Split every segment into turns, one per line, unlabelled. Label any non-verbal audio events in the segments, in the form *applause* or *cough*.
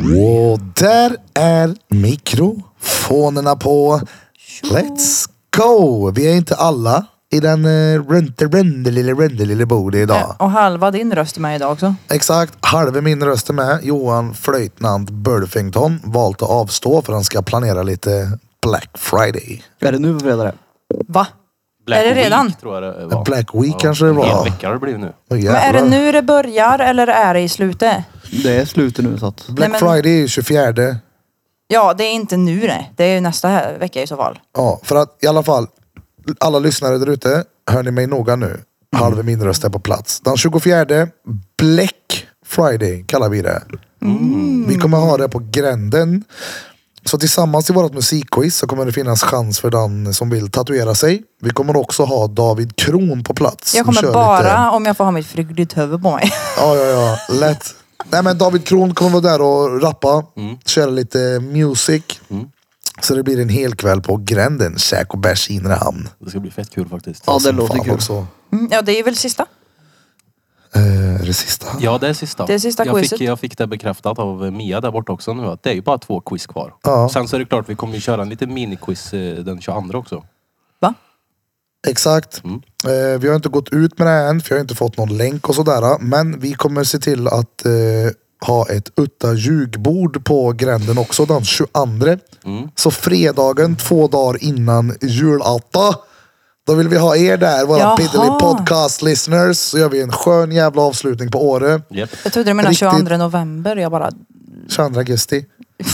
Och där är mikrofonerna på. Let's go! Vi är inte alla i den eh, rönte rönde lille rönde lille bordet idag.
Eh, Och halva din röst är med idag också.
Exakt, halva min röst är med. Johan Flöjtnant Burfington valt att avstå för han ska planera lite Black Friday.
Är det nu på fredag det?
Va? Är det redan?
Week, tror jag det var.
Black Week kanske det var.
En vecka har det blivit nu.
Åh,
Men är det
jävlar.
nu det börjar eller är det i slutet?
Det är slutet nu så att.
Black
Nej, men-
Friday är ju 24.
Ja, det är inte nu det. Det är ju nästa här vecka i så fall.
Ja, för att i alla fall, alla lyssnare där ute, hör ni mig noga nu? Halva min röst är på plats. Den 24, Black Friday kallar vi det. Vi kommer ha det på gränden. Så tillsammans i vårt musikquiz så kommer det finnas chans för den som vill tatuera sig. Vi kommer också ha David Kron på plats.
Jag
som
kommer
kör
bara,
lite-
om jag får ha mitt frygdigt huvud på mig. *laughs*
Ja, ja, ja. Lätt. Nej, men David Kron kommer vara där och rappa, köra lite music. Så det blir en hel kväll på gränden, käk och bärs i Inrehamn.
Det ska bli fett kul faktiskt.
Ja, det
Som
låter
fan
kul.
Också.
Mm, ja, det är väl sista.
Eh, det sista. Ja.
Ja, det är sista.
Det är sista
jag,
quizet.
fick, jag fick det bekräftat av Mia där borta också nu. Att det är ju bara två quiz kvar.
Ja.
Sen så är det klart, vi kommer ju köra en liten miniquiz eh, den 22 också.
Va?
Exakt.
Mm.
Eh, vi har inte gått ut med det här än, för jag har inte fått någon länk och sådär. Men vi kommer se till att eh, ha ett utta ljugbord på gränden också den 22.
Mm.
Så fredagen, två dagar innan julatta. Då vill vi ha er där, våra
Jaha.
piddly podcast listeners. Så gör vi en skön jävla avslutning på Åre.
Japp.
Jag trodde du menade
Riktigt.
22 november. Jag bara,
22 augusti.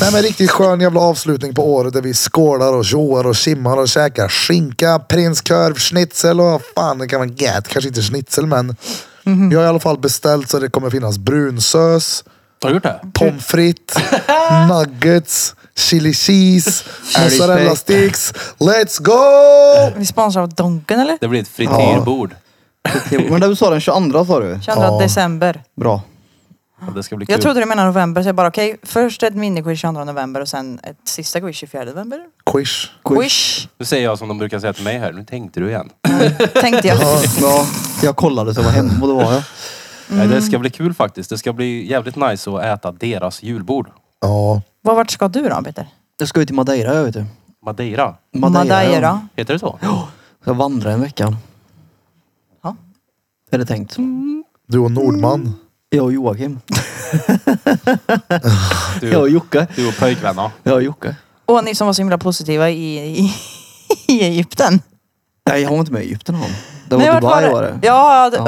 Nej men riktigt skön jävla avslutning på året där vi skålar och tjoar och simmar och käkar skinka, prinskorv, schnitzel och fan det kan vara gött. Kanske inte schnitzel men
Mhm.
jag har i alla fall beställt så det kommer finnas brunsös,
Har du gjort det?
pommes
*laughs*
frites, nuggets, chili cheese, mozzarella sticks. Let's go!
är vi sponsrar av Donken eller?
Det blir ett frityrbord.
Men det du sa den 22 sa du?
22 december.
Bra.
Ja. Det ska bli kul.
Jag trodde du menade november så jag bara okej, först ett miniquiz 22 november och sen ett sista quiz 24 november.
Quish.
Quiz. Mm.
Nu säger jag som de brukar säga till mig här. Nu tänkte du igen.
Tänkte jag.
Ja, jag kollade så jag var hemma och det var jag.
Mm.
Nej, det ska bli kul faktiskt. Det ska bli jävligt nice att äta deras julbord.
Ja,
Vad- Vart ska du då Peter?
Jag ska ju till Madeira jag vet du.
Madeira.
ja.
Madeira.
Heter det så?
Jag vandrar en vecka.
Ja.
Är det tänkt.
du och Nordman.
Jag och Joakim. *laughs* Jag och
Du,
Jocke.
du och pojkvännen.
Jag och Jocke.
Och ni som var så himla positiva i, i, *laughs* i Egypten.
Nej, jag var inte med i Egypten han. Det var
Nej, vart
Dubai var det. Var det.
Ja, det,
Ja.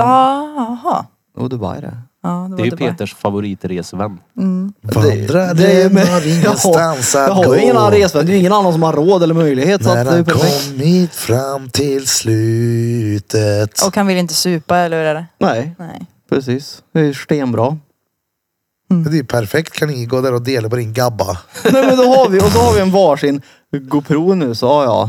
ja. aha.
det var Dubai det.
Ja,
Det är ju
Dubai.
Peters favoritresevän.
Mm.
Vandrar
Det är- *laughs*
den har ingenstans
Jag
att
har ju ingen annan
gå.
resvän. Det är ju ingen annan som har råd eller möjlighet. Så att
När
det är
han
perfekt.
kommit fram till slutet.
Och han vill inte supa eller hur är det?
Nej,
Nej.
precis. Det är ju stenbra.
Det är ju perfekt. Kan ni gå där och dela på din gabba?
Nej men då har vi, och då har vi en varsin GoPro nu sa jag.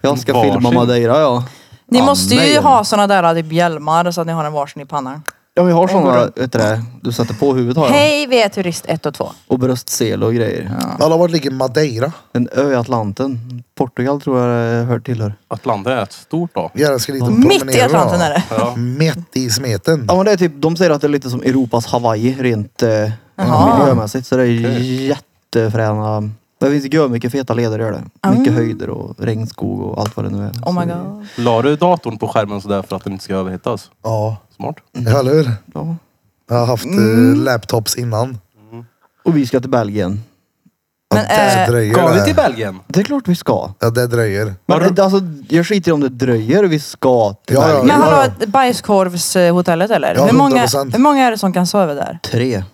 Jag ska
Varsin?
filma Madeira ja.
Ni
Ja,
måste ju
nej.
ha sådana där typ hjälmar så att ni har en varsin i pannan.
Ja vi har
går
sådana,
runt.
vet du det, du sätter på huvudet har jag.
Hej, vi är turist 1 och 2.
Och bröstsele och grejer.
Alla vart ligger Madeira?
En ö i Atlanten. Portugal tror jag det hör tillhör.
Atlanten är ett stort då.
Jag ska lite
Mitt i Atlanten är det.
Ja.
Mitt i smeten.
Ja men det är typ, de säger att det är lite som Europas Hawaii rent eh,
Jaha.
miljömässigt. Så det är jättefräna. Det finns ju mycket feta leder gör det. Mycket höjder och regnskog och allt vad det nu är.
Ah. Oh my
Så-
god.
La du datorn på skärmen sådär för att den inte ska överhettas?
Ja,
Smart.
ja eller hur?
Ja.
Jag har haft eh,
Mm.
laptops
Eh,
innan.
Och vi ska till Belgien.
Men
ja, det
eh,
dröjer
Ska ni till
det.
Belgien?
Det är klart vi ska.
Ja, det dröjer.
Men
Har
alltså, jag skiter i om det dröjer. Vi ska till
Ja, ja.
Belgien.
men hallå, bajskorvshotellet eller?
Ja,
hur, många,
100%.
hur många är det som kan sova där?
Tre.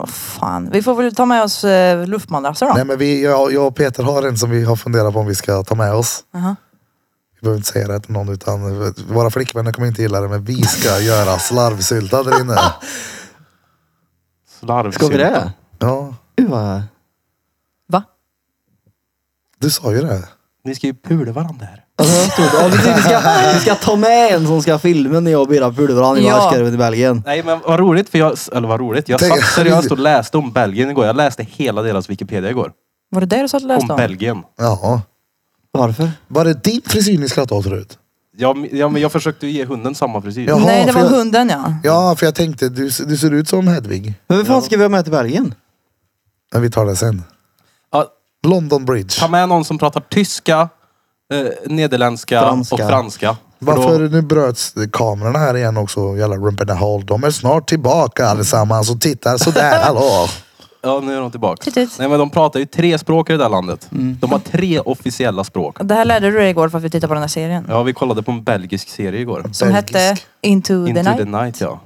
Åh fan. Vi får väl ta med oss eh, luftmadrasser då.
Nej, men vi, jag, jag och Peter har en som vi har funderat på om vi ska ta med oss.
Jaha.
Vi behöver inte säga det till någon utan eh, våra flickvänner kommer inte gilla det men vi
*laughs*
ska göra slarvsylta där inne.
Ska
Slarvsylta.
vi det?
Ja,
Gud vad...
Va?
du sa ju det.
Ni ska ju pula varandra här.
Alltså, jag stod, ja, vi, vi, ska, vi ska ta med en som ska filma när jag och Birra pular varandra i
Ja.
varvskarven i Belgien.
Nej men vad roligt för jag, eller vad roligt. Jag
Tänk-
satt seriöst och läste om Belgien igår. Jag läste hela deras Wikipedia igår.
Var det det du satt och
Om
läste om?
Belgien.
Ja.
Varför?
Var det din frisyr ni skrattade åt förut?
Ja, men- ja men jag försökte ju ge hunden samma frisyr.
Jaha,
Nej, det
för
var
jag-
hunden ja.
Ja, för jag tänkte du, du ser ut som Hedvig.
Men vem fan ska vi ha med till Belgien?
Men vi tar det sen.
Ja,
London Bridge.
ta med någon som pratar tyska, eh, nederländska
Franska.
och franska. För
Varför
Då,
nu bröts kamerorna här igen också? Jävla rumporna håll. De är snart tillbaka allesammans och tittar sådär. Hallå!
ja, nu är de tillbaka.
Tut, tut.
Nej, men de pratar ju tre språk i det där landet. De har tre officiella språk.
Det här lärde du dig igår för att vi tittade på den här serien.
Ja, vi kollade på en belgisk serie igår.
Som
Belgisk.
hette Into,
Into
the Night.
ja.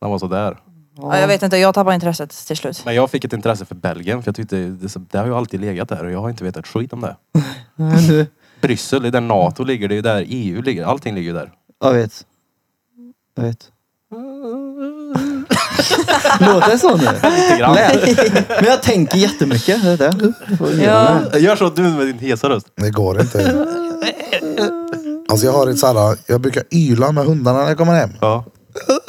Den var sådär.
Ja, jag vet inte, jag tappade intresset till slut.
Men jag fick ett intresse för Belgien för jag tyckte det, det har ju alltid legat där och jag har inte vetat ett skit om det.
Nej, nu.
Bryssel, det är där NATO ligger, det är där EU ligger, allting ligger ju där.
Jag vet. Jag vet. Låter det så nu?
Lite grann.
Lät. Men jag tänker jättemycket. Det är det.
Ja.
*laughs* Gör så du med din hesa röst.
Det går inte. Alltså jag har ett såhär, jag brukar yla med hundarna när jag kommer hem.
Ja.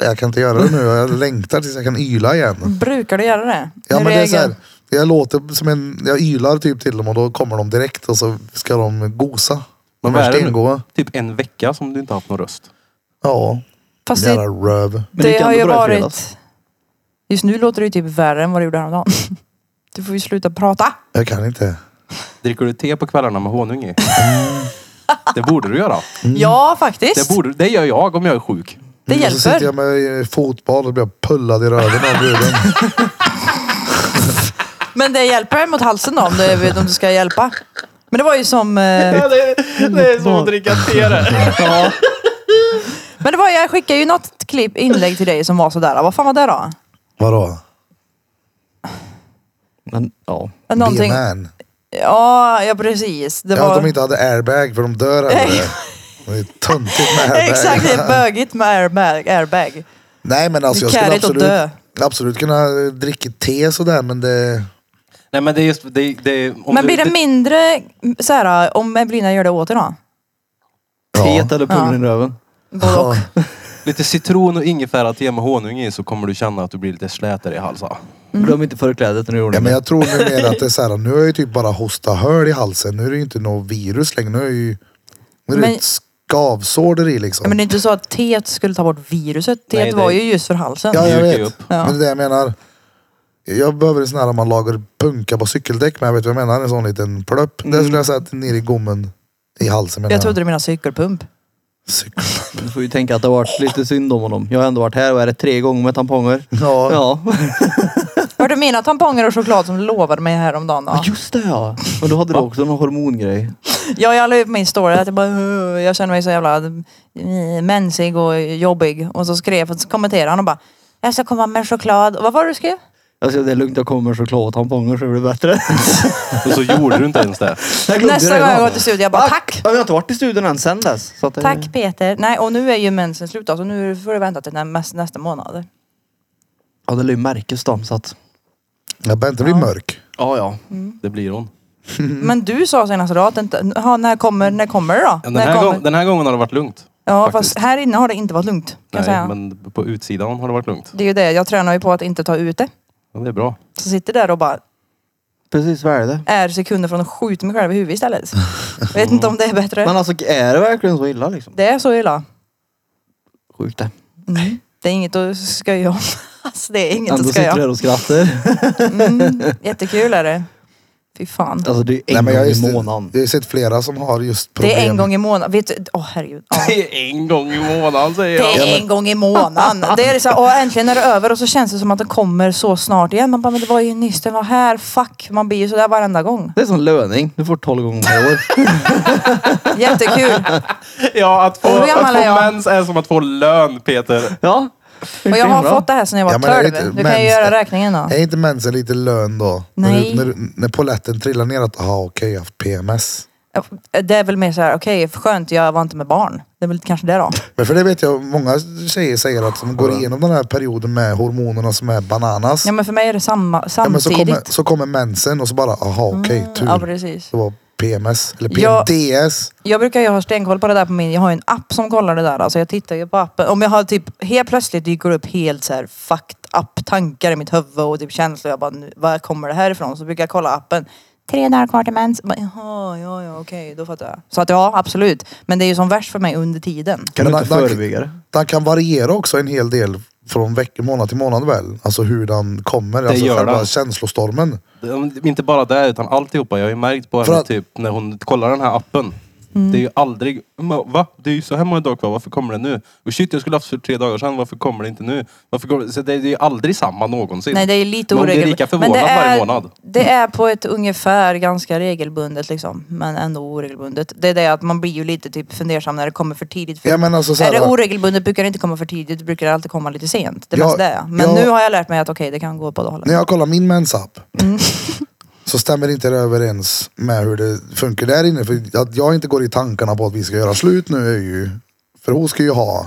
Jag kan inte göra det nu. Jag längtar tills jag kan yla igen.
Brukar du göra det?
Ja
När
men
du
det är
reagerar-
såhär, jag låter som en, jag ylar typ till dem och då kommer de direkt och så ska de gosa. De
Vad
är
är det nu?
stengoa.
Typ en vecka som du inte haft någon röst.
Ja,
Fast
jävla
det,
röv.
Men det
det
gick
har
ändå
ju
bra i fredags.
varit... Just nu låter det ju typ värre än vad det
*laughs*
gjorde häromdagen. Du får ju sluta prata.
Jag kan inte.
Dricker du te på kvällarna med honung i? Det borde du göra.
Ja, faktiskt.
Det, borde, det gör jag om jag är sjuk.
Det
Mm, och Så sitter
hjälper.
jag med eh, fotboll och blir pullad i röven av
*laughs*
bruden.
Men det hjälper mot halsen då, om, det, om du ska hjälpa. Men det var ju som... eh,
det, är som att dricka te det.
Ja.
Men det var, jag skickade ju något klipp, inlägg till dig som var sådär. Vad fan var det då?
Vadå?
Men ja.
Någonting.
B-man.
Ja, ja precis. Det
Ja,
var...
att de inte hade airbag för de dör aldrig.
*laughs*
Det är töntigt med airbag.
Exakt, det är bögigt med airbag. airbag.
Nej men alltså jag
Det är
skulle
kärigt att dö.
absolut, absolut kunna eh, dricka te sådär men det...
Nej men det är just... Det, det, om
Men
du,
blir det mindre så här äh, om Evelina gör det åt idag?
Ja.
Teet eller pullen i röven.
Både och.
Lite citron och ingefära te med honung i så kommer du känna att du blir lite slätare i halsen.
Glöm inte förklädet när du gjorde
Ja, men
det.
jag tror numera att det är såhär, nu har jag ju typ bara hosta höl i halsen. Nu är det ju inte något virus längre. Nu är det ju nu är det
Men-
ett skavsår där i liksom.
Ja, Men det är inte så att teet skulle ta bort viruset. Teet
Nej, det-
var ju just för halsen.
Ja, jag
Mjukar
vet.
ju upp.
Ja.
Men det är det jag menar. Jag behöver en sån här man lagar punka på cykeldäck med. Vet du vad jag menar? En sån liten plöpp. Det skulle jag säga att ner i gommen. I halsen menar
Mm. Jag trodde du menade cykelpump.
Cykel.
Du får ju tänka att det har varit lite synd om honom. Jag har ändå varit här och är det tre gånger med tamponger.
Ja.
Ja.
Hörde du mina tamponger och choklad som du lovade mig häromdagen då?
Just det ja. Men då hade du också någon hormongrej.
Ja, jag la ut på min story att jag bara, "Åh, jag känner mig så jävla eh, mensig och jobbig. Och så skrev, så kommenterade han och bara, jag ska komma med choklad. Och vad var det du skrev?
Alltså det är lugnt, jag kommer med choklad och tamponger så det blir *laughs* bättre.
Och så gjorde du inte ens det.
Jag glömde
Nästa
det
gång jag
idag.
går till studion, jag bara,
Ah,
tack!
Jag har inte varit i studion än sen dess. Så att det-
Tack Peter. Nej, och nu är ju mensen slut då, så nu får du vänta till nä- näs- nästa månad.
Ja det lär ju märkas då så att.
Jag behöver inte bli mörk.
Ja ja.
Mm.
Det blir hon.
Men du sa senast idag att det inte, "Jaha, när kommer, när kommer det då?
Den
när
här,
kommer?
gång, den här gången har det varit lugnt.
ja,
faktiskt.
fast här inne har det inte varit lugnt. Kan jag säga.
Nej, men på utsidan har det varit lugnt.
Det är ju det, jag tränar ju på att inte ta ut det.
Ja, det är bra.
Så sitter där och bara
Precis vad är det?
är sekunder från att skjuta mig själv i huvudet istället. Jag vet inte om det är
Men
bättre.
alltså är det verkligen så illa liksom?
Det är så illa. Mm.
Sjukt det.
Det är inget att skoja om. *laughs* Alltså det är inget
Ändå
att skoja
sitter du
om.
här och skrattar. *laughs*
Mm, jättekul är det. Fy fan.
Alltså det är ju en
Nej, men jag, har
gång
just-
i månaden.
jag har sett flera som har just problem.
Det är en gång i månaden. Vet du, åh herregud.
*laughs*
Ja.
är en gång i månaden säger
Det är en gång i månaden. Det är så här, åh, äntligen är det över och så känns det som att det kommer så snart igen. Man bara, men det var ju nyss den var här. Fuck. Man blir ju sådär varenda gång.
Det är som löning. Du får 12 gånger per
*laughs*
år.
Jättekul.
Ja, att få,
Och hur gammal
att få
är jag?
mens är som att få lön Peter.
*laughs* Ja.
Och jag har
Bra.
fått det här sedan jag var
Ja, men är det
12.
inte
Du kan ju
mens-
göra räkningen då.
Är inte mensen lite lön då?
Nej.
När, du- när, du- när polletten trillar ner att, aha okej jag har haft PMS.
Det är väl mer så här, okej skönt jag var inte med barn. Det är väl kanske det
*laughs*
då.
Men för det vet jag, många tjejer säger att de går igenom den här perioden med hormonerna som är bananas.
Ja men för mig är det samma,
Ja, men så,
samtidigt. Mm.
kommer, så kommer mensen och så bara, aha okej tur.
Ja precis.
det var PMS, eller
Ja.
PMDS.
Jag brukar ju ha stenkoll på det där på min, jag har ju en app som kollar det där. Alltså jag tittar ju på appen. Om jag har typ, helt plötsligt dyker det upp helt så här fucked up tankar i mitt huvud och typ känslor. Jag bara, nu, var kommer det här ifrån? Så brukar jag kolla appen. Tre dagar kvar till mens. Bara, Jaha, ja, ja, okej, då fattar jag. Så att ja, absolut. Men det är ju som värst för mig under tiden.
Kan du
Men
inte
den- den-
förebygga det?
Den kan variera också en hel del från vecka, månad till månad väl? Alltså hur den kommer, alltså
gör
själva
den.
känslostormen.
Det- Inte bara det, utan alltihopa. Jag har ju märkt på
För
henne
att-
typ när hon kollar den här appen.
Mm.
Det är ju aldrig, "Ma, va? Det är ju så här många dagar kvar, varför kommer det nu? Och shit, jag skulle haft för tre dagar sedan, varför kommer det inte nu? Varför kommer det? Så det, det är ju aldrig samma någonsin.
Nej det är lite
Men hon blir lika
oregelbundet.
förvånad
det är,
varje månad.
Det är på ett ungefär ganska regelbundet liksom. Men ändå oregelbundet. Det är det att man blir ju lite typ fundersam när det kommer för tidigt. För
Ja, men alltså så här,
är det oregelbundet brukar det inte komma för tidigt. Det brukar alltid komma lite sent. Det är
Ja,
mest det. Men
ja.
nu har jag lärt mig att okej det kan gå på hållet.
När jag kollar min mensapp *laughs* så stämmer inte det överens med hur det funkar där inne. För att jag inte går i tankarna på att vi ska göra slut nu är ju... För hon ska ju ha.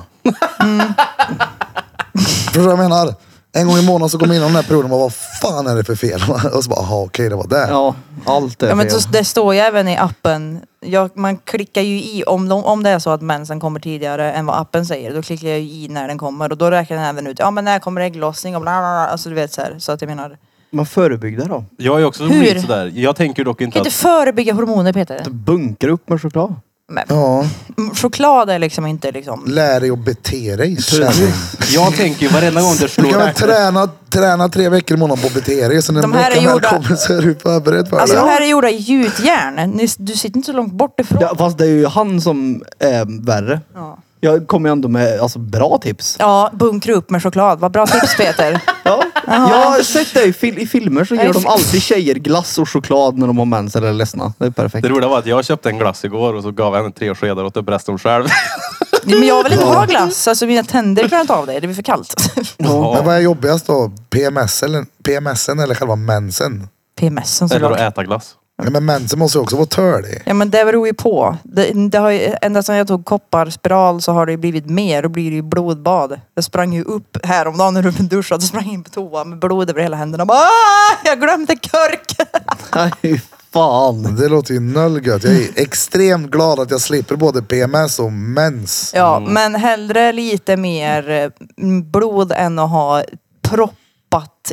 Förstår du vad jag menar? En gång i månaden så kommer jag in i den här perioden och bara, vad fan är det för fel? *laughs* Och så bara, aha, okej det var det.
Ja, allt är
Ja men
fel.
så, det står ju även i appen. Jag, man klickar ju i om, de, om det är så att mensen kommer tidigare än vad appen säger. Då klickar jag ju i när den kommer och då räknar den även ut. Ja men när kommer ägglossning och bla bla bla. Alltså du vet så här. Så att jag menar.
Man förebygger då.
Jag är också
Hur?
lite sådär. Jag tänker dock inte
Kan inte
att...
förebygga hormoner Peter.
Bunkra upp med choklad.
Men,
Ja,
mm, choklad är liksom inte liksom.
lär dig att bete dig kärring.
Jag tänker ju varenda gång
*laughs*
det
Du
slår...
kan väl träna, träna tre veckor i månaden på E att bete dig. Så när
De här är
veckan väl
gjorda-
kommer så är du förberedd för
Alltså
det.
de här är gjorda i gjutjärn. Ni- Du sitter inte så långt bort ifrån.
Ja, fast det är ju han som är värre.
Ja.
Jag kommer ju ändå med alltså, bra tips.
Ja, bunkra upp med choklad. Vad bra tips Peter.
Ja. Jag har sett det i, fil- i filmer så
Nej,
gör de
fi-
alltid tjejer glass och choklad när de har mens eller är ledsna. Det är perfekt.
Det roliga var att jag köpte en glass igår och så gav jag henne tre skedar åt upp
*laughs*
resten själv.
Nej, Men jag vill inte ha glass. Alltså mina tänder klarar inte av det. Det blir för kallt. *laughs*
Men vad är jobbigast då? PMS eller, PMSen eller själva mensen?
PMSen
Eller att
såklart.
äta glass.
Ja, men mensen måste ju också vara törlig.
Ja men det beror ju på. Det, det har ju, ända sedan jag tog kopparspiral så har det ju blivit mer. Då blir det ju blodbad. Jag sprang ju upp häromdagen när du duschade så sprang jag in på toa med blod över hela händerna. Bara, "Ah, jag glömde korken.
Nej, fan.
Det låter ju noll gött. Jag är extremt glad att jag slipper både PMS och mens.
Ja, men hellre lite mer eh, m- blod än att ha proppat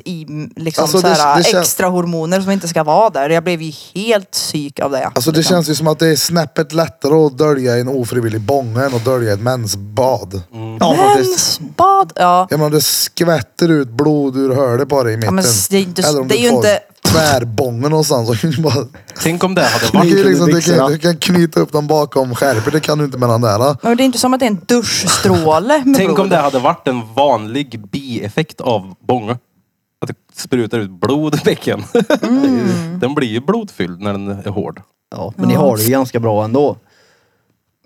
i m, liksom
Alltså,
så
det-
här,
det kän-
extra hormoner som inte ska vara där. Jag blev ju helt psyk av det.
Alltså det känns ju som att det är snäppet lättare att dölja en ofrivillig bånge än att dölja ett mensbad.
Ja, faktiskt.
Mensbad! Ja.
Jag menar det skvätter ut blod ur hålet bara i mitten.
men det är ju inte-
Eller om
det är
du
ju
får
inte-
tvärbången någonstans. så kan du *laughs* bara-
Tänk om
*laughs*
det hade
Du kan,
varit...
ju
Knyter
liksom,
du
du, kan,
byxorna?
du kan knyta upp dem bakom skärpet. Det kan du inte med den där.
Men det är inte som att det är en duschstråle med
*laughs* Tänk
blod.
om det hade varit en vanlig bieffekt av bånge. Att det sprutar ut blod i bäcken.
Mm.
*laughs* den blir ju blodfylld när den är hård.
Ja, men ni har det ju ganska bra ändå.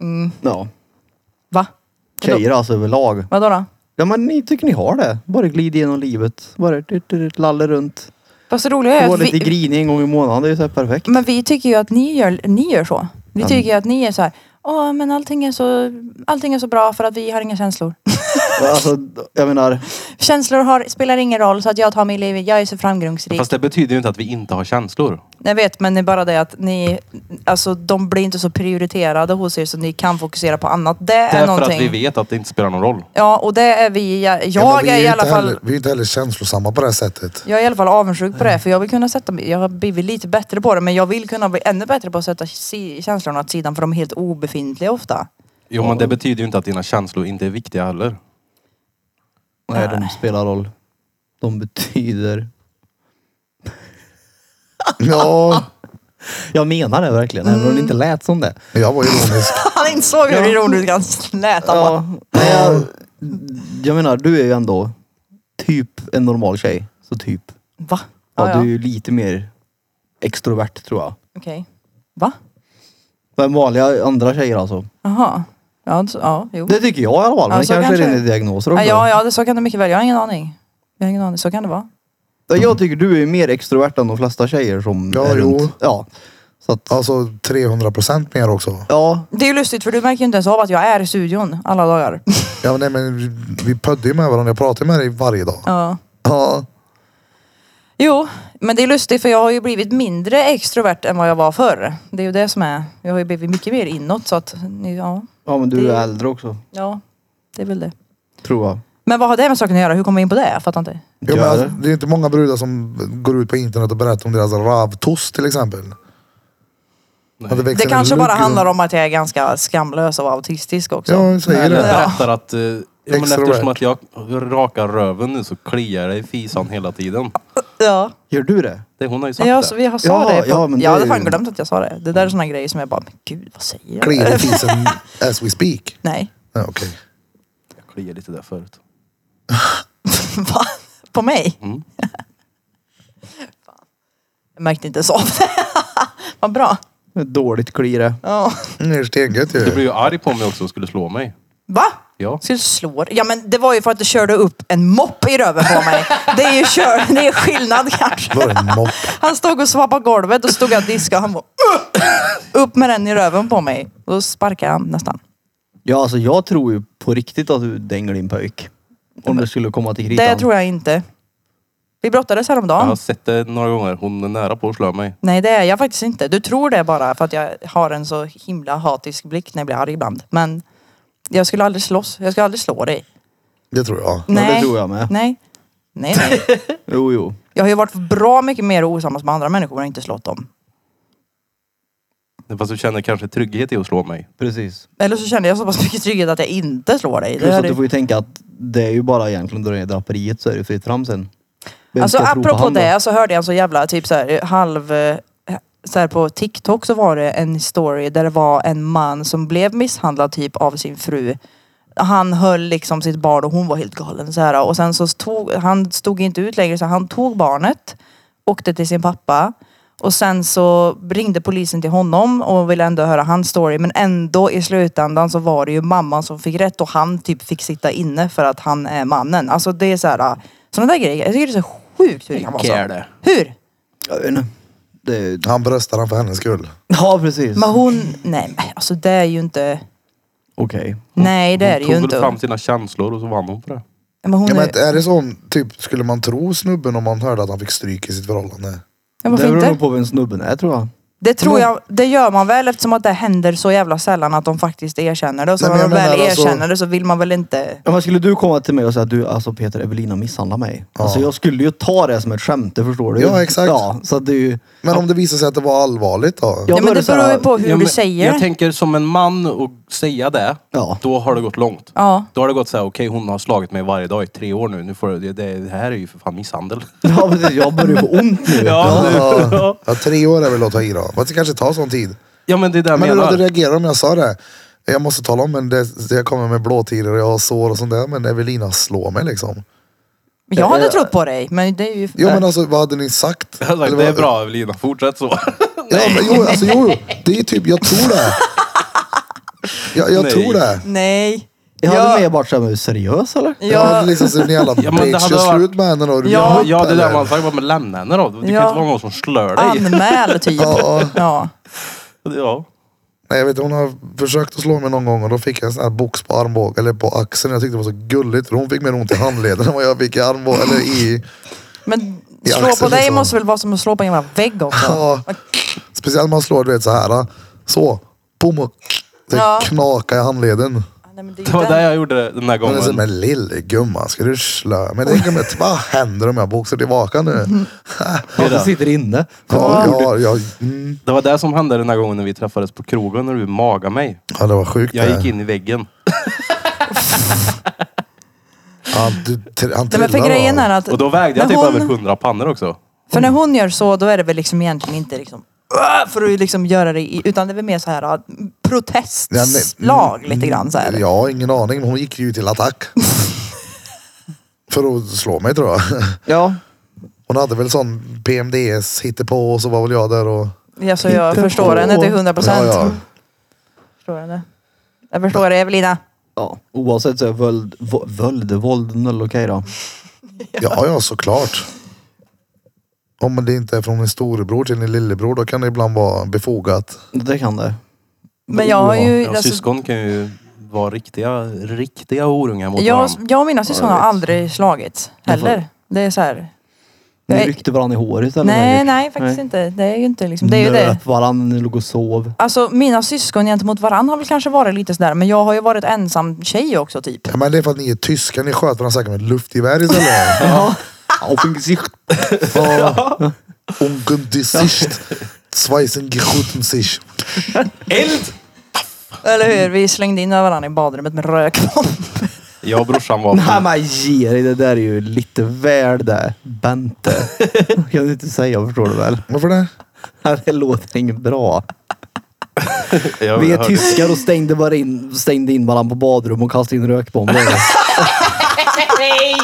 Mm.
Ja.
Va?
Tjejer alltså överlag.
Vadå då?
Ja men ni tycker ni har det. Bara glid igenom livet. Bara tut, tut, tut, lalle runt.
Fast det roliga är
Gå
att
lite
vi,
grinig en gång i månaden. Det är ju så här perfekt.
men vi tycker ju att ni gör, ni gör så. Vi tycker ju att ni är så här, åh men allting är så, allting är så bra för att vi har inga känslor. *laughs*
Alltså, jag menar,
känslor har, spelar ingen roll så att jag tar mig i livet, jag är så framgångsrik.
Fast det betyder ju inte att vi inte har känslor.
Jag vet men det är bara det att ni, alltså de blir inte så prioriterade hos er så ni kan fokusera på annat. Det är
Därför att
någonting.
vi vet att det inte spelar någon roll.
Ja och det är vi, jag,
Ja, men
jag
vi
är
ju
i alla
inte
fall
Heller, vi är inte heller känslosamma på det här sättet.
jag är i alla fall avundsjuk på det för jag vill kunna sätta mig, jag har blivit lite bättre på det men jag vill kunna bli ännu bättre på att sätta si- känslorna åt sidan för de är helt obefintliga ofta. *laughs*
Jo men det betyder ju inte att dina känslor inte är viktiga heller.
nej de spelar roll. De betyder.
Ja,
Jag menar det verkligen. Även om det inte lät som det.
jag var
*laughs*
ironisk.
Han insåg hur ironiskt han lät. Han bara,
Ja, nej, jag, jag menar, du är ju ändå typ en normal tjej. Så typ.
va?
Ja,
Ja, ja.
Du är ju lite mer extrovert tror jag.
Okej. Va?
Men vanliga andra tjejer alltså.
Jaha. Ja, så- ja, jo.
Det tycker jag i alla fall. Men
Ja, så
det kanske är
kanske.
dina diagnoser också.
Ja, ja, ja, det, så kan det mycket väl. Jag har ingen aning. Jag har ingen aning. Så kan det vara.
Ja, Jag tycker du är mer extrovert än de flesta tjejer som
Ja,
är
jo.
runt. Ja, så att,
Alltså 300 procent mer också.
ja.
Det är ju lustigt för du märker ju inte ens av att jag är i studion alla dagar.
Ja, men nej, men vi- vi pödde ju med varandra. Jag pratar ju med dig varje dag.
ja.
Ja.
Jo, men det är lustigt för jag har ju blivit mindre extrovert än vad jag var förr. Det är ju det som är. Jag har ju blivit mycket mer inåt så att ja,
ja, men du
Det-
är äldre också.
ja det är väl det.
Tror jag.
Men vad har det med saken att göra? Hur kom vi in på det? Jag fattar inte.
Jo, men
Gör
alltså,
det.
det är inte många brudar som går ut på internet och berättar om deras ravtost till exempel. Att
Nej.
växer
Det
en
kanske
lugg
bara
runt-
handlar om att jag är ganska skamlös och autistisk också.
Ja, jag säger
Eller
det.
berättar att eh, Ja, men
Extrovert.
eftersom att jag rakar röven nu så kliar det i fisan hela tiden.
Ja,
Gör du det?
Det, hon har ju sagt
ja
det.
så vi har sa
Ja,
det. På,
ja, men det
jag hade
är
fan
ju-
glömt att jag sa det. Det där är såna grejer som jag bara, men gud vad säger jag?
Kliar i fisen as we speak.
Nej.
Ja, okej.
Jag kliar lite där förut.
Va? På mig?
Mm.
Fan. *laughs* Jag märkte inte ens av det. *laughs* Vad bra.
Det är Dåligt kli det.
Ja.
Mm, Det är stengött
Du
ju.
blev ju arg på mig också och skulle slå mig.
Va?
Ja.
Skulle slå dig? Ja men det var ju för att du körde upp en mopp i röven på mig. Det är ju kör, *laughs* det är skillnad kanske.
Var det en mopp?
Han stod och svappade golvet och stod jag och diskade. Han bara, *laughs* upp med den i röven på mig. Och då sparkade han nästan.
Ja, alltså jag tror ju på riktigt att du dänger din pöjk. Om det skulle komma till kritan.
Det tror jag inte. Vi brottades
Jag
häromdagen.
har sett det några gånger. Hon är nära på att slå mig.
Nej det är jag faktiskt inte. Du tror det bara för att jag har en så himla hatisk blick när jag blir arg ibland. Men jag skulle aldrig slåss. Jag skulle aldrig slå dig.
Det tror jag.
Ja, det
Nej.
tror jag med.
Nej. Nej, nej.
Jo, jo.
Jag har ju varit bra mycket mer osams med andra människor och inte slått dem.
Fast du känner kanske trygghet i att slå mig.
Precis.
Eller så känner jag så pass mycket trygghet att jag inte slår dig. Det
Plus
är
att du får ju tänka att det är ju bara egentligen då det är draperiet så är det fritt fram sen. Vem
Alltså
ska tro på
apropå
han då?
det så hörde jag en så jävla typ så här halv... eh, Så här på TikTok så var det en story där det var en man som blev misshandlad typ av sin fru. Han höll liksom sitt barn och hon var helt galen så här. Och sen så tog, han stod inte ut längre så han tog barnet, åkte till sin pappa. Och sen så ringde polisen till honom och ville ändå höra hans story. Men ändå i slutändan så var det ju mamman som fick rätt och han typ fick sitta inne för att han är mannen. Alltså det är så här, sådana där grejer. Jag tycker det är så sjukt hur det kan vara så.
Kärle.
Hur?
Jag vet inte. Det är...
Han bröstar han för hennes skull.
Ja, precis.
Men hon, nej men alltså det är ju inte,
Okej.
nej det är det
Hon
ju
tog väl fram
inte.
sina känslor och så vann hon på det.
Men hon
Ja, men
är,
är det så, om, typ, skulle man tro snubben om man hörde att han fick stryk i sitt förhållande?
ja,
Det
varför
beror nog
inte?
på vem snubben är tror jag.
Det tror jag, det gör man väl eftersom att det händer så jävla sällan att de faktiskt erkänner det. Och så
Nej,
när
men
de
jag
väl
menar alltså-
erkänner det så vill man väl inte.
Ja, men skulle du komma till mig och säga att du, alltså Peter Evelina misshandlar mig. Alltså jag skulle ju ta det som ett skämt, det förstår du.
Ja, exakt.
Ja, så att det är ju...
Men om det visar sig att det var allvarligt då?
Ja,
Ja,
då
men
är
det
så
beror
här-
ju på hur
Ja,
du
men
säger
Jag
det.
tänker som en man och säga det.
Ja.
Då har det gått långt.
Ja.
Då har det gått så här, okej hon har slagit mig varje dag i tre år nu. nu får det, det, det här är ju för
*laughs*
fan misshandel.
Ja, precis. Jag börjar få ont nu.
Ja,
Ja, ja, tre år är väl att ta i då. Men Det kanske tar sån tid.
ja men det är det jag
Men hur hade du
menar.
reagerat om jag sa det? Jag måste tala om men det, det jag kommer med blåtiror och jag har sår och sånt där. Men Evelina slår mig liksom.
Jag hade trott på dig men det är ju...
Jo men alltså vad hade ni sagt?
*laughs* Jag har sagt,
Eller
det är
vad-
bra Evelina,
*laughs*
fortsätt så.
Ja, men, jo, alltså, jo, det är typ, jag tror det. Jag, jag
Nej.
tror det.
Nej.
Jag hade
Ja.
mer varit såhär, är du seriös eller?
Jag hade liksom så ni jävla
Ja, men det
bitch,
hade
gör
varit-
slut med henne då. Du
Ja.
Ja,
blir
ja
ihop,
det där
eller?
man sagt, bara, men lämna henne då. Det
Ja.
kan inte vara någon som slör dig.
Anmäl typ.
Ja.
Ja.
*laughs* Ja.
Nej, jag vet, hon har försökt att slå mig någon gång och då fick jag en sån här box på armbågen, eller på axeln. Jag tyckte det var så gulligt. Hon fick mer ont i handleden *laughs* än vad jag fick i armbågen, eller i...
Men
Ja,
slå på
exakt,
dig
liksom.
måste väl vara som att slå på en jävla vägg också.
Ja. Speciellt när man slår, du vet så här. Så. Bom och... Det
Ja.
knakar i handleden.
Nej, men det är ju
Det var
den-
det jag gjorde den här
Men det är så,
gången.
men lillgumman, ska du slö? Men det är, men
*laughs*
vad händer om jag boxar tillbaka
Mm.
nu?
Ja, du sitter inne.
Ja, ja, ja, mm.
Det var det som hände den här gången när vi träffades på krogen när du magade mig.
ja, det var sjukt.
Jag
det.
gick in i väggen.
Ja, du, tr- han
Nej, men för
trillar
grejen
då.
är att...
Och då vägde jag
när
typ
hon-
över 100 pannor också.
För när hon gör så, då är det väl liksom egentligen inte liksom "Åh!" för att liksom göra det i, utan det är väl mer så här ah,
Ja, nej,
protestslag
mm,
lite grann så här.
Jag har ingen aning, men hon gick ju till
*laughs*
attack. För att slå mig tror jag.
Ja.
Hon hade väl sån PMDS hittepå och så var väl jag där och...
Ja, så jag
Titta
förstår
på.
henne till 100 procent. *laughs*
Ja, ja.
Förstår henne. Jag förstår det Evelina.
ja. Oavsett så är våld, vå- våld, våld noll okej då.
Ja, ja, såklart. Om det inte är från en storebror till en lillebror, då kan det ibland vara befogat.
Det kan det.
Men jag har ju...
Ja,
alltså,
syskon kan ju vara riktiga, riktiga orungar mot
jag,
varandra.
jag och mina syskon har aldrig slagit heller. Det är så här.
Ni
Nej.
ryckte varandra i håret eller?
Nej, nej faktiskt
Nej.
inte. Det är ju inte liksom, det är ju det.
Nöp varandra när ni låg och sov.
Alltså mina syskon gentemot varandra har väl kanske varit lite sådär, men jag har ju varit ensam tjej också typ.
Ja, men det är för att ni är tyskar, ni sköt varandra säkert med ett luftgevär
*laughs*
istället.
Auf den Gesicht.
Ja. Ungesicht. Zweisen geschoten sich.
Eld!
Eller hur? Vi slängde in varandra i badrummet med rökbomb.
Jag och
*laughs*
brorsan var
Nej
på...
men ge dig, det där är ju lite väl det. Bente. kan du inte säga, förstår du väl? *laughs*
Varför det?
Det låter inget bra.
Jag
Vi är
hörde-
tyskar och stängde, bara in, stängde in varandra på badrum och kastade in rökbomber.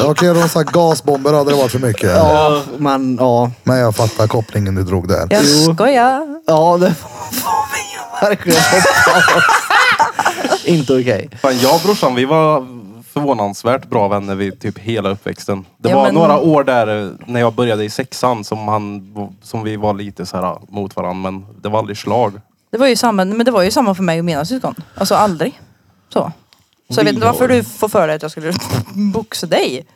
Okej, okay, de sa gasbomber hade det varit för mycket.
ja, men ja.
Men jag fattar kopplingen du drog där.
Jag
Jo.
skojar.
Ja,
*laughs*
det får får vi verkligen *laughs* hoppas. Inte okej.
Fan, jag och brorsan, vi var förvånansvärt bra vänner vid typ hela uppväxten. Det
Ja,
var
men-
några år där eh, när jag började i sexan som, han, som vi var lite så här eh, mot varandra, men det var aldrig slag.
Det var ju samma, men det var ju samma för mig och mina syskon. Alltså aldrig. Så. Så jag vet inte
Vidare.
varför du får för dig att jag skulle *laughs* boxa dig.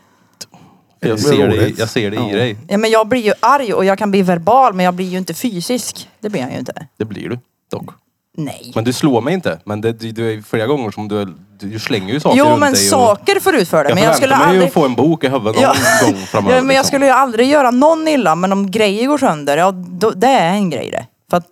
Det
Jag
är
ser det,
roligt.
jag ser det i
Ja.
dig.
Ja, men jag blir ju arg och jag kan bli verbal men jag blir ju inte fysisk. Det blir jag ju inte.
Det blir du dock.
Nej.
Men du slår mig inte. Men det, du, du är flera gånger som du, du slänger ju saker
Jo
runt
men
dig. och-
saker får ut för det.
Jag
Men jag
förväntar
skulle
mig ju
aldrig...
att få en bok i huvudet
*laughs* Ja.
någon gång framöver.
Ja, men jag
liksom.
skulle ju aldrig göra någon illa, men om grejer går sönder, ja då, det är en grej det. För att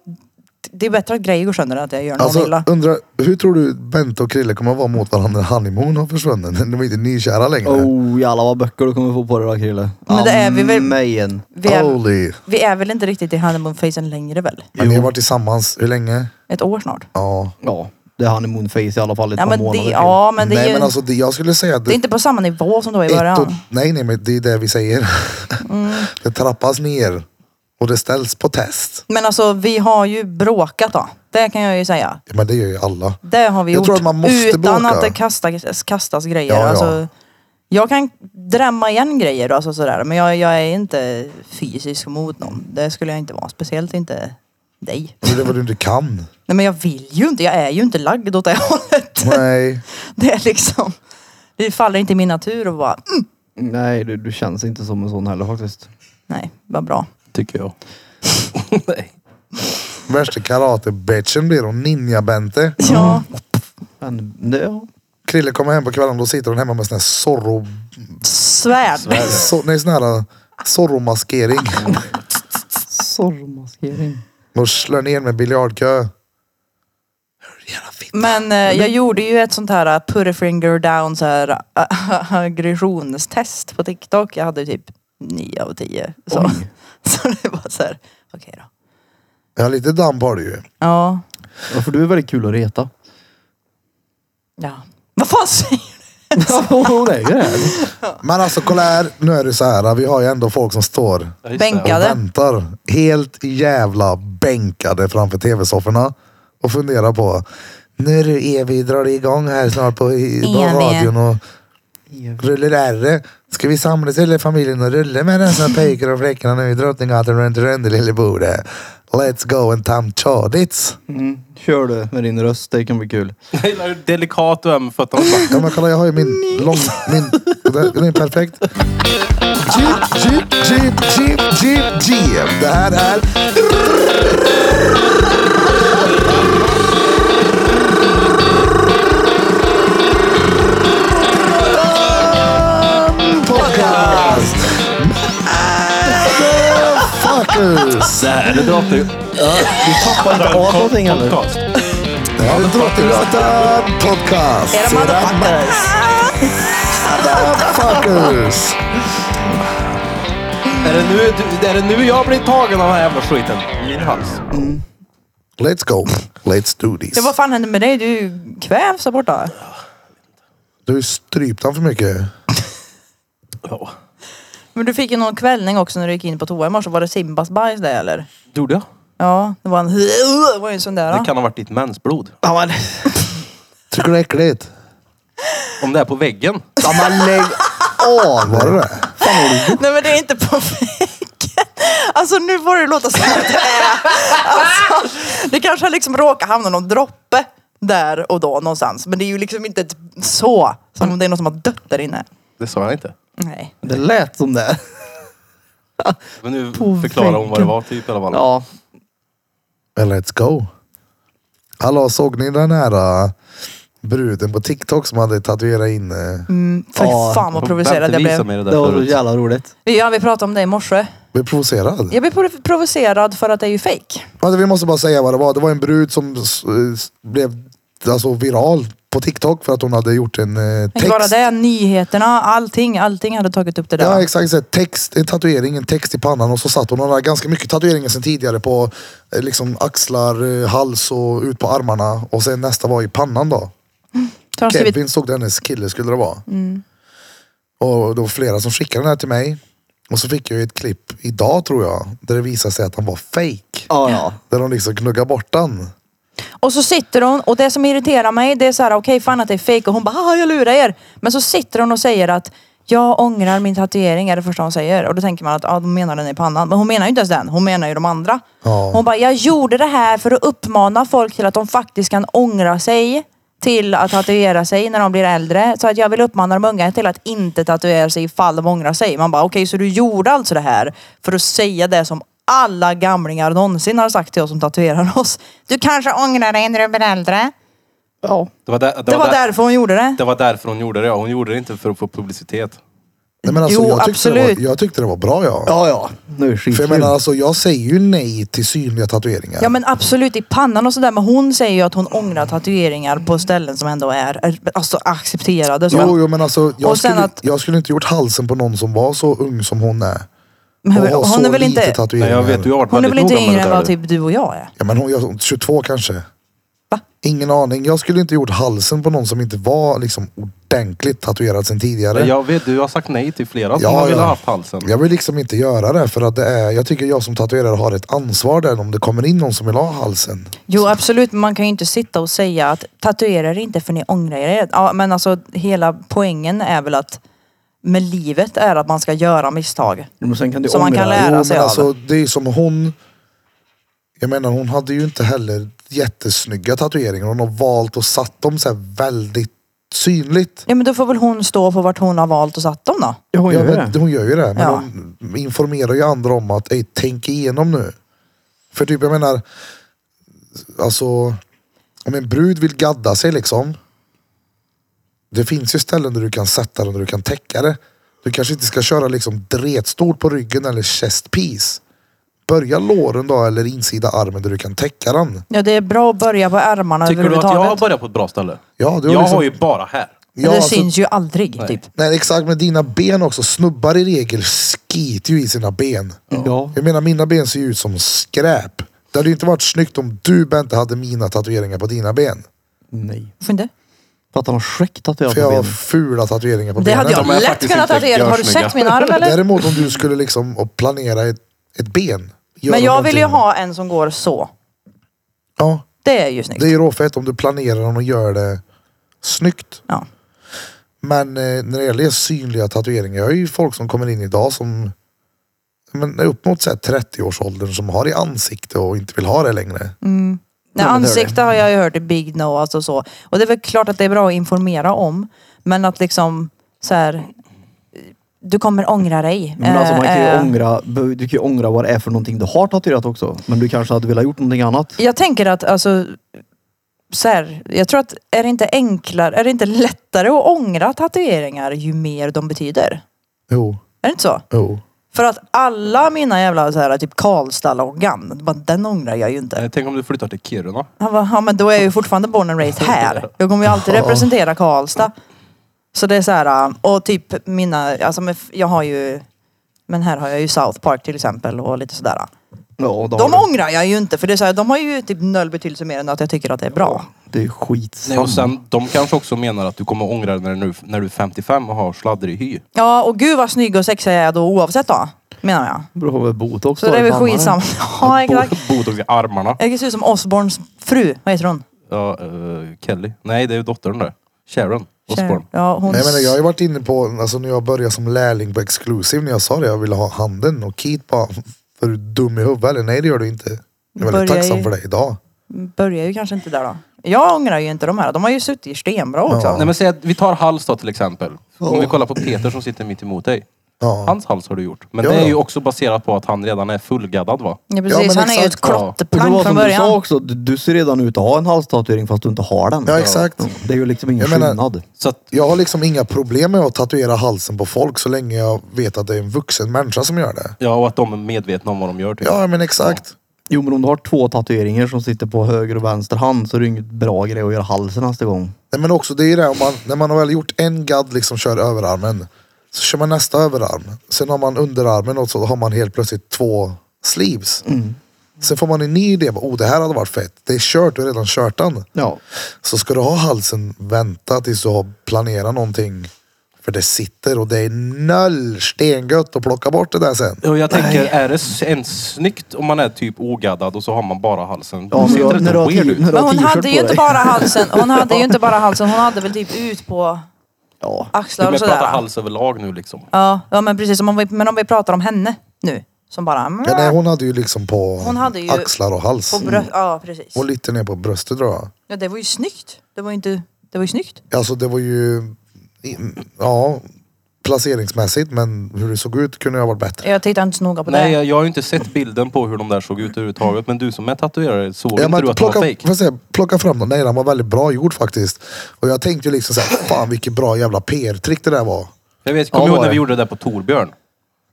det är bättre att grejer går sönder än att jag gör någon
Alltså,
illa.
undra, hur tror du Bente och Krille kommer att vara mot varandra när honeymoon har försvunnit? De är inte nykära längre.
Oh jävlar vad böcker du kommer få på dig då Krille.
Men det är vi väl-
Amen.
Vi
oh.
är,
Holy.
vi är väl inte riktigt i honeymoon-fasen längre väl?
Men ni har varit tillsammans, hur länge?
Ett år snart.
Ja.
Ja, det är honeymoon-face i alla fall i ett
Ja
par
men det,
månader. till.
ja, men det, är
nej
ju,
men alltså det, jag skulle säga att
det är inte på samma nivå som det var i
ett och,
början.
nej nej men det är det vi säger.
Mm.
*laughs* det trappas ner och det ställs på test.
Men alltså vi har ju bråkat då. Det kan jag ju säga.
Ja, Men det gör ju alla.
Det har vi
Jag
gjort.
tror att man måste
utan
bråka.
att det kastas, kastas grejer.
Ja, ja.
Alltså, jag kan drämma igen grejer alltså sådär. Men jag, jag är inte fysisk mot någon. Det skulle jag inte vara. Speciellt inte dig.
Det är vad du inte
*laughs*
kan.
Nej men jag vill ju inte. Jag är ju inte lagd åt det *laughs* hållet.
Nej.
Det är liksom. Det faller inte i min natur och bara mm.
Nej, du, du känns inte som en sån heller faktiskt.
Nej, vad bra.
Tycker jag. Nej.
Värsta karate-bitchen blir hon. Ninja-Bente.
Ja,
Men det, ja.
Krille kommer hem på kvällen då sitter hon hemma med sån här zorro...
svärd.
So, nej sån här eh, zorro-maskering.
Sorgmaskering.
Och slår ner med biljardkö. Hur jävla fint.
Men eh, jag gjorde ju ett sånt här eh, put a finger down så här *laughs* eh, aggressionstest på TikTok. Jag hade typ 9 av 10. Så, *laughs* så det var så här, okej då.
Ja lite damp har du ju.
Ja.
Ja, för du är väldigt kul
*laughs*
att reta.
ja. Vad fan säger du?
Ja, hon är ju det.
Men alltså kolla här. Nu är det så här. eh, Vi har ju ändå folk som står
Ja, just det.
Bänka.
och
Bänkade.
väntar. Helt jävla bänkade framför tv-sofforna. Och funderar på. Nu är det Evi drar igång här snart på, i- på
Evi.
radion och rullar ärre. Ska vi samlas hela familjen och rulla med dessa pojkar och fläckarna nu i Drottninggatan runt Rönnelilleboda? Let's go and tam tjadits.
Mm. Kör du med din röst, det kan bli kul.
*laughs* Jag gillar hur delikat du är med fötterna. Så
Ja men kolla jag har ju min lång... Min, den är perfekt. Jeep, jeep, jeep, jeep, jeep, jeep. Det här är... Podcast! Motherfuckers!
Det här det drar till...
Du tappar inte av någonting heller.
Podcast.
Det här är Drottninggatan Podcast.
Era motherfuckers.
Motherfuckers!
Är det, nu, du- är det nu jag blir tagen av den här jävla skiten? Min hals.
Let's go. Let's do this.
Ja, vad fan hände med dig? Du kvävs där borta.
Du har ju strypt han för mycket.
Ja.
Men du fick ju någon kvällning också när du gick in på toa i morse. Var det Simbas bajs det eller?
Gjorde jag?
Ja, det var en, *laughs* det var ju en sån där.
Det kan ha varit ditt mensblod.
Ja, men,
Tycker du det är äckligt?
Om det är på väggen.
ja, men lägg av!
Var det det?
Nej men det är inte på väggen. Alltså nu får det låta som att det är. Alltså, det kanske har liksom råkat hamna någon droppe där och då någonstans. Men det är ju liksom inte ett så. Som om det är någon som har dött där inne.
Det sa jag inte.
Nej.
Det lät som det.
Men nu
På
förklarar hon vad det
väggen.
var typ i alla fall.
Ja.
Men let's go. Hallå, såg ni den här äh, bruden på TikTok som hade tatuerat in... äh,
Mm, Fy
Ja,
fan vad provocerad
Bente
jag
visade
blev.
mig det där
Det var så
förut.
jävla roligt.
Ja vi pratade om det i morse.
Blev provocerad?
Jag blev prov- provocerad för att det är ju fake.
Vänta, Vi måste bara säga vad det var. Det var en brud som s- eh, s- äh, blev alltså, viral på TikTok för att hon hade gjort en eh,
Inte
text.
bara det, nyheterna, allting. Allting hade tagit upp det där.
Ja exakt, så här, text, en tatuering, en text i pannan och så satt hon och hade ganska mycket tatueringar sen tidigare på eh, liksom, axlar, eh, hals och ut på armarna. Och sen nästa var i pannan då.
Så har de skrivit
Kevin såg det, hennes kille skulle det vara.
Mm.
Och då var flera som skickade den här till mig. Och så fick jag ju ett klipp idag tror jag, där det visade sig att han var fake.
Ja, ja.
Där de liksom knuggade bort den.
Och så sitter hon och det som irriterar mig det är så här, okej fan att det är fejk och hon bara, haha jag lurar er. Men så sitter hon och säger att jag ångrar min tatuering är det första hon säger. Och då tänker man att ja, de menar den i pannan. Men hon menar ju inte ens den, hon menar ju de andra.
Ja.
Hon bara, jag gjorde det här för att uppmana folk till att de faktiskt kan ångra sig till att tatuera sig när de blir äldre. Så att jag vill uppmana de unga till att inte tatuera sig ifall de ångrar sig. Man bara, okej så du gjorde alltså det här för att säga det som alla gamlingar någonsin har sagt till oss som tatuerar oss. Du kanske ångrar dig när du blir äldre. Ja.
Det var, där, det,
Det
var
var
där,
därför hon gjorde det.
det var därför hon gjorde det. ja. Hon gjorde det inte för att få publicitet.
Nej, men alltså, jag
Jo,
tyckte Det
absolut.
var, jag tyckte det var bra ja.
Ja, ja. Nu är det
För
skitkul.
jag menar alltså, jag säger ju nej till synliga tatueringar.
Ja men absolut i pannan och sådär men hon säger ju att hon ångrar tatueringar på ställen som ändå är, är alltså accepterade. Så
Jo,
men-
jo men alltså jag
Och sen
skulle,
att-
jag skulle inte gjort halsen på någon som var så ung som hon är.
men
Och ha
hon
så
är väl
lite
inte,
Nej,
tatueringar.
jag vet, du har varit
hon är väl
väldigt
inte yngre
noga med det
än vad
där.
typ du och jag är?
Ja men hon, jag, 22 kanske.
Va?
Ingen aning. Jag skulle inte gjort halsen på någon som inte var liksom ordentligt tatuerad sen tidigare.
Jag vet, du har sagt nej till flera som
Ja,
har velat
ja.
ha haft halsen.
Jag vill liksom inte göra det för att det är, jag tycker jag som tatuerare har ett ansvar där om det kommer in någon som vill ha halsen.
Jo absolut, men man kan ju inte sitta och säga att tatuera er inte för ni ångrar er. Ja, men alltså hela poängen är väl att med livet är att man ska göra misstag.
Men sen kan du
Som man
ångra
kan
dig.
lära sig av.
alltså det är ju som hon. Jag menar hon hade ju inte heller jättesnygga tatueringar. Hon har valt och satt dem så här väldigt synligt.
Ja men då får väl hon stå för vart hon har valt och satt dem då.
Ja, hon
Ja,
gör
men,
det.
hon gör ju det. Men
Ja.
hon informerar ju andra om att "Ey, tänk igenom nu. För typ jag menar, alltså om en brud vill gadda sig liksom. Det finns ju ställen där du kan sätta den och du kan täcka det. Du kanske inte ska köra liksom dretstol på ryggen eller chest piece. Börja låren då eller insida armen där du kan täcka den.
Ja det är bra att börja på ärmarna
Tycker du att jag
överhuvudtaget.
har börjat på ett bra ställe?
Ja, du har
jag
liksom-
har ju bara här.
Men det
Ja, alltså,
syns ju aldrig typ.
nej, exakt, men dina ben också. Snubbar i regel skiter ju i sina ben.
Ja.
Jag menar mina ben ser ju ut som skräp. Det hade ju inte varit snyggt om du Bente hade mina tatueringar på dina ben.
Nej.
Varför inte?
Fattar man skäck tatuerat
För
på
jag har
benen.
fula tatueringar på
Det
benen.
hade jag
De är
lätt
faktiskt
kunnat
inte
tatuera. Har du
görsnygga.
sett min arm eller?
Däremot om du skulle liksom och planera ett, ett ben. göra
Men jag vill ju
någonting.
ha en som går så.
Ja,
Det är ju
det är
snyggt.
ju råfett om du planerar den och gör det snyggt.
Ja.
Men eh, när det gäller synliga tatueringar, jag har ju folk som kommer in idag som men är upp mot så här 30-årsåldern som har i ansikte och inte vill ha det längre.
Mm. Nej,
Ja, men det är
ansikte har jag ju hört i Big No alltså så. Och det är väl klart att det är bra att informera om. Men att liksom så här. Du kommer ångra dig.
Men alltså man kan ju
Eh, eh,
ångra, du kan ju ångra vad det är för någonting du har tatuerat också. Men du kanske hade velat gjort någonting annat.
Jag tänker att alltså. Så här, jag tror att är det inte enklare, är det inte lättare att ångra tatueringar ju mer de betyder?
Jo,
Är det inte så?
jo.
För att alla mina jävla så här, typ Karlstad-loggan, bara, den ångrar jag ju inte.
Eh, Tänk om du flyttar till Kiruna.
Han bara, ja men då är jag ju fortfarande born and raised här. Jag kommer ju alltid representera Karlstad. Så det är så här, och typ mina, alltså men f- jag har ju, men här har jag ju South Park till exempel och lite sådär.
Ja, och då
De
har du-
ångrar jag ju inte för det är så här, de har ju typ noll betydelse mer än att jag tycker att det är bra.
Det är skitsamma.
Nej, och sen, de kanske också menar att du kommer ångra dig när du, när du är 55 och har sladdrig hy.
Ja och gud vad snygg och sexig jag är då oavsett då, menar jag.
Det beror på vad botox
Så
du
det
har
är
i
väl
pannan.
skitsamma. *laughs* Ja exakt.
Bo- *laughs* Botox i armarna.
Jag ser ut som Osborns fru, vad heter hon?
Ja, eh, Kelly. Nej, det är ju dottern där. Sharon Osbourne.
Ja, hon...
Nej, jag, menar, jag har ju varit inne på, alltså när jag började som lärling på Exclusive, när jag sa det, jag ville ha handen och Keith bara, är du dum i huvudet eller? Nej det gör du inte. Jag är
Börjar
väldigt tacksam
ju-
för det idag.
börjar ju kanske inte där då. Jag ångrar ju inte de här. De har ju suttit stenbra också.
Nej men säg att vi tar hals då till exempel. Om vi kollar på Peter som sitter mitt emot dig.
Ja.
Hans hals har du gjort. Men
Ja,
det är
ja.
ju också baserat på att han redan är fullgaddad va?
Ja,
Ja,
precis.
men
han är ju
exakt.
ett
Och det
klotterplank
var
från
som du sa
början.
också, du, du ser redan ut att ha en halstatuering fast du inte har den.
Ja exakt.
Det är ju liksom ingen
Jag menar-
skillnad.
Så att,
Jag har liksom inga problem med att tatuera halsen på folk så länge jag vet att det är en vuxen människa som gör det.
ja, och att de är medvetna om vad de gör. Typ.
Ja men exakt.
Jo men om du har två tatueringar som sitter på höger och vänster hand så är det ju inget bra grej att göra halsen nästa gång.
Nej, men också det är ju det, om man, när man har väl gjort en gadd liksom kör överarmen. Så kör man nästa överarm. Sen har man underarmen och så har man helt plötsligt två sleeves.
Mm.
Sen får man en ny idé. bara, Oh, det här hade varit fett. Det är kört, du har redan kört den.
Ja.
Så ska du ha halsen, vänta tills du har planerat någonting. För det sitter och det är noll stengött att plocka bort det där sen.
Och jag tänker, är det s- ens snyggt om man är typ ogaddad och så har man bara halsen?
ja
Ser inte det
när du har
weird
ti-
ut?
när du
Men
har
hon
t-shirt
hade ju
på
inte
dig. *laughs*
bara halsen. Hon hade ju inte bara halsen. Hon hade väl typ ut på
Ja.
Du
axlar
menar
och
prata
sådär.
hals överlag nu liksom.
Ja, ja men precis. Om vi, men om vi pratar om henne nu. Som bara...
Ja, nej, hon hade ju liksom på
Hon hade ju
axlar och hals. Mm.
på bröst, ja precis.
Och lite ner på bröstet tror jag.
Ja, det var ju snyggt. Det var ju inte... Det var ju snyggt.
Alltså det var ju, mm, ja, placeringsmässigt men hur det såg ut kunde ju ha varit bättre.
Jag tittar inte så noga på det.
Nej, jag, jag har ju inte sett bilden på hur de där såg ut överhuvudtaget. Men du som är tatuerare, såg
Ja,
inte
men
du att de var
plocka,
fejk?
får jag säga, plocka fram den. Nej, den var väldigt bra gjord faktiskt. Och jag tänkte ju liksom såhär, fan vilket bra jävla PR-trick det där var.
Jag vet,
Ja,
kommer
det
du ihåg
var
när vi
det.
gjorde det där på Torbjörn?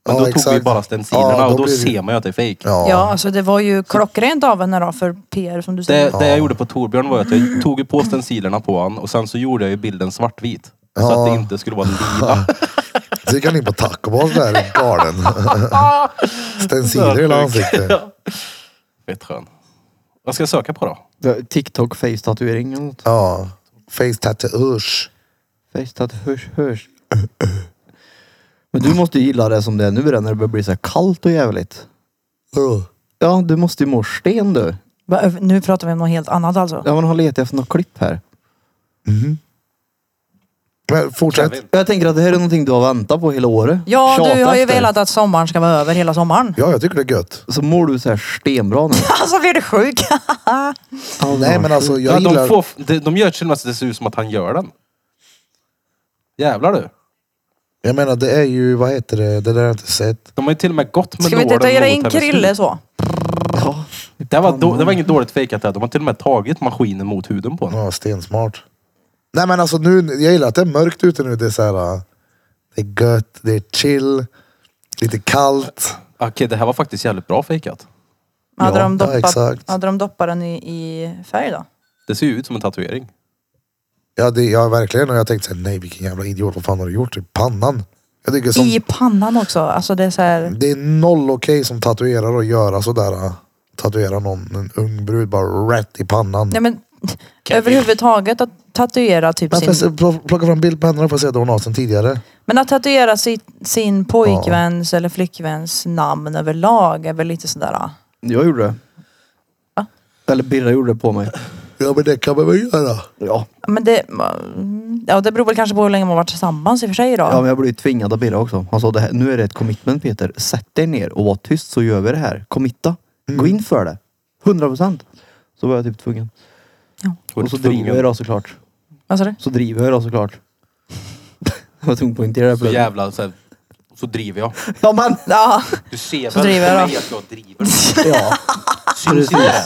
Men
Ja,
då tog vi
exakt.
bara stencilerna
Ja, då
och då
blir det-
ser man ju att det är fejk.
Ja.
Ja, alltså det var ju klockrent av henne då för PR som du säger.
Det, det jag gjorde på Torbjörn var att jag tog ju på stencilerna på han och sen så gjorde jag ju bilden svartvit. Så
Ja.
att det inte skulle vara lila.
Så gick han in på taco Bell där,
*laughs*
galen. Stenciler i hela ansiktet.
Fett skön. Vad ska jag söka på då?
TikTok face-tatuering eller något.
Ja. Face tattoo, usch.
Face-tatuering. Hörs. Men du måste ju gilla det som det är nu då, när det börjar bli så här kallt och jävligt.
Uh.
Ja, du måste ju må sten du.
Va, ö- Nu pratar vi om något helt annat alltså.
Ja, man har letat efter något klipp här.
Men fortsätt.
Kevin.
Jag tänker att det här är någonting du har väntat på hela året.
Ja, du
Tjatat
har ju
efter.
velat att sommaren ska vara över hela
*laughs*
sommaren.
Ja, jag tycker det är gött.
Så mår du så här
*laughs*
stenbra nu.
Alltså vi är sjuka.
Nej men alltså jag
Ja, de,
gillar...
får, de, de gör till och med så att det ser ut som att han gör den. Jävlar du.
Jag menar det är ju, vad heter det, det där har jag inte sett.
De har ju till och med gått med
Ska vi inte
nålen
tatuera
mot
in
hennes
Krille
hud.
så?
Ja.
Det var,
Mm.
då, det var inget dåligt fejkat där. De har till och med tagit maskinen mot huden på honom.
Ja, stensmart. Nej men alltså nu, jag gillar att det är mörkt ute nu. Det är så här, äh, det är gött, det är chill, lite kallt.
Okej, det här var faktiskt jävligt bra fejkat.
Hade,
Ja,
de
ja,
doppat,
exakt.
hade de doppat den i, i färg då?
Det ser ju ut som en tatuering.
Ja, det, ja verkligen. Och jag tänkte så här, nej vilken jävla idiot. Vad fan har du gjort i pannan? Jag tycker som,
I pannan också. Alltså det är så här...
det är noll okej som tatuerar och göra sådär. äh, Tatuera någon, en ung brud, bara rätt i pannan.
Nej men överhuvudtaget att tatuera typ
Men
sin...
får jag se- plocka fram bild på henne och får se att hon har sen tidigare.
Men att tatuera sin, sin pojkväns eller flickväns namn överlag är väl lite sådär... ah.
Jag gjorde det.
Va?
Eller Birra gjorde det på mig.
Ja men det kan man väl göra.
Ja.
Men det, mm, ja, det beror väl kanske på hur länge man har varit tillsammans i och för sig då.
ja, men jag blev ju tvingad av Birra också. Han sa det här, nu är det ett commitment Peter. Sätt dig ner och var tyst så gör vi det här. Committa.
Mm.
Gå in för det. 100 procent. Så var jag typ tvungen. Och så driver jag då såklart.
Vad sa du?
Så driver jag då såklart. *laughs* Jag var tvungen på inte det
Så
där
jävla så här, Så driver jag.
Ja men!
Ja,
Du ser
Så
väl
driver
på
jag
mig
då.
att jag driver.
Ja.
Syns inte det?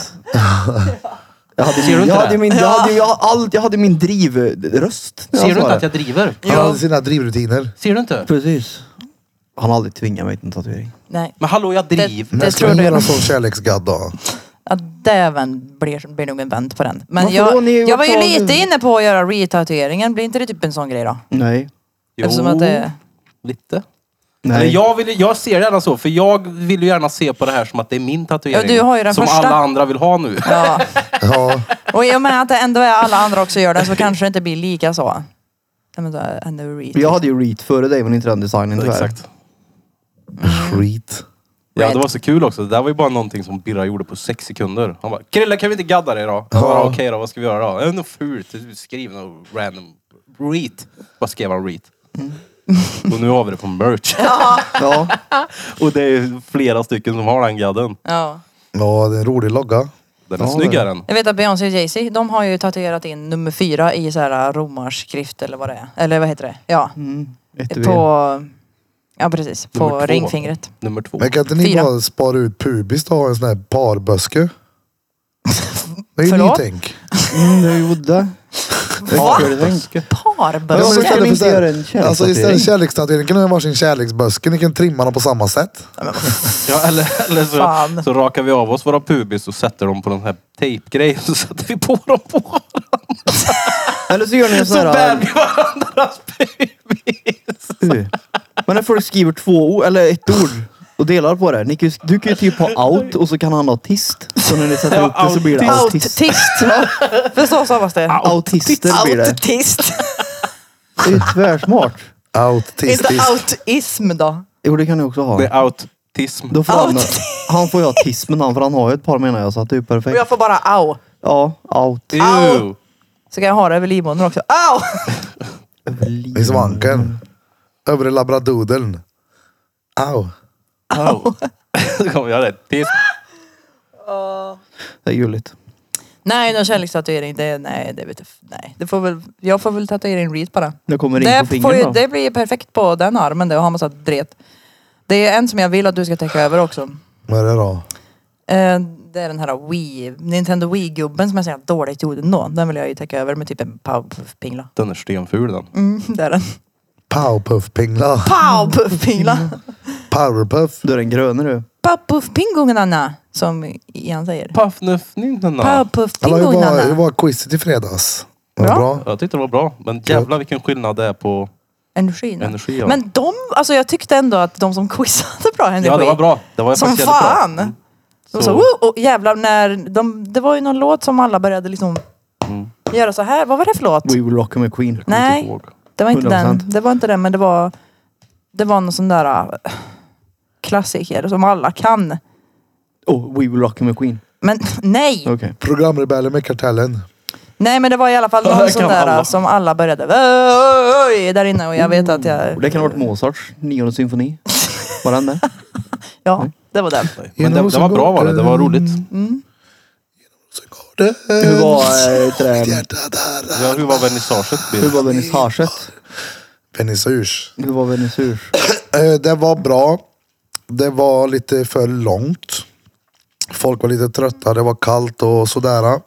Jag hade,
Ser du
min,
inte
jag
det?
hade min, jag hade, jag hade, all- jag hade min drivröst. när
Ser du
sa
inte
det.
att jag driver?
Han hade sina drivrutiner.
Ser du inte?
Precis. Han har aldrig tvingat mig till en tatuering.
nej.
Men hallå, jag driver.
När
Det
ska
tror
man
du.
göra en sån kärleksgadd då?
Ja, däven blir, blir nog en vänd på den. Men
Varför då?
jag,
Ni
jag var ju
var-
lite inne på att göra retatueringen. Blir inte det typ en sån grej då?
Nej.
Jo,
Eftersom att det...
lite.
Nej.
Eller jag, vill, jag ser det gärna så, för jag vill ju gärna se på det här som att det är min tatuering.
Ja, du har ju den
som
första.
alla andra vill ha nu.
Ja.
Ja,
Och i och med att det ändå är alla andra också gör den så kanske det inte blir lika så. Nej, men då är det ändå reet.
Jag hade ju reat före dig men inte den designen tyvärr.
Exakt.
skit.
Ja, det var så kul också. Det där var ju bara någonting som Birra gjorde på sex sekunder. Han bara, Krille kan vi inte gadda dig då? Jag bara, Okej då, vad ska vi göra då? Det är något fult. Skriv något random. Reet. Vad skrev han reet?
Mm.
Och nu har vi det på merch.
Ja.
*laughs* Och det är flera stycken som har den gadden.
Ja.
Ja, det är en rolig logga.
Den är snyggare än.
Jag vet att Beyoncé och Jay-Z, de har ju tatuerat in nummer fyra i så här romarskrift eller vad det är. Eller vad heter det? Ja.
Mm, Ett V.
På... Ja precis.
Nummer
På
två.
ringfingret.
Nummer två.
Men kan inte ni
Fyra.
bara spara ut pubis då och ha en sån här parböske? Det är ju
Förlåt?
nytänk.
Mm, jag gjorde.
Va?
Jag skulle tänka.
Ja, men
så
Parböcker?
kan
istället
vi
för
inte
så här-
göra en kärlekstatuering?
Alltså istället för kärlekstatuering kan ni ha varsin kärleksböske. Ni kan trimma dem på samma sätt.
Ja, eller eller så,
Fan.
så rakar vi av oss våra pubis och sätter dem på den här tejpgrejen så sätter vi på dem på varandra.
Eller så gör ni en sån
Så bär
här...
vi varandras pubis.
U. Men när folk skriver två ord, eller ett ord och delar på det. Ni kan, ju- du kan ju typ ha out och så kan han ha tist. Så när ni sätter
Ja,
ihop det så blir det autist.
Autist. *laughs* För så stavas det.
Autister blir det.
Autist.
Det är ju tvärsmart.
Autistisk.
Inte autism då.
Jo det kan ni också ha.
Det är autism.
Då får han,
Autist.
han får ju autismen han för han har ju ett par menar jag så att det är ju
Och jag
perfekt.
får bara au.
Ja, out.
Ew.
Så kan jag ha det över livmodern också. Au!
I svanken. Övre labradoodlen. Au.
Au. *laughs* Då kommer jag det. Tis.
Det är gulligt.
Nej, någon kärlekstatuering. Det, nej, det vet jag. f- Nej, det får väl, jag får väl tatuera in Reed bara.
Det kommer in på
Det, får
fingret
ju,
då.
det blir ju perfekt på den armen det och har massa dret. Det är en som jag vill att du ska täcka över också.
Vad är det då?
Eh, det är den här Wii, Nintendo Wii-gubben som jag säger dåligt gjorde ändå. Den vill jag ju täcka över med typ en powerpuff-pingla.
Den är stenful den.
Mm, det är den.
Powpuff-pingla.
Powerpuff-pingla!
Powerpuff.
Du är den gröna du.
Powerpuff-pingungnanna, som Ian säger.
Paffnuffningarna.
Hallå, hur, var, hur
Powerpuff-pingungnanna.
var quizet i fredags? Var det
Bra.
bra?
Jag tyckte det var bra. Men jävlar vilken skillnad det är på
Energin.
energi. ja.
Men de, alltså jag tyckte ändå att de som quizade bra energi.
Ja det var bra. Det var
Som
faktiskt jävligt bra.
fan! De
Så-
sa "Woo!" och jävlar när de, det var ju någon låt som alla började liksom göra så här. Vad var det för låt?
We will rock 'em med Queen.
Jag kommer
Nej.
inte ihåg.
Det var inte
100%.
den. Det var inte den men det var Det var någon sån där äh, klassiker som alla kan.
Oh, we will rock 'em med Queen.
Men *laughs* nej!
Okej.
Programrebeller med Kartellen.
Nej men det var i alla fall
Ja,
någon
det kan
sån där
alla.
äh, som alla började "Oj, oj, oj", där inne och jag vet att jag...
Mm. Och Det kan ha varit Mozarts
*laughs*
nionde symfoni. Var den med?
Ja, det var den.
Men det, det var bra var det. Det var roligt.
Så går det.
Hur var eh, det
Mitt
där-
hjärta där.
Ja, hur var vernissaget?
Hur
Bill?
var vernissaget?
Vernissage.
Hur var vernissage?
Eh, Det var bra. Det var lite för långt. Folk var lite trötta. Det var kallt och sådär.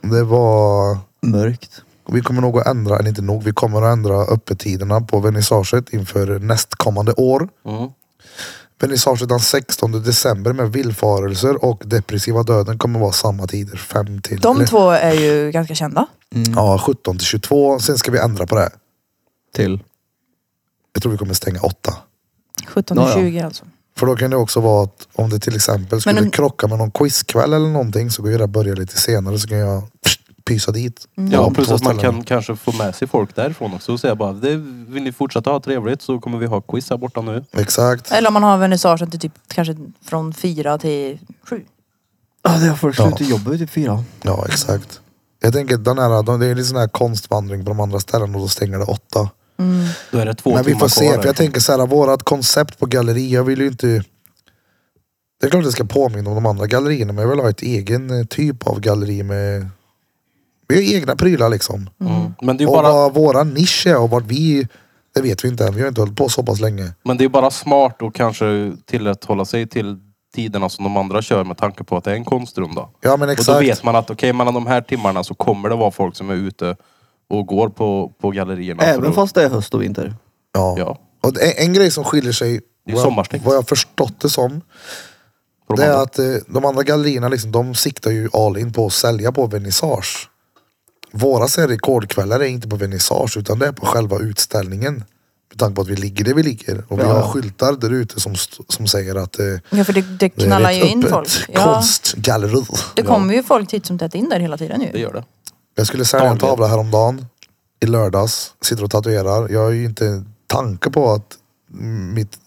Det var...
Mörkt.
Vi kommer nog att ändra, eller inte nog, vi kommer att ändra öppettiderna på vernissaget inför nästkommande år.
Mm.
Vernissaget den 16 december med villfarelser och depressiva döden kommer vara samma tider. Fem till,
De
eller-
två är ju ganska kända.
Mm.
Ja, 17 till 22. Sen ska vi ändra på det.
Till.
Jag tror vi kommer stänga åtta.
17
Ja, ja.
20 alltså.
För då kan det också vara att om det till exempel skulle
en-
krocka med någon quizkväll eller någonting så går ju det att börja lite senare så kan jag pysa dit.
Ja,
På
plus
två
att man
ställen.
kan kanske få med sig folk därifrån också och säga bara det, vill ni fortsätta ha trevligt så kommer vi ha quiz här borta nu.
Exakt.
Eller om man har vernissagen till typ kanske från 4 till 7.
Ah, det var först
Ja.
ut i jobbet typ fyra.
Ja, exakt. Jag tänker den här, de- det är lite sån här konstvandring på de andra ställena och då stänger det åtta.
Mm.
Då är det två
Men vi
timmar
får se.
kvar.
För jag tänker så här, vårat koncept på galleri, jag vill ju inte... Det är klart att jag ska påminna om de andra gallerierna men jag vill ha ett egen eh, typ av galleri med... Vi har egna prylar liksom.
mm. Men det är ju
Och
bara
vad våra nisch är och vart vi... Det vet vi inte än. Vi har inte hållit på så pass länge.
Men det är bara smart att kanske tillrätthålla sig till tiderna som de andra kör med tanke på att det är en konstrunda.
Ja men
Och då
exakt.
vet man att okej, mellan de här timmarna så kommer det vara folk som är ute och går på, på gallerierna. för
Även
att-
fast det är höst och vinter.
Ja.
Ja.
Och det är en grej som skiljer sig,
Det är
vad jag,
sommarstängt.
vad jag förstått det som,
för de
det är
andra.
att eh, de andra gallerierna liksom, de siktar ju all in på att sälja på vernissage. Våra ser rekordkvällar är inte på vernissage utan det är på själva utställningen. Med tanke på att vi ligger där vi ligger. Och vi
Ja.
har skyltar där ute som, st- som säger att eh,
Ja för det, det
det är
knallar
ett
ju in
öppet
folk.
*laughs*
Ja.
konstgalleri.
Det kommer ju folk hit som tätt in där hela tiden
Det
ju.
gör det.
Jag skulle sälja en
Dagligen.
tavla häromdagen i lördags. Sitter och tatuerar. Jag har ju inte en tanke på att mm, mitt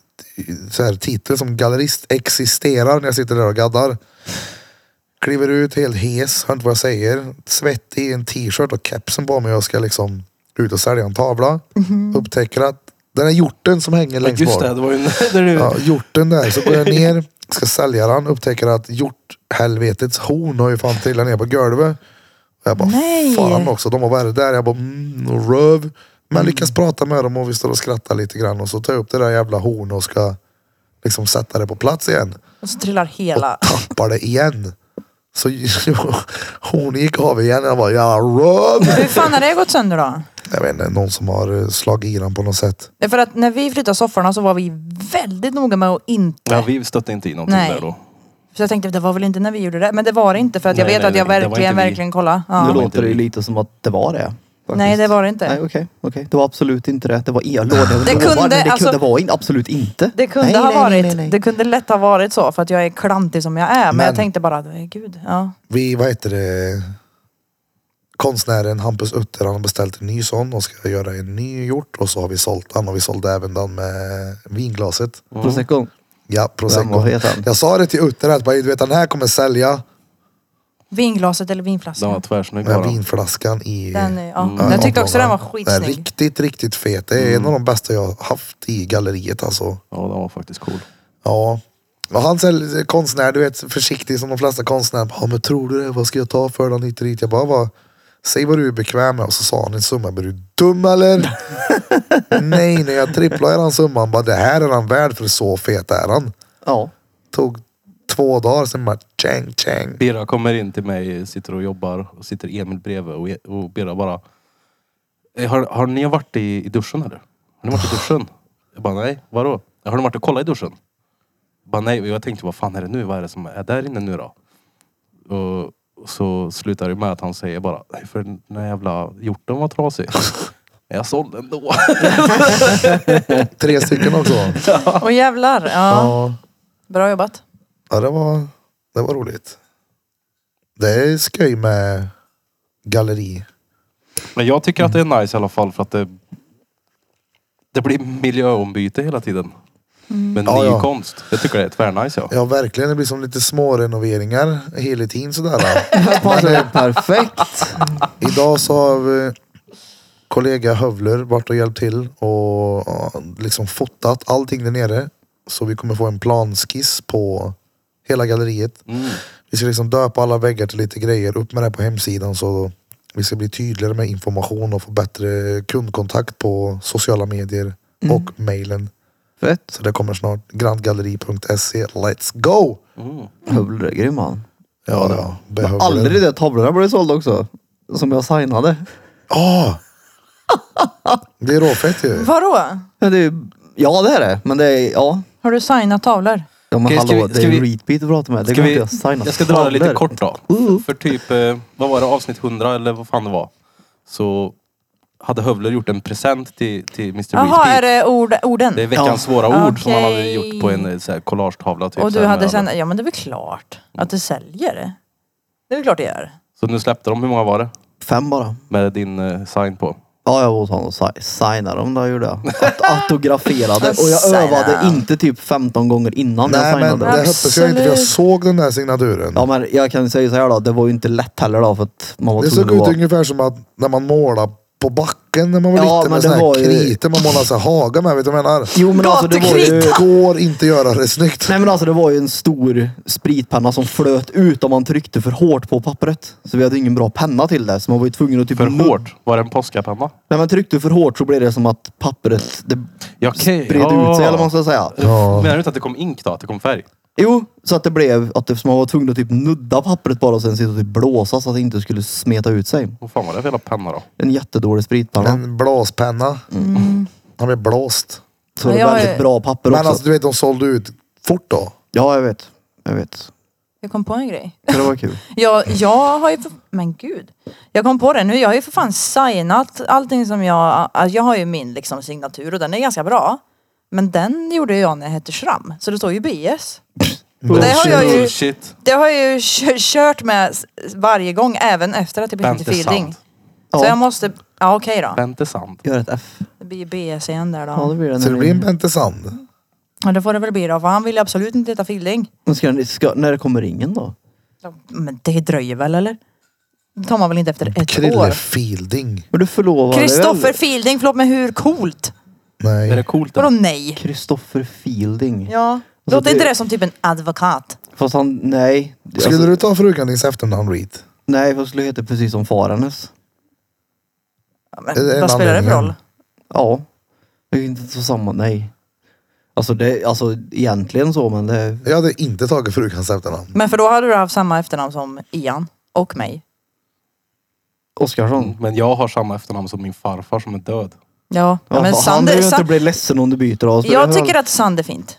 så här, titel som gallerist existerar när jag sitter där och gaddar. Kliver ut helt hes, hör inte vad jag säger. Svettig, en t-shirt och kepsen på mig. Jag ska liksom ut och sälja en tavla. Upptäcker att den här hjorten som hänger längst
Mhm. Just
bak.
det, det var ju *laughs* när du...
Ja, hjorten där. Så går jag ner, ska sälja den, upptäcker att hjorthelvetets horn har ju fan trillat ner på golvet. Och jag bara,
Nej.
fan också. De har varit där. Jag bara, mm, och röv. Men lyckas prata med dem och vi står och skrattar lite grann och så tar jag upp det där jävla hornet och ska liksom sätta det på plats igen.
Och så trillar hela.
Tappar det igen. Så *laughs* hon gick av igen. Jag bara, ja Rob!
Hur fan har det gått sönder då?
Jag vet inte, någon som har eh, slagit i den på något sätt.
Det är För att när vi flyttade sofforna så var vi väldigt noga med att inte...
Ja, vi stötte inte i någonting
Nej.
där då.
Så jag tänkte, det var väl inte när vi gjorde det? Men det var det inte för att jag
Nej,
vet
nej,
att jag
nej, det var
verkligen,
inte vi.
verkligen kollade.
Det
Nu
Ja.
var
låter det ju lite som att det var det. faktiskt.
Nej, det var det inte.
Nej, okej. okej. Det var absolut inte det. Det var el. Det, var-
Det kunde,
men det, kunde
alltså-
det var in, absolut inte.
Det kunde
nej,
ha
nej,
varit,
Nej, nej,
det
nej.
kunde lätt ha varit så för att jag är klantig som jag är. Men,
Men-
jag tänkte bara, "Nej, gud. Ja.
Vi, vad heter det? Konstnären Hampus Utter, han har beställt en ny sån och ska göra en ny gjort. Och så har vi sålt den och vi sålde även den med vinglaset.
Prosecco.
Ja,
Vem var
prosecco.
heter han?
Jag sa det till Utter att bara, du vet den här kommer sälja.
Vinglaset eller
Den var
vinflaskan.
tvärsnygg
Med
bara.
vinflaskan i...
Den, är- ja.
Mm. Ja,
Jag tyckte också den
omgångar.
var
Den är
skitsnygg.
Riktigt, riktigt fet. Det är en av de bästa jag har haft i galleriet alltså.
Ja, den var faktiskt cool.
Ja. Och han säljer konstnär, du vet försiktig som de flesta konstnärer. Ja men tror du det? Vad ska jag ta för den hit och dit? Jag bara, vad, säg vad du är bekväm med. Och så sa han en summa. Är du dum eller? nej, nej jag tripplade den summan. Bara, det här är han värd för så fet är han.
Ja.
Tog två dagar sen bara chang chang.
Birra kommer in till mig, sitter och jobbar och sitter Emil bredvid och, och Birra bara "Eh, har, har ni varit i, i duschen eller? Har ni varit i duschen? Jag bara nej, vadå? Har ni varit och kollat i duschen? Jag bara nej, och jag tänkte vad fan är det nu? Vad är det som är där inne nu då? Och så slutar det med att han säger bara nej för den här jävla hjorten var trasig. *laughs* Men jag sålde den då.
Tre stycken också.
Och jävlar. Ja.
Ja.
Bra jobbat.
Ja, det var, det var roligt. Det är skoj med galleri.
Men jag tycker att det är nice i alla fall för att det det blir miljöombyte hela tiden.
Mm.
Med
Ja,
ny
ja.
konst. Jag tycker det är tvärnice ja.
Ja, verkligen. Det blir som lite små renoveringar hela tiden sådär. eh,
Det passar ju perfekt.
Idag så har eh, kollega Hövler varit och hjälpt till och ja, liksom fotat allting där nere. Så vi kommer få en planskiss på hela galleriet.
Mm.
Vi ska liksom döpa alla väggar till lite grejer. Upp med det här på hemsidan så vi ska bli tydligare med information och få bättre kundkontakt på sociala medier och mailen.
Fett.
Så det kommer snart. Grandgalleri.se. Let's go!
Mm.
Hövler är grym han.
Ja, ja. Behöver
Aldrig
det.
de tavlorna blev sålda också. Som jag signade.
Ah! Det är råfett ju.
Vadå?
Men det är, ju- ja det är det. Men det är, ja.
Har du signat tavlor?
Ja men
Okej, ska
hallå,
vi-
det
ska
är
vi-
ju repeat att prata med. Det
Ska
går
vi,
inte att signa
jag ska dra det lite
tavlor.
kort då. För typ, eh, vad var det, avsnitt 100 eller vad fan det var. Så hade Hövler gjort en present till, till Mr.
Jaha, är
Repeat.
det ord, orden?
Det är veckans svåra ord som han hade
Okej.
gjort på en eh, så här, collagetavla. Typ,
och
så
du
här
hade
med-
sen, ja men det är väl klart att det säljer. Det är väl klart det gör.
Så nu släppte de, hur många var det?
Fem bara.
Med din eh, sign på.
Ja, jag var hos honom och si- signade dem, det gjorde
*laughs*
jag. Att autograferade och jag
Signa.
övade inte typ 15 gånger innan jag
Nej men
signade.
det
den.
hoppas jag inte för jag
Absolut.
såg den där signaturen.
Ja men jag kan säga så här då, det var ju inte lätt heller då för att man var
det såg
tvungen
ut
att vara...
ungefär som att när man målar på backen när man var
Ja,
liten
men
med
det
sån här
var ju-
kritor man målar så här haga med. Vet du vad jag menar?
Jo men alltså det var ju...
Det går inte att göra det snyggt.
Nej men alltså det var ju en stor spritpenna som flöt ut om man tryckte för hårt på pappret. Så vi hade ingen bra penna till det. Så man var ju tvungen att typ...
För hårt, var det en påskapanna?
När man tryckte för hårt så blev det som att pappret det
Ja, okej.
spred
Ja.
ut sig eller vad man ska säga.
Ja.
Menar du inte att det kom ink då? Att det kom färg?
Jo, så att det blev att det, så man var tvungen att typ nudda pappret bara och sen sitta och typ blåsa så att det inte skulle smeta ut sig.
Vad fan var det för jävla penna då?
En jättedålig spritpanna.
En blåspenna. Han blev blåst.
så det
Jag
var
har-
väldigt bra papper
Men
Mm. också.
alltså du vet de sålde ut fort då.
Ja, jag vet. Jag vet.
Jag kom på en grej. *laughs*
Men Det var kul.
Jag, jag har ju för, men gud. Jag kom på det nu, jag har ju för fan signat allting som jag, alltså jag har ju min liksom signatur och den är ganska bra. Men den gjorde jag när jag hette Schramm, så det står ju BS. Och det har jag ju,
Bullshit.
det har jag ju *laughs* kö- kört med s- varje gång, även efter att jag blev
Bente
till Fielding.
Sant.
Så
Ja.
jag måste, ja okej då.
Bente Sant.
Gör ett F.
Det blir ju BS igen där
Ja,
då.
det blir det.
Så det
när
blir en
ni-
Bente Sand.
Ja det får det väl bli då, för han vill ju absolut inte heta Fielding.
Men ska, ni- ska, när kommer ringen då?
Ja, Men det dröjer väl eller? Det tar man väl inte efter ett
Krille
år?
Fielding.
Men du förlovade dig väl?
Kristoffer Fielding, förlåt men hur coolt?
Är det
Nej.
coolt?
Vadå
eller?
nej?
Kristoffer Fielding.
Ja.
Alltså,
Låter
det-
inte det som typ en advokat?
Fast han, nej. Det-
Skulle
alltså,
du ta frugan dins efternamn Reed?
Nej, för jag skulle heta precis som far hennes.
Ja,
Det är
men,
en
vad spelar det för
anledning.
roll?
Ja. Det är inte så samma, nej. Alltså, det, alltså egentligen så men det...
Jag hade inte tagit frukoncepterna.
Men för då hade du haft samma efternamn som Ian och mig.
Oskarsson.
Men jag har samma efternamn som min farfar som är död.
Ja,
Ja,
men
men han behöver
Sander...
ju inte
Sa-
bli ledsen om du byter av. så
jag
det är
tycker att sand är fint.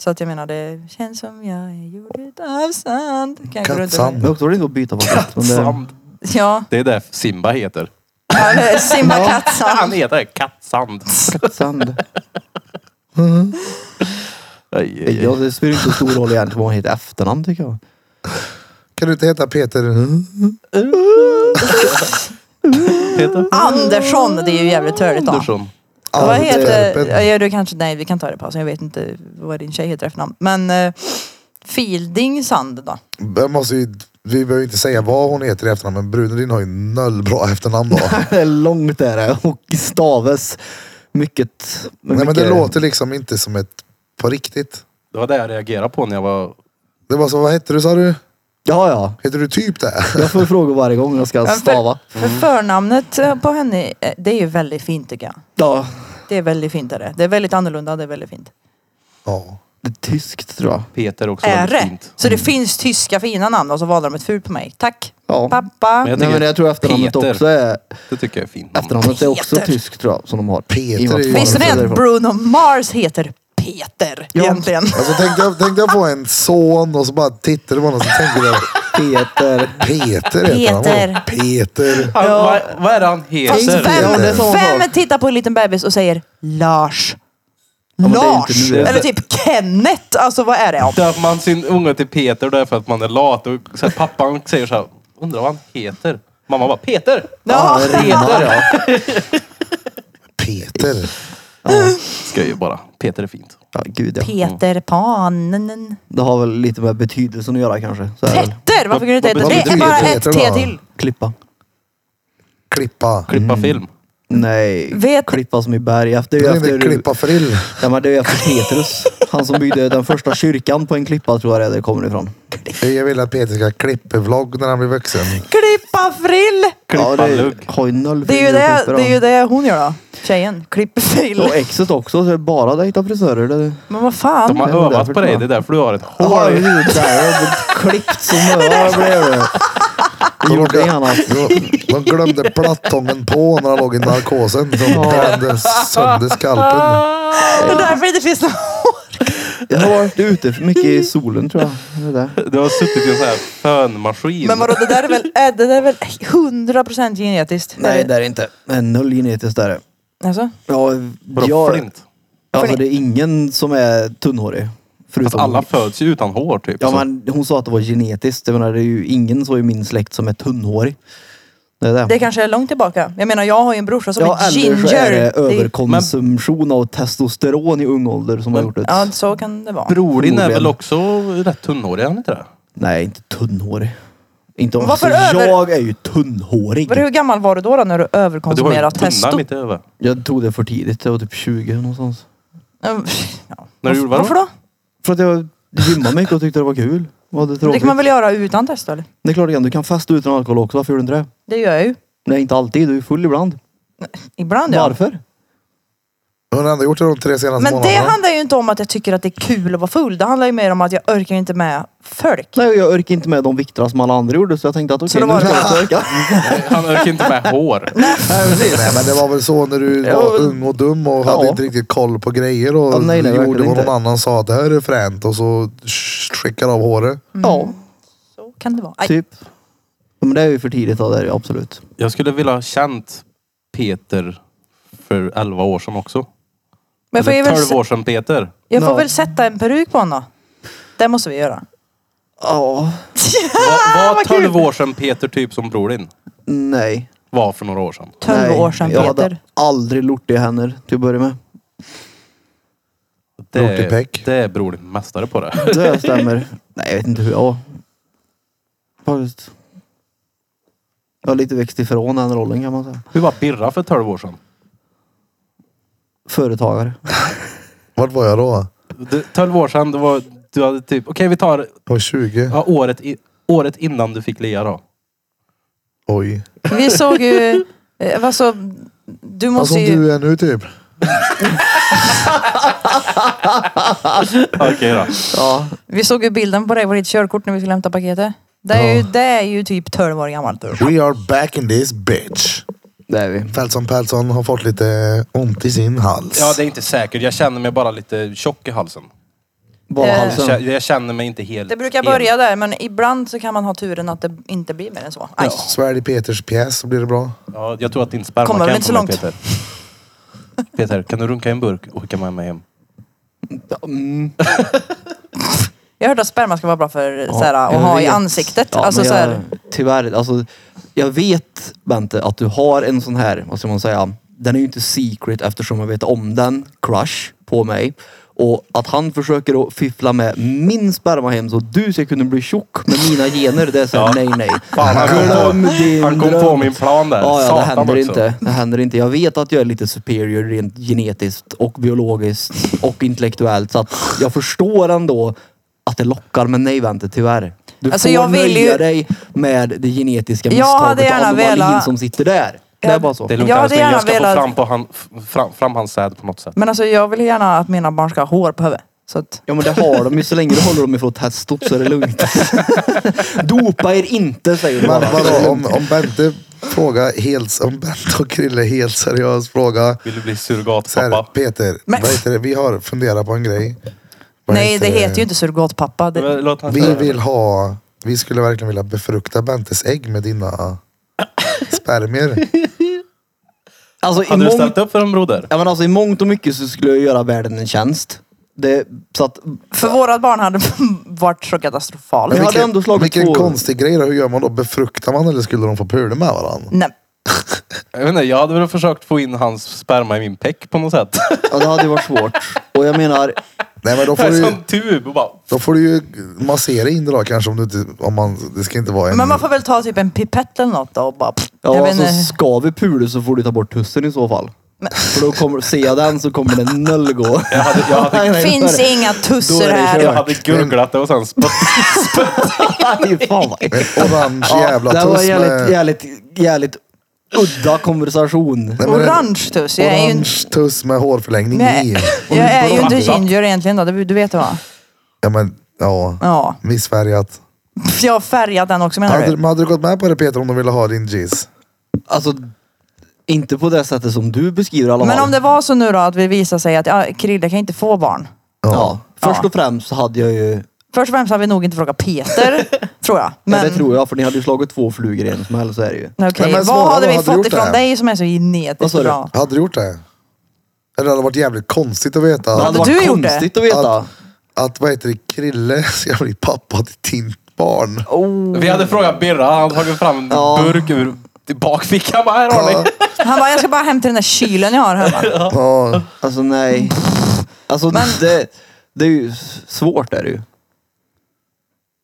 Så att jag menar det känns som jag är gjord utav sand. Kan jag gå runt och-
Kattsand.
Men också var det inte att byta faktiskt. men det-
Kattsand.
Ja,
Det är det Simba heter.
ja, eller Simba Kattsand.
Han heter Kattsand.
Kattsand.
Aj, aj,
Ja,
aj.
det spelar inte så stor roll egentligen vad han heter i efternamn tycker jag.
Kan du inte heta Peter? Mm.
Peter
Andersson, det är ju jävligt törligt då.
Andersson.
Vad
Allt
heter...
öppet.
Ja, du kanske... Nej, vi kan ta det i pausen. Jag vet inte vad din tjej heter i efternamn. Men eh, Fielding Sand då?
Jag måste ju, vi behöver inte säga vad hon heter i efternamn, men bruden din har ju noll bra efternamn då.
Det är långt är det och stavas mycket.
Nej, men det
mycket-
låter liksom inte som ett på riktigt.
Det var det jag reagerade på när jag var...
Det var så, vad hette du sa du?
Ja, ja.
Heter du typ det?
Jag får fråga varje gång jag ska
Men
stava.
För, för förnamnet eh, på henne, eh, det är ju väldigt fint tycker jag.
Ja,
Det är väldigt fint är det. Det är väldigt annorlunda, det är väldigt fint.
Ja.
det är tyskt tror jag.
Peter också
Är
väldigt
det?
fint.
Så det finns tyska fina namn och så valde de ett fult på mig. Tack.
Ja.
Pappa.
Men jag
Nej,
tycker
men jag tror efternamnet
Peter.
också är...
Det tycker jag är fint.
Efternamnet är också
Peter.
tyskt tror jag som de har.
Peter
I och med
är ju-
att
Visste ni
farfar är
att
därifrån.
Bruno Mars heter Peter
Ja.
egentligen?
Alltså tänkte jag, tänkte jag på en son och så bara tittar du på honom och så tänker du
Peter.
Peter heter han. va?
Peter.
Peter.
Han, vad, vad är det han
Fast
heter?
Peter. Ja, det är
vem,
samma
vem tittar på en liten bebis och säger Lars?
men det är ju
Lars!
inte nu.
Eller typ Kenneth. Alltså vad är det? Ja.
Döper man sin unge till Peter då är det för att man är lat. Och så här, pappan säger så här, undrar vad han heter. Mamma bara, Peter!
Ja, det rimmar ja.
Peter.
Ska ju bara. Peter är fint.
ja. Gud ja.
Peter Pan.
Det har väl lite med betydelsen att göra kanske. Så är det väl.
Petter! Varför kunde du inte
Vad-
heta
vad
det?
betyder
är bara
Peter
ett T
då?
till.
Klippa.
Klippa.
Klippa
Mm.
film.
Nej.
Vet-
Klippa som i berg. Efter,
Det är
efter,
inte klippa frill.
Ja, men det är ju efter Petrus. Han som byggde den första kyrkan på en klippa tror jag det är det kommer ifrån.
Jag vill att Peter ska klippa vlogg när han blir vuxen.
Klippa frill!
Klippa
ja, det
lugg.
har ju noll
Det är ju
frisyr att
det,
klippa
det, är ju
då.
det hon gör då. Tjejen. Klipper frill.
Och exet också, så det är bara dejta frisörer. Det...
Men vad
De
fan.
har
Det är nog
övat
därför
på dig.
tror jag.
Det är därför du har ett
Jaha,
hår.
hud där. Jag har klippt som öra blev det. Det gjorde
*laughs*
han alltså.
De, de glömde plattången på när han låg i narkosen. De brände sönder skalpen.
Det är därför det inte finns någon
Jag har varit ute för mycket i solen tror jag. Det är det.
Du har suttit i en sån här fönmaskin.
Men vadå, det där är väl, är det där är väl 100% genetiskt?
Nej det är det inte. Men noll genetiskt där.
Alltså?
Ja,
Vadå,
jag,
flint?
alltså det är ingen som är tunnhårig.
Fast
Alltså,
Förutom
alla föds ju utan hår typ.
Ja
så.
men hon sa att det var genetiskt. Jag menar det är ju ingen så i min släkt som är tunnhårig. Det är det.
Det kanske är långt tillbaka. Jag menar, jag har ju en brorsa som
ja,
är
eller så
ginger.
är det
Det är-
överkonsumtion av testosteron i ung ålder som har gjort det.
Ja, så kan det vara.
Bror din är
Förmodligen.
väl också rätt tunnhårig, är han inte det?
Alltså,
Nej, inte tunnhårig. Inte om,
Varför
alltså,
över-
jag är ju tunnhårig.
Men hur gammal var du då, då när du
Du har ju
överkonsumerade
tunna
testo?
mitt i över.
Jag tog det för tidigt. Jag var typ 20 någonstans.
Mm, Ja.
När du gjorde vadå?
Varför då?
För att jag gymmade mycket och tyckte det var kul. Vad det,
Det
tråkigt.
kan man väl göra utan testo eller?
det är klart igen, du kan festa utan alkohol också. Varför gör du inte det?
Det gör jag ju.
Nej, inte alltid. Du är full ibland.
Ibland ja.
Varför?
Hon har ändå gjort det de tre
Alltså,
senaste
Men det
månaderna.
handlar ju inte om att jag tycker att det är kul att vara full. Det handlar ju mer om att jag orkar inte med folk.
Nej, jag orkar inte med de vikterna som alla andra gjorde så jag tänkte att okej,
det
nu
var
ska
det. Mm.
jag orka.
Han orkar inte med hår.
Nej, men det var väl så när du
Ja,
var
men-
ung och dum och
Ja.
hade inte riktigt koll på grejer och
Ja, nej, nej,
gjorde
verkligen
vad någon
inte.
annan sa att det här är fränt och så skickar av håret.
Ja,
Så kan det vara. Aj.
typ. Ja, Men det är ju för tidigt, ja, det är det absolut.
Jag skulle vilja ha känt Peter för 11 år sedan också.
Men jag Ah, får, ju
Eller 12
väl, s-
år sedan Peter.
jag får
Ja.
väl sätta en peruk på honom. Det måste vi göra.
Ja,
Var, var 12 år sedan Peter typ som bror din
nej.
var för några år sedan?
12
nej.
år sedan
Jag
Peter.
hade aldrig lortiga händer till att börja med.
Det
Bror till Peck.
är, det är bror din mästare på det. *laughs*
*laughs*
Det stämmer. Nej, jag vet inte hur jag var. Faktiskt. Jag har lite växt ifrån den rollen kan man säga.
Hur var Birra för 12 år sedan?
Företagare.
Vart var jag då?
Du, 12 år sedan, det var, du hade typ... Okej vi tar
Jag var 20.
ja, året, i, året innan du fick Lea då.
Oj.
Vi såg ju... eh, Alltså, du måste
Alltså, som
ju...
du är nu typ.
Okej då.
Ja.
Vi såg ju bilden på dig på ditt körkort när vi skulle hämta paketet. Det är ju, det är ju typ 12 år gammalt.
We are back in this bitch.
Det är vi.
Pelson Pelson har fått lite ont i sin hals.
Ja, det är inte säkert. Jag känner mig bara lite tjock i halsen.
Eh.
Badhalsen.
Jag, jag känner mig inte helt...
Det brukar börja där men ibland så kan man ha turen att det inte blir mer än så. Aj.
Svär i Peters pjäs så blir det bra.
Ja, jag tror att din sperma
Kommer
kan
väl inte så
få mig,
långt.
Peter. Peter, kan du runka i en burk och skicka med mig hem?
Mm.
Jag hörde att sperma ska vara bra för
Ja,
så här, att
jag
ha i
vet.
ansiktet.
Ja,
alltså,
men
så här,
jag, tyvärr, alltså, jag vet Bente att du har en sån här, vad ska man säga, den är ju inte secret eftersom jag vet om den, crush på mig. Och att han försöker att fiffla med min sperma hem så du ska kunna bli tjock med mina gener, det är såhär nej nej.
Fan, han kom på-
Glöm din
Han kom på
dröm.
min plan där.
Ja, ja, det
Satan
händer
också.
inte. Det händer inte. Jag vet att jag är lite superior rent genetiskt och biologiskt och intellektuellt. Så att jag förstår ändå att det lockar. Men nej Vente, tyvärr. Du
Alltså,
får
jag vill
nöja
ju-
dig med det genetiska
Jag hade
misstaget
gärna
av anomalin
velat-
som sitter där. Det är
Jag-
bara så.
Det är lugnt,
Ja,
jag,
det är
jag ska
jag velat.
få fram, på han, f- fram, fram hans säd på något sätt.
men alltså jag vill gärna att mina barn ska ha hår på huvudet. Så att,
Ja men det har de ju. Så länge du håller dem ifrån testot så är
*laughs*
det lugnt. Dopa er inte säger du
Men
bara.
vadå, om, om Bente fråga helt, om Bente och Krille helt seriöst fråga.
Vill du bli
Så här,
surrogatpappa?
Peter,
Men-
vad heter det? vi har funderat på en grej. Vad
nej det heter ju inte surrogatpappa. Det,
Låt han
Vi
säga.
vill ha, vi skulle verkligen vilja befrukta Bentes ägg med dina spermier.
Alltså, i
Hade du
mångt-
ställt upp för en broder?
ja, men alltså, I mångt och mycket så skulle jag göra världen en tjänst. Det, så att
för vårat barn hade *laughs* varit så katastrofalt.
Men hade ändå slagit
vilken
två-
konstig grej då. Hur gör man då? Befruktar man eller skulle de få pula med varandra?
Nej.
Jag vet inte, jag hade väl försökt få in hans sperma i min peck på något sätt.
Ja, det hade ju varit svårt. Och jag menar,
Nej men då
*laughs*
får,
En
du,
sån tub och bara...
då får du ju massera in det då kanske om du inte, om man, det ska inte vara en...
Men man får väl ta typ en pipett eller något då och bara... Pff, jag
ja,
vet
alltså,
inte.
ska vi pula så får du ta bort tussen i så fall. För då kommer, ser jag den så kommer det noll gå.
Jag hade, jag
*laughs*
hade,
Nej, nej,
Finns
då är det-
inga
då
tussor
är det
här.
kört.
jag hade gurglat det och sen spött.
Fy fan vad äckligt.
En orange jävla
Det var
tuss
jävligt,
med...
jävligt, jävligt udda konversation.
Nej, men det-
Orange tuss. Jag är ju,
Orange tuss med hårförlängning
Nej.
i.
*laughs* jag är ju inte
Orange.
ginger egentligen då. Det- Du vet det va?
Ja men, ja.
Ja.
Missfärgat.
Pff, Jag har färgat den också menar
Hade,
du?
men hade du gått med på det Peter om de ville ha din jeans?
Alltså, inte på det sättet som du beskriver i alla
Men
fall.
om det var så nu då att vi visar sig att ja, Krille kan inte få barn.
ja. Först
Ja.
och främst så hade jag ju,
Först och främst hade vi nog inte frågat
*laughs*
Peter, tror jag.
men...
Men,
det tror jag, för ni hade ju slagit två flugor i en smäll så är det ju.
Okej,
Nej, men svara,
vad hade
vad hade
vi
du
fått
gjort
ifrån
där?
dig som är så
Vad
genetiskt
sa du?
bra?
Hade du gjort det? Eller det hade varit jävligt konstigt att veta
Det
att,
hade
hade
du
varit
gjort det?
konstigt att veta.
Att- att vad heter det, Krille *laughs* ska bli pappa till ditt barn.
Oh.
Mm.
Vi hade frågat Birra, han hade tagit fram en
Ja.
burk ur bakfickan. Bara, här har ni.
Han bara, jag ska bara hem till den där kylen jag har
*laughs*
hemma.
Ja.
Alltså nej. Alltså det, det är ju s- svårt är det ju. Men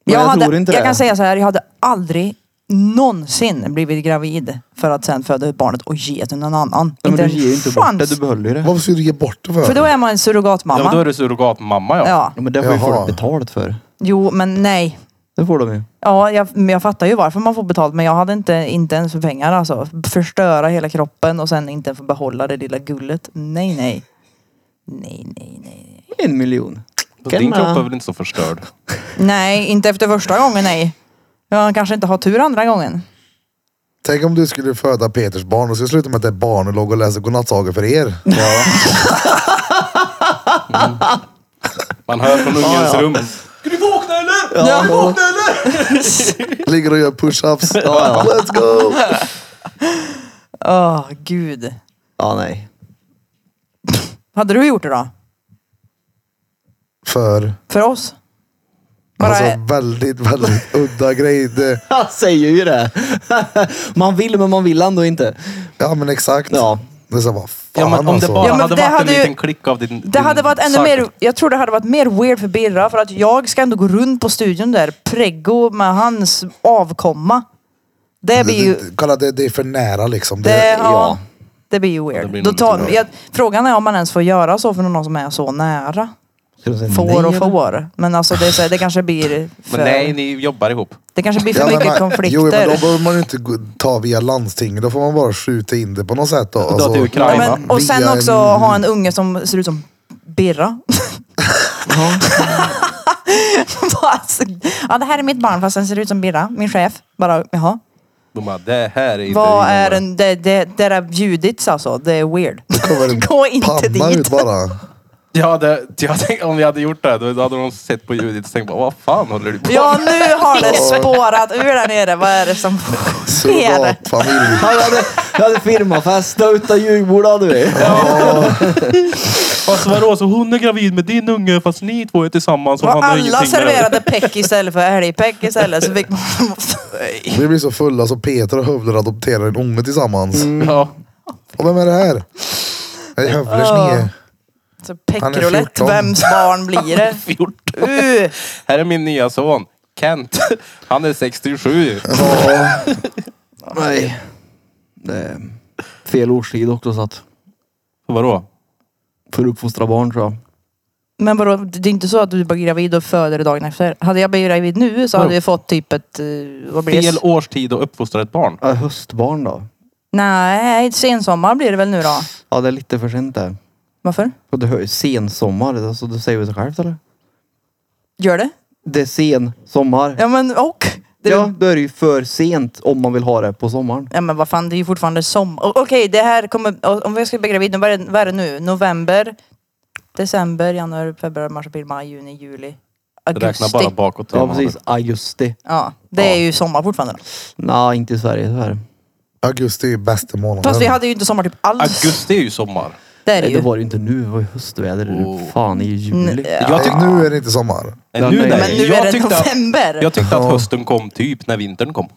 jag,
hade,
tror inte
jag
det.
kan säga så här, jag hade aldrig någonsin blivit gravid för att sen föda ut barnet och ge till någon annan.
Nej, men
inte
du ger ju inte bort det, du behöll ju det.
Varför skulle du ge bort det för?
För då är man en
Ja, då
surrogatmamma.
är du surrogatmamma ja.
Ja,
Ja, men det får ju
Jaha.
folk betalt för.
jo men nej.
Det får de ju.
Ja, jag, men jag fattar ju varför man får betalt men jag hade inte, inte ens för pengar alltså. Förstöra hela kroppen och sen inte få behålla det lilla gullet. Nej, nej. Nej, nej, nej.
En miljon.
Så Din
Kenna.
kropp är väl inte så förstörd?
Nej, inte efter första gången nej. Jag kanske inte har tur andra gången.
Tänk om du skulle föda Peters barn och så slutar med att det är barn och låg och läser godnattsagor för
*laughs*
er.
Man hör från ungens rum.
Ja, ja.
Ligger och gör push-ups.
ja.
Let's go!
Åh, gud.
*laughs* ja nej.
Hade du gjort det då?
För
För oss? Bara,
alltså, väldigt, väldigt udda grej. Det,
Han säger ju det. *laughs* man vill men man vill ändå inte.
ja men exakt.
Ja.
Det är så här, vad fan
Ja, men om det
alltså.
bara
Ja, men
hade
det
varit
hade
en
ju-
liten klick av din...
det
din
hade varit ännu
sak.
mer, jag tror det hade varit mer weird för Birra för att jag ska ändå gå runt på studion där, preggo med hans avkomma. Det blir ju...
Det- Kolla det, det är för nära liksom. Det,
Det, ja.
ja.
det blir ju weird.
det blir
Då
nog
tar,
lite
jag, frågan är om man ens får göra så för någon som är så nära.
Ska de säga nej,
Får och
eller?
får. Men alltså det, är så här, det kanske blir för,
Men nej, ni jobbar ihop.
det kanske blir för
Ja, men
mycket
man-
konflikter.
Jo, men då behöver man ju inte gå- ta via landsting. Då får man bara skjuta in det på något sätt. Då. Alltså,
till
Ja,
Ukraina.
men, och sen
via
också
en-
ha en unge som ser ut som Birra. *laughs* Bara, alltså, ja, det här är mitt barn fast den ser ut som Birra, min chef. Bara, jaha.
De bara, det här är inte
Vad
din
är
mamma."
en, det, det, det där ljudet alltså, det är weird.
*laughs*
*laughs*
kommer en
Gå inte
Panna
dit.
ut
*laughs*
bara.
Ja, det, jag tänkte, om vi hade gjort det, då hade de sett på ljudet och tänkt bara, vad fan håller du på
Ja nu har det spårat ur där nere. Vad är det som sker?
Surrogatfamilj.
Jag hade, jag hade firmafest utan julbord hade vi.
Fast vadå, så hon är gravid med din unge fast ni två är tillsammans och
Och
han har ingenting
alla
med-
serverade peck istället för älgpeck istället. Så fick man...
Vi blir så fulla så Peter och Hövler adopterar en unge tillsammans.
Mm.
Ja.
Och vem är det här? Det är Hövlers
Ja.
nye.
Så
Han är
peckrulett,
14.
vems barn blir det?
14.
Uh.
Här är min nya son, Kent. Han är 67.
Nej. Det är fel årstid också så att
Vadå?
för att uppfostra barn tror jag.
Men vadå, det är inte så att du blir gravid och föder dagen efter? Hade jag blivit gravid nu så hade
Vadå?
jag fått typ ett... eh, Vad blir
Fel
det?
årstid att uppfostra ett barn.
Ja, höstbarn då?
Nej, sensommar blir det väl nu då?
Ja det är lite för sent det.
Varför?
Och du hör ju sensommar, alltså du säger väl sig självt eller?
Gör det?
Det är sen sommar. Ja,
Ja men och? Det är
då är det ju för sent om man vill ha det på sommaren.
Ja men vad fan, det är ju fortfarande sommar. Okej, det här kommer... o- Om jag ska bli gravid, vad är, det- vad är det nu? November, december, januari, februari, mars, april, maj, juni, juli,
Räkna
augusti.
bara bakåt. tre
Ja
månader.
precis, augusti.
Ja, det är ju sommar fortfarande.
Nej inte i Sverige tyvärr.
Augusti är bästa månaden.
Fast vi hade ju inte sommar typ alls.
Augusti är ju sommar.
Det är det
Nej det
ju.
var det ju inte nu, det var ju höstväder.
Oh.
Fan i juli.
Mm, ja.
Jag tyckte,
Nej, nu är det inte sommar.
nej, nu,
Men
nej.
Men nu
jag
är det
tyckte, att-
november.
jag tyckte att hösten kom typ när vintern kom.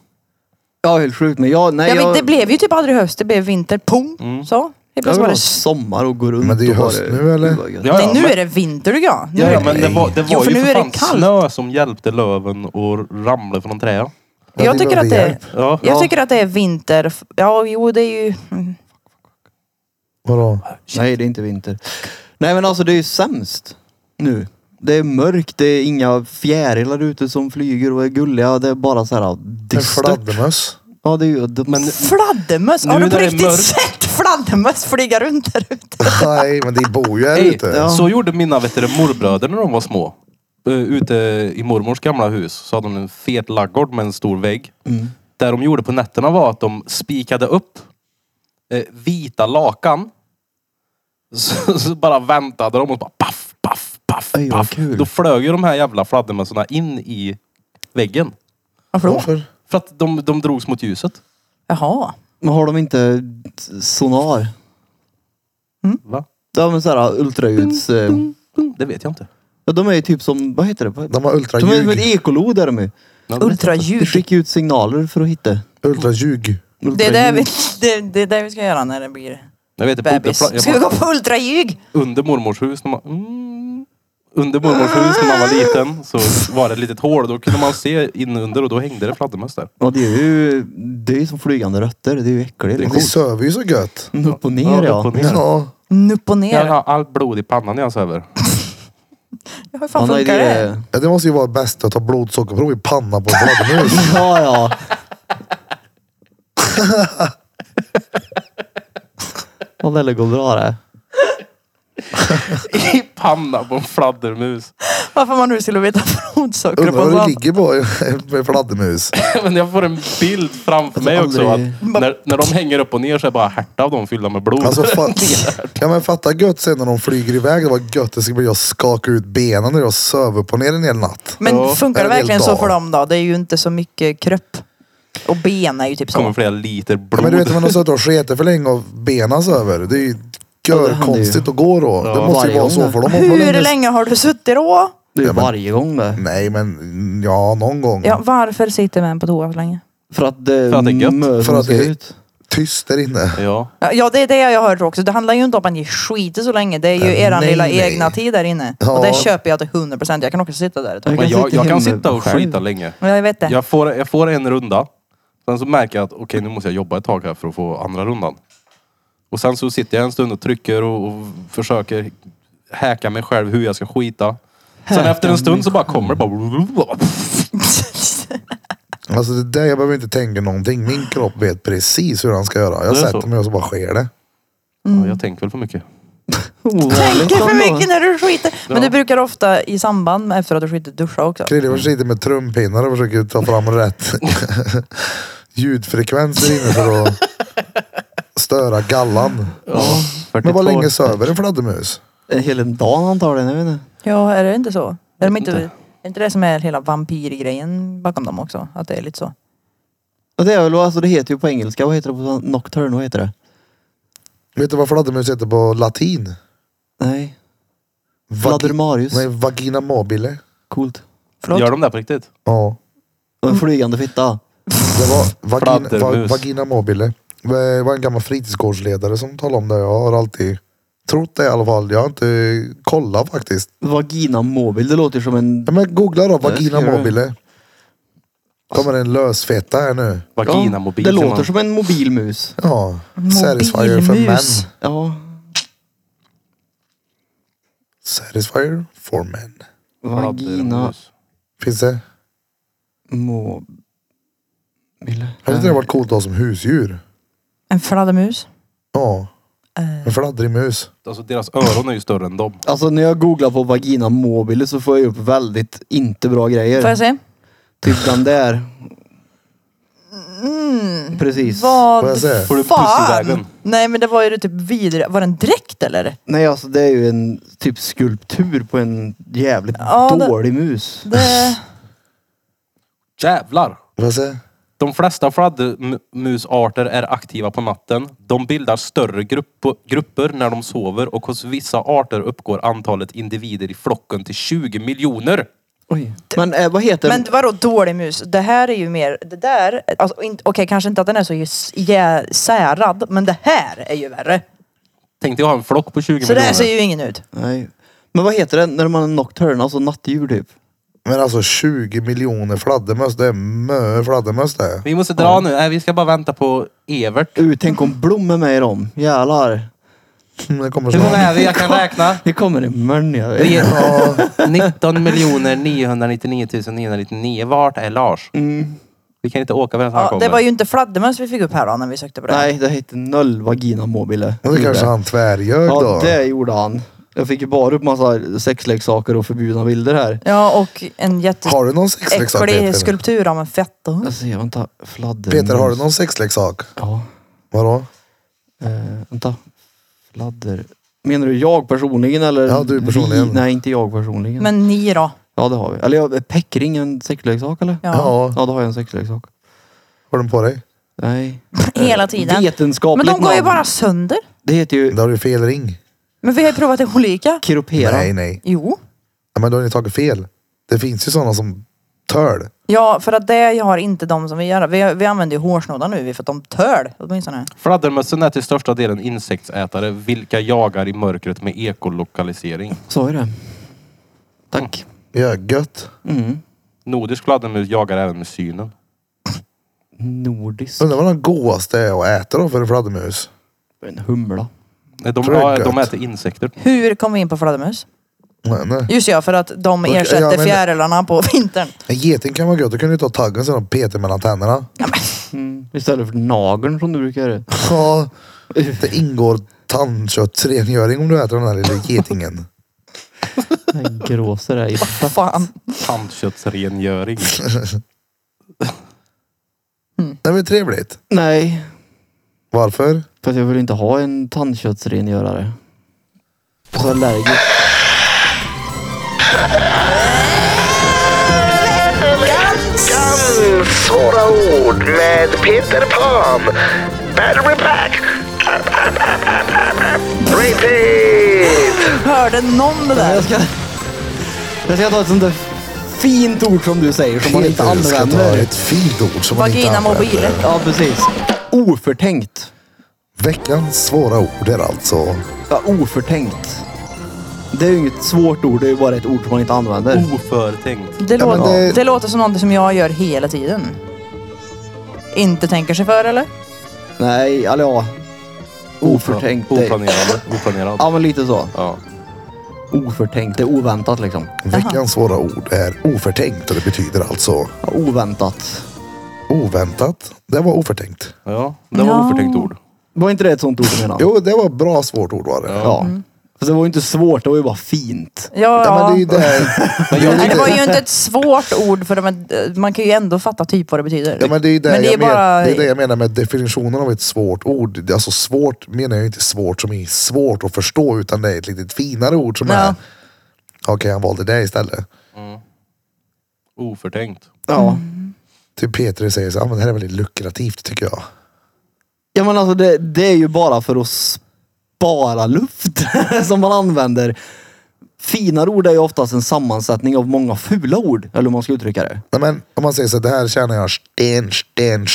Ja helt sjukt men jag, nej
ja, men
jag...
det blev ju typ aldrig höst, det blev vinter. Pung!
Mm.
Så. Det
Jag
blev
vill
bara...
ha sommar och gå runt
Men det är ju
och ha
höst nu, eller?
Gud, vad gött.
Ja,
Nej,
ja,
nu
men-
är det vinter du ja. Nu
Ja,
är
ja
det-
men det var, det var
Jo, för
ju
nu
för
är det
fan
kallt.
snö som hjälpte löven att ramla från träden.
Ja,
Jag
det
tycker att det är...
hjälp.
Ja.
Jag tycker att det är vinter. Ja, jo det är ju... mm.
Vadå?
Nej, det är inte vinter. Nej, men alltså det är ju sämst nu. Det är mörkt, det är inga fjärilar ute som flyger och är gulliga. Det är bara så här
En
dystert.
fladdermöss? *laughs*
Ja, det är ju... Det,
Men
Fladdermöss!
Nu
Har du på
när det är
riktigt
mörkt-
sett fladdermöss flyga runt där ute?
Nej, men det bor ju här
Ey,
ute.
ja.
så gjorde mina vet du, morbröder när de var små. Eh, Ute i mormors gamla hus så hade de en fet laggård med en stor vägg. Där de gjorde på nätterna var att de spikade upp eh, vita lakan. *laughs* Så, så bara väntade de och bara paff, paff, paff,
Ej, vad
paff.
kul.
Då flög ju de här jävla fladdermössorna in i väggen.
Varför då?
Varför?
För att de, de drogs mot ljuset.
Jaha.
men har de inte sonar?
Va?
Ja, men så här ultraljuds... eh,
Mm, Det vet jag inte.
Ja, de är ju typ som... Vad heter det? De
De har
är som ett
ultraljug.
ekolod är de ju.
Ja, det vet jag inte.
De
Ultraljud.
skickar ut signaler för att hitta.
Ultraljug.
Det är det vi,
ultraljud.
det, det är det vi ska göra när det blir
Jag vet, jag bodde,
bebis.
jag
Ska vi gå på ultraljud?
under mormors hus när man... Mm, under mormors hus när man var liten så var det ett litet hål. Då kunde man se in under och då hängde det fladdermöss där.
Ja, det är ju... Det är ju som flygande rötter. Det är ju äckligt.
Ni söver ju så gött.
Mm, Upp och ner ja.
upp och ner.
Ja.
Nupp och
Jag
ner.
har allt blod i pannan när jag sover.
Ja, Hur
Ja,
fan
nej,
funkar det?
Ja, Det måste ju vara det bästa att ta blodsockerprov i pannan på en
*laughs*
fladdermus.
Ja, ja. Vad det går bra det.
I pannan på en fladdermus. *laughs*
Varför man nu skulle veta *laughs* blodsocker på
Undrar
en
vad det
sån.
ligger på en fladdermus.
Men jag får en bild framför mig också. Att
aldrig-
när, när de hänger upp och ner så är bara härta av dem fyllda med blod.
Alltså, fa-
*laughs*
ja, men fatta gött sen när de flyger iväg. Det var gött det ska bli att skaka ut benen när jag söver på ner en hel natt.
Men funkar det
Eller
verkligen så
dag.
för dem då? Det är ju inte så mycket kropp. Och ben är ju typ
Det *laughs* kommer
så.
flera liter
Ja,
blod.
men du vet när man har suttit och sketit för länge och benen söver. Det är ju görkonstigt att gå då. Det måste ju
Varje
vara
gång
så
det.
för dem.
Hur länge har du suttit då?
Det är
Ja, men-
varje gång det.
Nej men ja, någon gång.
Ja, varför sitter män på toa så länge?
För att det
För att det är gött.
mösen
För att
ska
det-
ut.
Tyst där inne.
Ja.
Ja, Ja, det är det jag har hört också. Det handlar ju inte om att ni skiter så länge. Det är ju
Eh,
eran
nej,
lilla
nej.
egna tid där inne.
Ja.
Och det köper jag till 100 procent. Jag kan också sitta där ett tag.
Men jag, jag kan
hemma
sitta och
själv.
skita länge.
Ja, Jag vet det.
Jag får, jag får en runda. Sen så märker jag att okej nu måste jag jobba ett tag här för att få andra rundan. Och sen så sitter jag en stund och trycker och, och försöker häcka mig själv hur jag ska skita. Sen efter en stund så bara kommer det bara...
Alltså det där, jag behöver inte tänka någonting. Min kropp vet precis hur han ska göra. Jag
Det är
sätter
så.
mig och så bara sker det.
Ja, jag tänker väl för mycket.
Tänker för mycket när du skiter. Men
Ja.
du brukar ofta i samband med efter att du skitit duscha också.
Krille var sitter med trumpinnar och försöker ta fram rätt *laughs* ljudfrekvenser inne för att störa gallan.
Ja,
Men
42.
vad länge söver en fladdermus?
En hel dag antagligen, jag vet inte.
Ja, är det inte så? Är de inte,
inte.
är det inte det som är hela vampyrgrejen bakom dem också? Att det är lite så.
Och det är väl, alltså det heter ju på engelska, vad heter det på Nocturne, vad heter det?
Vet du vad fladdermus heter på latin?
Nej,
Vagi-
Fladdermarius.
Nej, vagina mobile.
Coolt.
Förlåt?
Gör de det på riktigt?
Ja.
Och en flygande fitta.
Det var vagina, va,
Fladdermus.
vagina mobile. Det var en gammal fritidsgårdsledare som talade om det. Jag har alltid trott det i alla fall. Jag har inte kollat faktiskt.
Vagina mobil, det låter som en...
Ja, men googla då, vagina
ska jag göra.
mobile. Kommer en lösfeta här nu.
Vagina mobil.
Det
säger
låter
man.
som en mobilmus.
Ja,
Mobilmus.
Satisfyer för män.
Ja.
Satisfyer for men.
Vagina
Fladdermus.
Finns det?
mobil.
Hade inte det varit coolt att ha som husdjur?
En fladdermus.
Ja.
Eh.
En fladdrig mus.
Alltså deras öron är ju större än dem.
Alltså när jag googlar på vagina mobile så får jag upp väldigt inte bra grejer.
Får jag se?
Typ den där. Precis.
Får
Mm. Vad
jag se?
Får du puss i
fan?
vägen?
Nej men det var ju det typ vidare. Var det en dräkt eller?
Nej alltså det är ju en typ skulptur på en jävligt
Ja, det-
dålig mus.
Det...
Jävlar!
Får jag se?
De flesta fladdermusarter är aktiva på natten. De bildar större grupp, grupper när de sover och hos vissa arter uppgår antalet individer i flocken till 20 miljoner.
Oj. Men eh, vad heter
Men vadå dålig mus? Det här är ju mer, det där, alltså, inte- okej kanske inte att den är så just- jä- särad, men det här är ju värre.
Tänkte jag ha en flock på 20
Så det här
miljoner.
ser ju ingen ut.
Nej. Men vad heter det när man är nocturne, alltså nattdjur typ?
Men alltså 20 miljoner fladdermöss. Det är mö fladdermöss det.
Vi måste dra nu. Nej, vi ska bara vänta på Evert.
Uh, tänk om Blom är med i dem. Jävlar.
Mm, Det kommer
Hur många
snart.
är vi? Jag kan räkna.
Det kommer en mörn jag
Vi
vet.
är 19 miljoner 999 999. Vart är Lars?
Mm.
Vi kan inte åka förrän han
Ja,
kommer.
det var ju inte fladdermöss vi fick upp här då när vi sökte på det.
Nej, det heter noll vagina mobile.
Men det kanske han tvärljög
Ja,
då.
det gjorde han. Jag fick ju bara upp massa sexleksaker och förbjudna bilder här.
Ja och en
Har liksom, du någon sexleksak
jätteäcklig
Peter?
skulptur av en fetthund.
Alltså, jag vänta. Fladder.
Peter, har du någon sexleksak?
Ja.
Vadå?
Eh, vänta. Fladder. Menar du jag personligen eller?
Ja, du personligen.
Vi? Nej, inte jag personligen.
Men ni då?
Ja, det har vi. Eller jag, Peckring, en sexleksak eller?
Ja.
Ja.
Ja, då har jag en sexleksak.
Har du den på dig?
Nej.
*laughs* Hela tiden. Men
Vetenskapligt
de går ju
namn.
bara sönder.
Det heter ju
Då har du fel ring.
Men vi har ju provat det olika.
kiropera.
Nej, nej.
Jo.
Ja, Men då har ni tagit fel. Det finns ju sådana som töl.
Ja, för att det har inte de som vi gör. Vi, vi använder ju hårsnoddar nu vi, för att de töl åtminstone.
Fladdermössen är till största delen insektsätare, vilka jagar i mörkret med ekolokalisering.
Så är det. Tack.
Ja, gött.
Mm.
Nordisk fladdermus jagar även med synen.
Nordisk.
Undrar vad den godaste är att äta då för en fladdermus?
En humla.
Nej, De,
Tror jag är
ja, de
gött.
äter insekter.
Hur kom vi in på fladdermus?
Nej, nej.
Just ja, för att de
Okej,
ersätter
ja, men-
fjärilarna på vintern.
En geting kan vara gött. Då kan du ta taggen sen och peta mellan tänderna. *laughs*
Mm. Istället för nageln som du brukar göra.
Ja, det ingår tandköttsrengöring om du äter den här lilla getingen.
Den gråser är i
Fan.
Tandköttsrengöring.
Det är väl trevligt.
Nej,
Varför?
för att jag vill inte ha en tandköttsrengörare. Så allergisk.
Veckans svåra ord med Peter Pan. Battery pack. Repeat.
Hörde någon det där?
Jag ska, jag ska ta ett sånt där fint ord som du säger som man inte
Peter ska ta
använder.
ett fint ord som man inte
Vagina
använder.
mobile.
Ja, precis. Oförtänkt.
Veckans svåra ord är alltså
Ja, oförtänkt. Det är ju inget svårt ord, det är ju bara ett ord som man inte använder.
Oförtänkt.
Det,
Ja, men
låter, det...
det-
låter som någonting som jag gör hela tiden. Inte tänker sig för eller?
Nej, eller ja. Oförtänkt. det-
Oplanerad. Oplanerad.
Ja, men lite så.
Ja.
oförtänkt. Det är oväntat liksom.
Veckans svåra ord är oförtänkt och det betyder alltså
Ja, Oväntat.
oväntat. Det var oförtänkt.
Ja, det var
Ja.
oförtänkt ord.
Var inte det ett sånt ord du menade?
Jo, det var ett bra svårt ord var det.
Ja. Fast det var ju inte svårt, det var ju bara fint.
Ja,
Ja,
ja.
men det är ju det här. det är
Nej, det
lite-
var ju inte ett svårt ord för men eh, man kan ju ändå fatta typ vad det betyder.
Ja, men
*laughs*
det är ju det,
Men det är
jag men-
bara-
det är det jag menar med definitionen av ett svårt ord. Det är Alltså svårt menar jag inte svårt som är svårt att förstå utan det är ett lite finare ord som
Ja.
är Okej, han valde det istället.
Oförtänkt.
Ja.
Typ Peter säger så här, "Ja, men det här är väldigt lukrativt tycker jag.
Ja men alltså det, det är ju bara för att spara luft *laughs* som man använder. Finare ord är ju oftast en sammansättning av många fula ord, eller hur man ska uttrycka det.
Nej, men om man säger så här, det här tjänar jag sten, sten,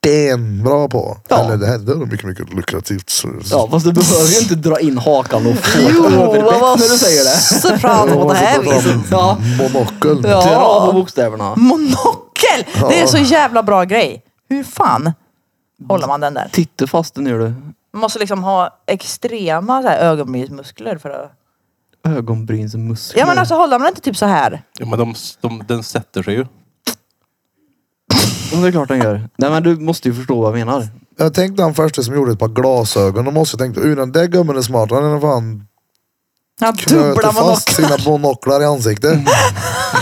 sten bra på.
Ja.
Eller det här det är mycket, mycket lukrativt. Så-
Ja, fast du behöver ju inte dra in hakan och få
Jo,
ett
vad
överrätt
var
när du säger det.
så bra på det här viset.
Ja, Mm.
Monokel.
Ja.
dra av bokstäverna.
Monokel! Det är så jävla bra grej. Hur fan håller man den där?
Titta fast den gör du.
Man måste liksom ha extrema så här ögonbrynsmuskler för att...
Ögonbrynsmuskler.
Ja men alltså håller man inte typ så här?
Ja, men de, de, den sätter sig ju. *laughs*
Ja, men det är klart den gör. Nej men du måste ju förstå vad jag menar.
Jag tänkte han första som gjorde ett par glasögon. De måste tänkt, "Uh, den där gubben är smart. Han har fan
Han har
knöt
dubbla
fast
monoklar.
sina monoklar i ansiktet.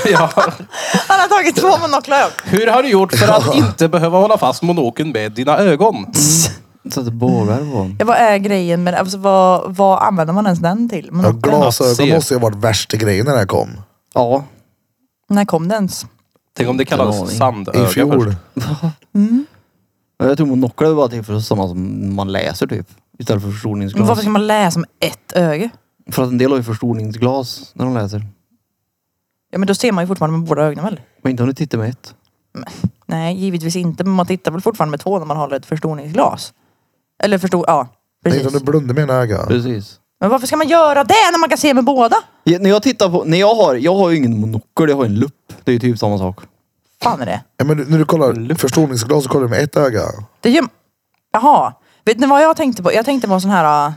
ja.
*laughs* Han har tagit två monoklar.
Hur har du gjort för att inte behöva hålla fast monokeln med dina ögon?
Sätter bågar på honom.
Ja, vad är grejen med alltså, vad, vad använder man ens den till?
Ja,
Monokel?
Att se.
glasögon måste ju ha varit värsta grejen när det här kom.
Ja.
När kom den ens?
Tänk om det
Ingen aning.
kallas
I
sandöga
fjol.
först.
Jag tror monokler är bara till för samma som man läser typ. Istället för förstoringsglas.
Varför ska man läsa med ett öga?
För att en del har ju förstoringsglas när de läser.
Ja men då ser man ju fortfarande med båda ögonen väl?
Men inte om du tittar med ett.
Nej, givetvis inte. Men man tittar väl fortfarande med två när man håller ett förstoringsglas? Eller förstor... Ja,
Nej,
precis.
du blundar med ena ögat.
Precis.
Men varför ska man göra det när man kan se med båda?
Ja, när jag tittar på, när jag har, jag har ju ingen monokel, jag har en lupp. Det är ju typ samma sak.
fan är det?
Ja, men du- när du kollar förstoringsglas så kollar du med ett öga.
Det gör... Jaha. Vet ni vad jag tänkte på? Jag tänkte på en sån här... äh,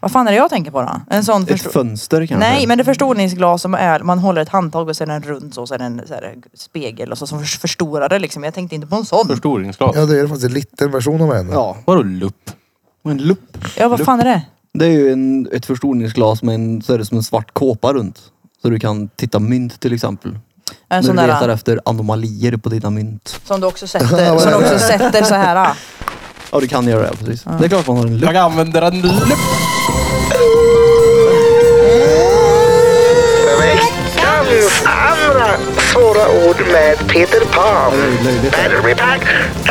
Vad fan är det jag tänker på då? En sån...
Ett
förstor-
fönster kanske.
Nej, men det är förstoringsglas som är... Man håller ett handtag och sen en rund så och sen en så här, spegel och så som förs- förstorar det liksom. Jag tänkte inte på en sån.
Förstoringsglas.
Ja, det är faktiskt en liten version av en.
Ja.
Vadå lupp?
Och en lupp.
Ja, vad fan är det?
Det är ju en, ett förstoringsglas med en, så är det som en svart kåpa runt. Så du kan titta mynt till exempel.
En
när
sån
du letar
där äh,
efter anomalier på dina mynt.
som du
*laughs*
också
Ja,
sätter,
vad
som du
är
också
det?
sätter så här. äh.
Ja du kan göra det, precis. Det är klart man har en lupp.
Jag använder en lupp.
Veckans andra svåra ord med Peter Pan. Battery pack. *laughs*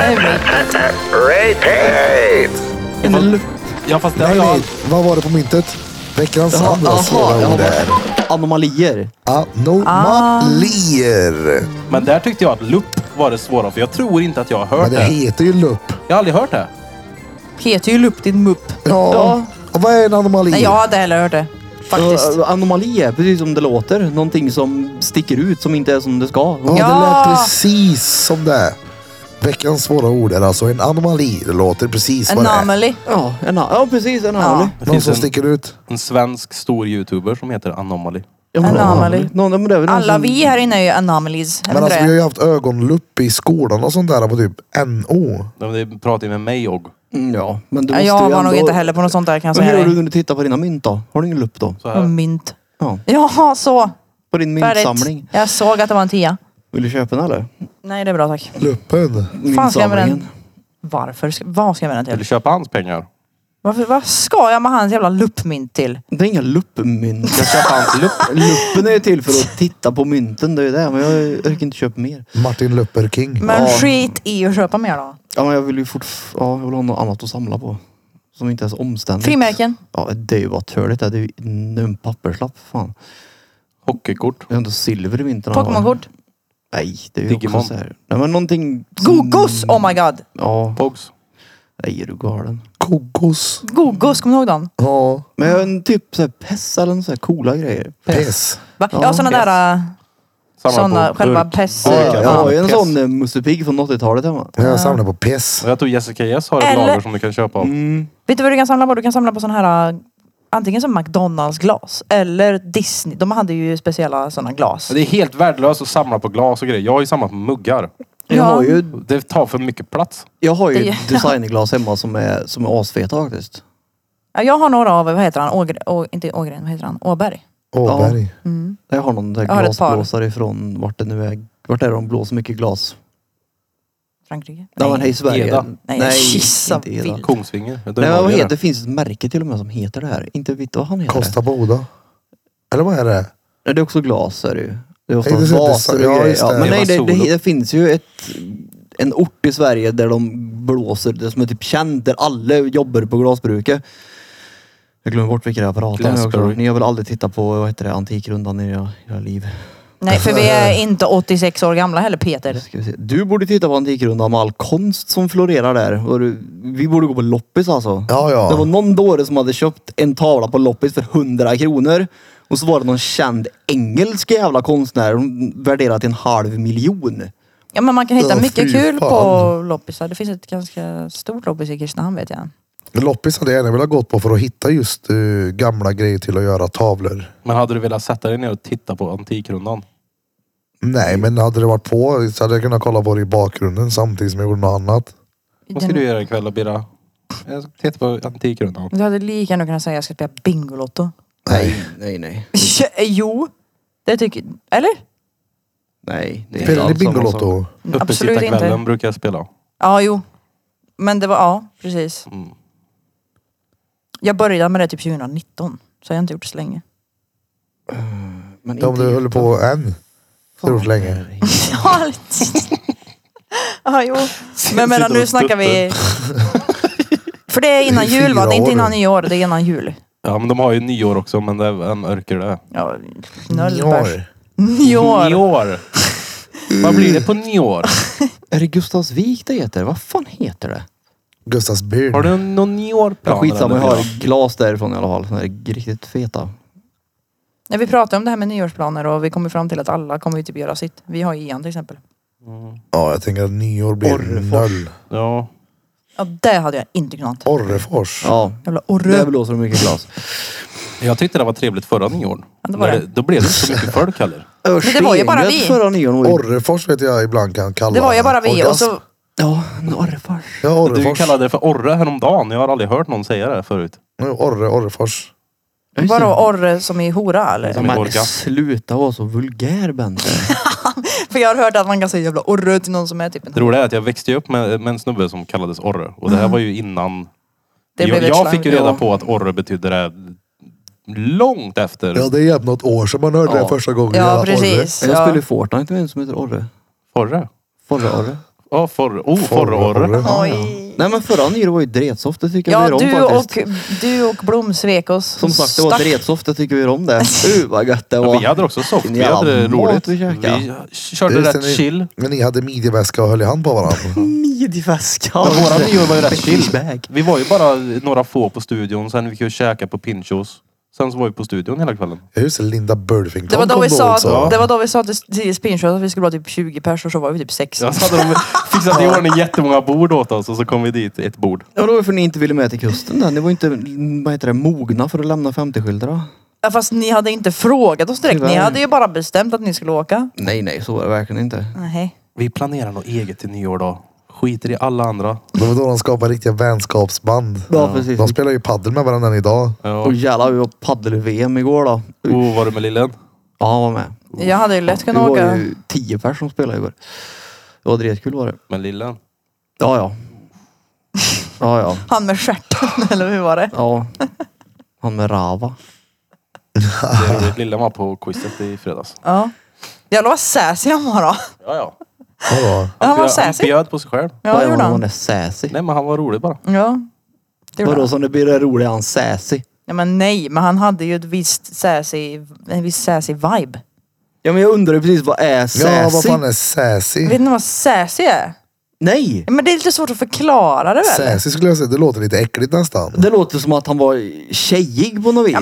Repeat.
En lupp.
Ja fast det har
Nej,
jag...
nej. Vad var det på myntet? Veckans
Jaha,
andra
jaha,
svåra
jaha.
ord är
Anomalier.
anomalier.
Men där tyckte jag att lupp var det svåra för jag tror inte att jag har hört
Men det
det.
heter ju lupp.
Jag har aldrig hört det.
Heter ju lupp din mupp.
Ja. Och vad är en anomali?
Nej, jag har inte heller hört det. Faktiskt.
Ja, Anomali är precis som det låter. Någonting som sticker ut, som inte är som det ska.
Ja,
Ja.
det lät precis som det. är. Veckans svåra ord är alltså en anomali. Det låter precis vad det är.
Anomaly.
Ja, en, a- ja precis. En anomali.
Det
Någon
finns
som
en,
sticker ut.
en svensk stor youtuber som heter Anomaly.
Ja, men
En
en
anomali.
anomali. Någon, ja, men det är väl någon
Alla
som-
vi här inne är ju anomalies. Är
Men
inte
alltså vi
det?
har ju haft ögonlupp i skolan och sånt där på typ NO.
De pratar ju med mig och
Mm, Ja, men du
Ja,
måste
jag var
ju ändå...
nog inte heller på något sånt där kan jag
Men hur
säga
gör du
dig.
när du tittar på dina mynt då? Har du ingen lupp då?
så
Och
här.
Mynt.
Ja.
Jaha, så.
På din
Färdigt.
myntsamling.
Jag såg att det var en tia.
Vill du köpa den eller?
Nej, det är bra tack.
Luppen.
Fan ska jag med den?
Myntsamlingen.
Varför? ska- Vad ska jag med den
Eller
till?
köpa hans pengar.
Varför, vad ska jag med hans jävla luppmynt till?
Det är inga luppmynt.
Jag köpa
*laughs*
hans lupp.
Luppen är ju till för att titta på mynten, det är ju det. Men jag orkar inte köpa mer.
Martin Luther King.
Men
Ja.
skit i att köpa mer då.
Ja, men jag vill ju fortf- ja, jag vill ha något annat att samla på. Som inte är så omständigt.
Frimärken.
Ja, det är ju bara töligt. Det är ju en papperslapp fan.
Hockeykort.
Jag har inte silver i vintern.
Pokémonkort.
Nej, det är ju
Digimon.
också så här. Nej, men någonting...
Gogos! Oh my god.
Ja,
Pogs.
nej är du galen.
Kokos.
Gogos, kommer du ihåg dem?
Ja.
Men jag har en typ så här pess eller några coola grejer.
Pess.
Va? Ja,
Ja.
såna där... äh,
Samlar
Såna
på
själva
burk.
pess...
Ja, jag har ju en
Pess.
sån eh, Musse Pigg från 80-talet hemma.
Jag samlar på pess.
Och Jag tror Jessica Yes har ett
Eller- Mm.
Mm.
lager som du kan köpa av.
Vet du vad du kan samla på? Du kan samla på sån här äh, antingen som McDonalds glas eller Disney. De hade ju speciella sådana glas.
Det är helt värdelöst att samla på glas och grejer. Jag har ju samlat på muggar.
Jag har ju,
Det tar för mycket plats.
jag har ju
Det- *laughs*
designerglas hemma som är, som är asfeta faktiskt.
Ja, jag har några av, vad heter han, Ågren, Å, inte Ågren, vad heter han, Åberg. Mm.
Åberg.
Jag har någon där
Jag har ett par.
glasblåsare ifrån vart det nu är. Vart är det de blåser mycket glas?
Frankrike.
Nej, men här i Sverige.
Eda.
Nej, gissa
inte Eda.
vilt.
Kungsvinger. Det
Nej,
är
men vad
Norge
heter,
det.
det finns ett märke till och med som heter det här. Inte vet vad han heter.
Kosta Boda. Eller vad är det?
Nej, det är också glas är det ju. Det är ofta
Nej, det är så-
vaser och
ja,
grejer.
just
Ja,
det.
men
Det
nej,
var
det,
solo.
det, det finns ju ett, en ort i Sverige där de blåser, det som är typ känt, där alla jobbar på glasbruket. Jag glömmer bort vilka det är jag pratar om nu också.
Glasbury.
Ni har väl aldrig tittat på, vad heter det, Antikrundan i era, era liv?
Nej, för vi är inte 86 år gamla heller Peter.
Ska vi se. Du borde titta på Antikrundan med all konst som florerar där. Och du- Vi borde gå på loppis alltså.
Ja, ja.
Det var någon dåre som hade köpt en tavla på loppis för 100 kronor. Och så var det någon känd engelsk jävla konstnär. Hon värderade till en halv miljon.
Ja, men man kan hitta
Ja,
mycket
fy
kul
fan.
på loppisar. Det finns ett ganska stort loppis i Kristinehamn vet jag.
Loppis hade jag gärna velat gått på för att hitta just eh, gamla grejer till att göra tavlor.
Men hade du velat sätta dig ner och titta på Antikrundan?
Nej, men hade det varit på så hade jag kunnat kolla på det i bakgrunden samtidigt som jag gjorde något annat.
Vad ska
Den-
du göra ikväll då Birra? Jag ska titta på Antikrundan.
Du hade lika gärna kunnat säga att jag ska spela Bingolotto. *laughs*
Nej, nej, nej.
jo, det tycker... Eller?
Nej, det är inte
Spelar ni
alls samma sak.
Bingolotto?
Absolut inte.
Uppesittarkvällen brukar jag spela.
Ja, jo. Men det var, ja precis.
Mm.
Jag började med det typ 2019. Så jag har inte gjort det så länge.
Men
Om du höll på än. Så gjort länge.
Ja, lite. *laughs* ja jo. Men medan nu snackar vi... För det är innan
Det är fyra
jul va? Det är inte
år
innan
nu.
nyår, det är innan jul.
Ja men de har ju nyår också men det är en örker det.
Ja,
Njar.
Nöllberg. Nyår.
Nyår. Vad blir det på nyår?
Är det Gustavsvik det heter? Vad fan heter det?
Gustavs Beard.
Har du någon nyårplan?
Ja, skitsamma, jag
eller?
har glas därifrån i alla fall. Såna här riktigt feta.
När vi pratar om det här med nyårsplaner och vi kommer fram till att alla kommer ju typ göra sitt. Vi har ju Ian till exempel.
Ja, jag tänker att nyår blir
Orrefors.
noll.
Ja.
Ja, det hade jag inte kunnat.
Orrefors.
Ja,
Jävla
där
orre.
blåser de mycket glas.
Jag tyckte det var trevligt förra nyår.
Ja, det var
Men
det.
Då blev det inte så mycket folk heller.
Men det var ju bara
Örsengött
vi.
Förra nyår. var ju-
Orrefors vet jag ibland kan kalla
Det var ju bara vi och
orgasm.
så...
Ja, en orrefars.
Ja,
Du
Orrefors.
kallade det för orre häromdagen. Jag har aldrig hört någon säga det förut.
Nu, Orre, Orrefors.
Vadå orre som i hora eller?
Ja,
Men
Orka.
sluta vara så vulgär Bente.
För jag har hört att man kan säga jävla orre till någon som är typ en
Det roliga är att jag växte ju upp med, med en snubbe som kallades orre. Och det här var ju innan...
Det
jag
blev ett
jag
slang,
fick ju reda
ja.
på att orre betydde det långt efter
Ja, det är jävligt något år sedan man hörde
Ja.
det första gången.
Ja
jävla
precis.
Jag spelar ju
Ja.
Fortnite med en som heter Orre.
forre.
Forre-Orre.
Ja, forre. Oh,
Forre,
forre-orre.
orre.
*gasps* Oj.
Nej men förra nyår var ju Dretsoft, det tycker vi är
Ja
om
du
faktiskt.
och, du och Blom svek oss.
Som sagt, det var
Stack-
Dretsoft, det tycker vi är
*laughs*
om det. Uh vad gött det
Ja,
var.
vi hade också soft. Vi
Jävla
hade det
mat
roligt.
vi käkade.
Vi körde
Just det,
rätt chill.
Ni, men ni hade midjeväska och höll i hand på varandra.
*laughs*
Midväska.
Våra nyår var ju rätt chill.
Bag.
Vi var ju bara några få på studion, sen vi kunde käka på Pinchos. Sen så var vi på studion hela kvällen.
Jag huskar Linda Burfington
Det var, då
kom
vi sa,
också.
det var då vi sa till till Spinshot att vi skulle vara typ 20 personer så var vi typ 6.
Sen så hade de fixat i ordning jättemånga bord åt oss och så kom vi dit, ett bord.
Ja, då var för ni inte ville med till kusten där. Ni var ju inte, vad heter det, mogna för att lämna 50-skyltarna.
Ja, fast ni hade inte frågat oss direkt. Ni
Tyvärr.
hade ju bara bestämt att ni skulle åka.
Nej, nej, så var det verkligen inte.
Nej.
Vi planerar något eget till nyår då. Skiter i alla andra.
Det var då de skapade riktiga vänskapsband.
Ja, precis.
De spelar ju paddel med varandra än idag.
Ja.
Och jävlar, vi var paddel-VM igår då.
Oh, var du med lillen?
Ja, han var med.
Jag hade ju lätt
Det
kunnat
var
åka.
ju tio pers som spelade igår. Det var dretkul var det.
Med lillen?
Ja,
*laughs*
ja. Ja, ja.
Han med stjärten, *laughs* eller hur var det?
Ja. Han med Rava.
Det är roligt. Lillen var på quizet i fredags.
Ja. Jävlar vad sassy han var då.
Ja, ja.
Vadå?
Han var
bjöd- han
sassy.
bjöd på sig själv.
Ja, det
han,
gjorde
han
han.
är sassy.
Nej, men han var rolig bara.
Ja. Det gjorde
Vadå
han.
som det blir det roliga, han sassy.
Ja, men nej, men han hade ju ett visst sassy, en viss sassy vibe.
Ja men jag undrar precis, vad är sassy?
Ja, vad fan är sassy?
Vet ni vad sassy är?
Nej!
Ja, Men det är lite svårt att förklara det väl?
Sassy skulle jag säga. Det låter lite äckligt nästan.
Det låter som att han var tjejig på något vis.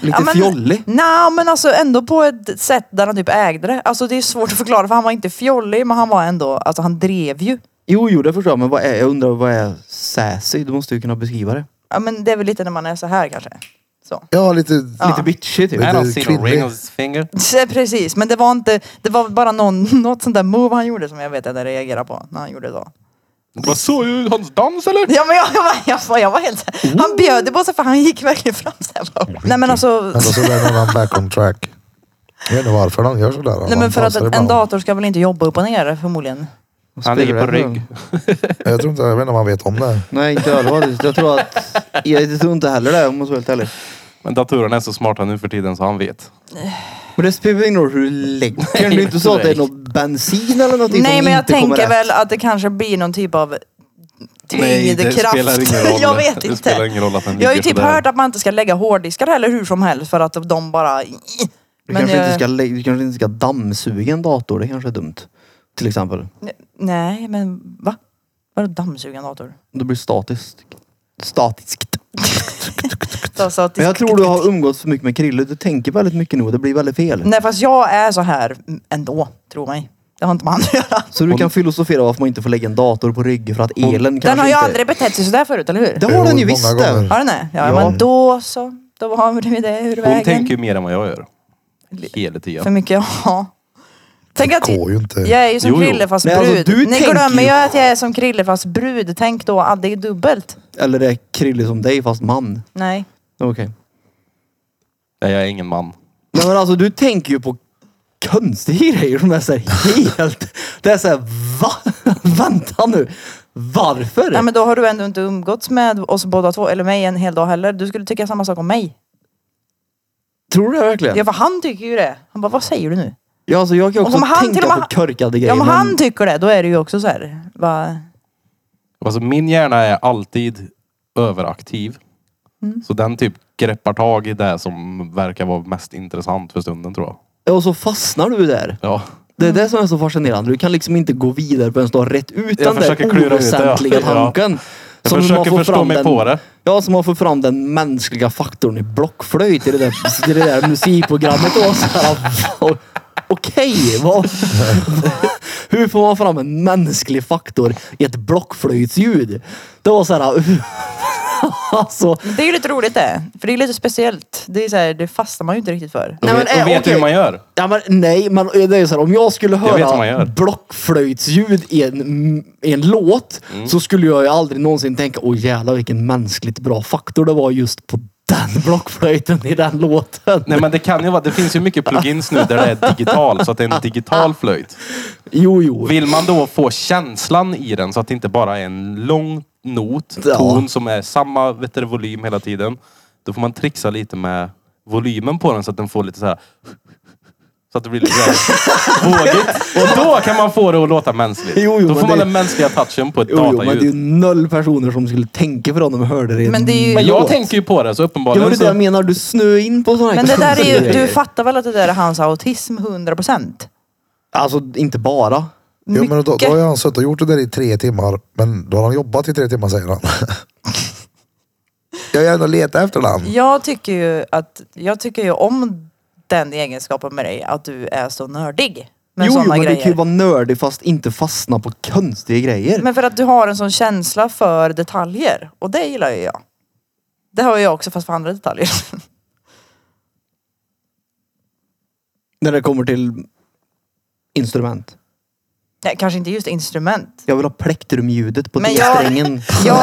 lite
men,
fjollig.
Nej, men alltså ändå på ett sätt där han typ ägde det. Alltså det är svårt att förklara för han var inte fjollig men han var ändå, alltså han drev ju.
Jo, jo det förstår jag. Men vad är, jag undrar vad är sassy? Du måste ju kunna beskriva det.
Ja men det är väl lite när man är så här kanske. *laughs* Så.
Ja, lite...
Lite bitchig typ.
Men-
I
det är
don't see no
kvinnlig.
ring on his finger.
Så, Precis, men det var inte, det var bara någon, *laughs* något sånt där move han gjorde som jag vet att jag reagerade på när han gjorde det då.
Vad såg du hans dans eller?
Ja men jag, *laughs* jag, var, jag, var, jag var helt såhär, han bjöd det på sig för han gick verkligen fram såhär.
Oh,
bara. Nej men alltså,
Eller så lämnar man back on track. Jag vet inte varför han gör sådär.
nej
Han
men för att
dansar
en
ibland.
dator ska väl inte jobba upp och ner förmodligen.
Han ligger på rygg.
Jag tror inte, jag vet inte om han vet om det.
Nej, inte allvarligt. Jag tror att... Jag tror inte heller det om jag ska vara helt ärlig.
Men datorerna är så smarta nu för tiden så han vet.
Men det spelar ingen roll hur du lägger den. Det är inte så att det är något bensin eller någonting
Nej
som
men jag
inte kommer
tänker
rätt.
väl att det kanske blir någon typ av tyngdkraft. *laughs* jag vet
Det spelar
inte.
ingen roll att den
Jag har ju
ligger
typ
sådär.
hört att man inte ska lägga hårddiskar heller hur som helst för att de bara...
Du kanske,
eh,
inte ska, lä- du kanske inte ska dammsuga en dator. Det kanske är dumt. Till exempel.
Nej men va? Vadå dammsuga en dator?
Det blir statiskt. Statiskt.
Alltså, att-
Men jag tror du har umgåtts för mycket med Krille. Du tänker väldigt mycket nu och det blir väldigt fel.
Nej fast jag är så här ändå, tro mig. Det har inte med han att göra.
Så du kan filosofera varför man inte får lägga en dator på rygg för att elen kanske
Den har ju
inte...
aldrig betett sig sådär förut, eller hur?
Det har den ju
Jo,
visst
många
det.
gånger.
Har den det? Ja,
Ja.
men då så. Då har vi det ur vägen.
Hon tänker ju mer än vad jag gör. Hela
För
tiden.
mycket, ja. Tänk att
går ju inte.
jag är ju som
Jo, jo.
Krille fast
Nej,
brud.
alltså, du
Ni
tänker
glömmer
ju-
ju att jag är som Krille fast brud. Tänk då att det är dubbelt.
Eller är Krille som dig fast man?
Nej.
Okej.
Nej, jag är ingen man.
Nej men alltså du tänker ju på konstiga grejer som är så här helt... Det är så här, va? *laughs* Vänta nu. Varför?
Nej men då har du ändå inte umgåtts med oss båda två, eller mig en hel dag heller. Du skulle tycka samma sak om mig.
Tror du det verkligen?
Ja för han tycker ju det. Han bara, vad säger du nu?
Ja, alltså, jag kan ju också
Om han
tänka
till och med-
på korkade grejer.
Ja men
men-
han tycker det, då är det ju också så här. Va?
Alltså min hjärna är alltid överaktiv.
Mm.
Så den typ greppar tag i det som verkar vara mest intressant för stunden tror jag.
Och så fastnar du där.
Ja.
Det
Mm.
är det som är så fascinerande. Du kan liksom inte gå vidare förrän du har rätt ut den
försöker klura
där
ut det,
oväsentliga
ja.
tanken.
Jag
Som
försöker
man får
förstå
fram
mig
den,
på det.
Ja, som man får fram den mänskliga faktorn i blockflöjt i det där, i det där musikprogrammet. Och så här, och- Okej, vad, hur får man fram en mänsklig faktor i ett blockflöjtsljud? Det var så här... alltså,
Det är ju lite roligt det. För det är lite speciellt. Det är så här, det fastnar man ju inte riktigt för.
nej, men,
Då
eh,
vet du hur
okej.
man gör.
Ja, men, nej, men det är så här, om jag skulle
vet hur man
höra
gör.
blockflöjtsljud i en, i en låt
Mm.
så skulle jag ju aldrig någonsin tänka åh jävlar vilken mänskligt bra faktor det var just på den *laughs* blockflöjten i den låten.
Nej men det kan ju vara, det finns ju mycket plugins nu där det är digital, så att
*laughs*
det är en digital flöjt.
Jo, jo.
Vill man då få känslan i den så att det inte bara är en lång not,
Ja.
ton som är samma vet du, volym hela tiden. Då får man trixa lite med volymen på den så att den får lite så här. *laughs* Så att det blir lite så
*laughs*
här vågigt. Och då kan man få det att låta mänskligt.
Jo, jo,
då får
men
man
det-
den mänskliga touchen på ett
jo, jo, men det är ju
dataljud.
noll personer som skulle tänka på det om de hörde det i
Men
en
det är ju-
Men jag
låt.
tänker ju på det så
Ja, men
uppenbarligen
det är det jag
så...
menar. Du snö in på sådana här
Men det där är ju,
grejer.
du fattar väl att det där är hans autism 100 procent?
Alltså, inte bara.
Jo, men då, då har ju han suttit och gjort det där i tre timmar. Men då har han jobbat i tre timmar säger
*laughs*
han. jag har ju ändå letat efter den.
Jag tycker ju att, jag tycker ju om den egenskapen med dig, att du är så nördig. Med
jo, jo,
sådana
men
grejer.
du kan ju vara nördig fast inte fastna på konstiga grejer.
Men för att du har en sån känsla för detaljer. Och det gillar ju jag. Det har ju jag också fast för andra detaljer. *laughs*
När det kommer till instrument.
Nej, kanske inte just instrument.
Jag vill ha plektrumljudet på
Men
men
jag-
strängen
Jag,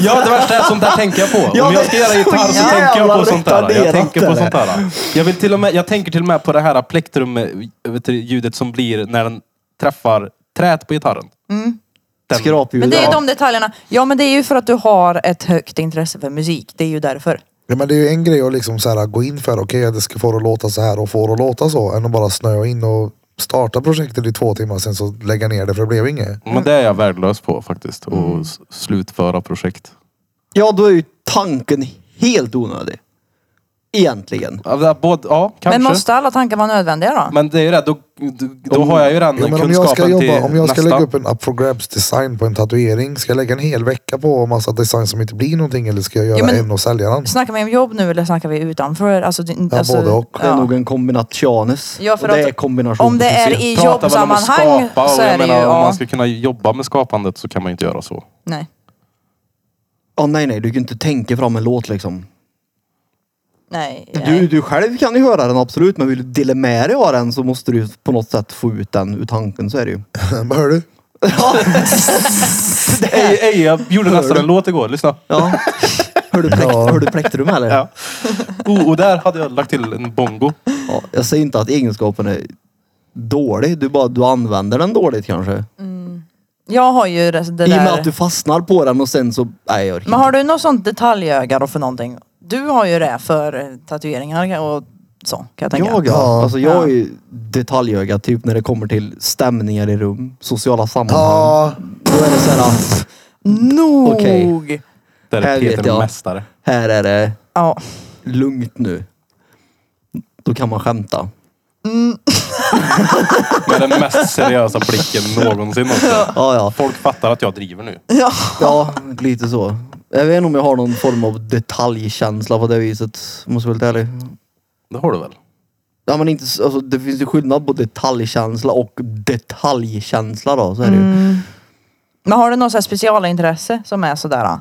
Ja det värsta är sånt där tänker jag på.
Ja,
Om
det
jag ska
är
göra
så
gitarr så
jävla
tänker jag på sånt där. Jag
retarderat,
tänker på
eller?
sånt där. Jag, vill till och med, jag tänker till och med på det här plektrum, eh, vet du, ljudet som blir när den träffar träet på gitarren. Den-
Skrapljudet.
men det är
Ja.
de detaljerna. Ja men det är ju för att du har ett högt intresse för musik. Det är ju därför.
Ja, men det är ju en grej att liksom så här, gå in för. Okej, det ska få det att låta så här och få det att låta så. Än att bara snöa in och starta projektet i två timmar sen så lägga ner det för det blev inget.
Men det är jag värdelös på faktiskt. Att s- slutföra projekt.
Ja, då är ju tanken helt onödig. Egentligen.
Ja, det- Både, ja kanske.
Men måste alla tankar vara nödvändiga då?
Men det är ju det, då, då, då har jag ju den
Ja, men om
kunskapen
jag ska, jobba,
till
om jag ska
nästa.
lägga upp en up for grabs design på en tatuering. Ska jag lägga en hel vecka på massa design som inte blir någonting eller ska jag göra
Ja, men-
en och sälja den?
Snackar vi om jobb nu eller snackar vi utanför? Alltså, det-
Ja,
alltså,
både och.
Det är
ja.
nog en kombinationis.
Ja, för
och det
att-
är kombination.
Om det är
precis.
i
Pratar väl om att
jobbsammanhang
skapa, och
så
jag
är det ju...
menar, Om
Ja.
man ska kunna jobba med skapandet så kan man ju inte göra så.
Nej.
Ja, nej, nej. Du kan ju inte tänka fram en låt liksom.
Nej.
Du, du själv kan ju höra den absolut, men vill du dela med dig av den så måste du ju på något sätt få ut den ur tanken. Så är
*laughs*
det ju.
Vad hör du?
Ey, ey, jag gjorde nästan en låt igår. Lyssna.
Ja. Hör du, pläkt,
Ja.
hör du plektrum eller?
Ja. Oh, och där hade jag lagt till en bongo.
Ja, jag säger inte att egenskapen är dålig. Du, bara, du använder den dåligt kanske.
Jag har ju det, det
I och med
där.
att du fastnar på den och sen så... Nej, jag orkar
Men har du något sånt detaljöga då för någonting? Du har ju det för eh, tatueringar och så kan jag tänka.
Jag, ja.
Ja.
Alltså, jag är ju detaljöga typ när det kommer till stämningar i rum, sociala sammanhang.
Ja, *laughs*
Då är det så här, att
Nog!
Okej.
Där
Här
är
vet
Peter
jag.
mästare.
här är det
Ja. *laughs*
lugnt nu. Då kan man skämta.
Med den mest seriösa blicken någonsin också.
Ja, ja.
Folk fattar att jag driver nu.
ja.
Ja, lite så. Jag vet inte om jag har någon form av detaljkänsla på det viset. Måste jag vara lite ärlig.
Det har du väl?
Ja, men inte, s- alltså, det finns ju skillnad på detaljkänsla och detaljkänsla då. Så är det ju.
Men har du något så här specialintresse som är sådär? ah?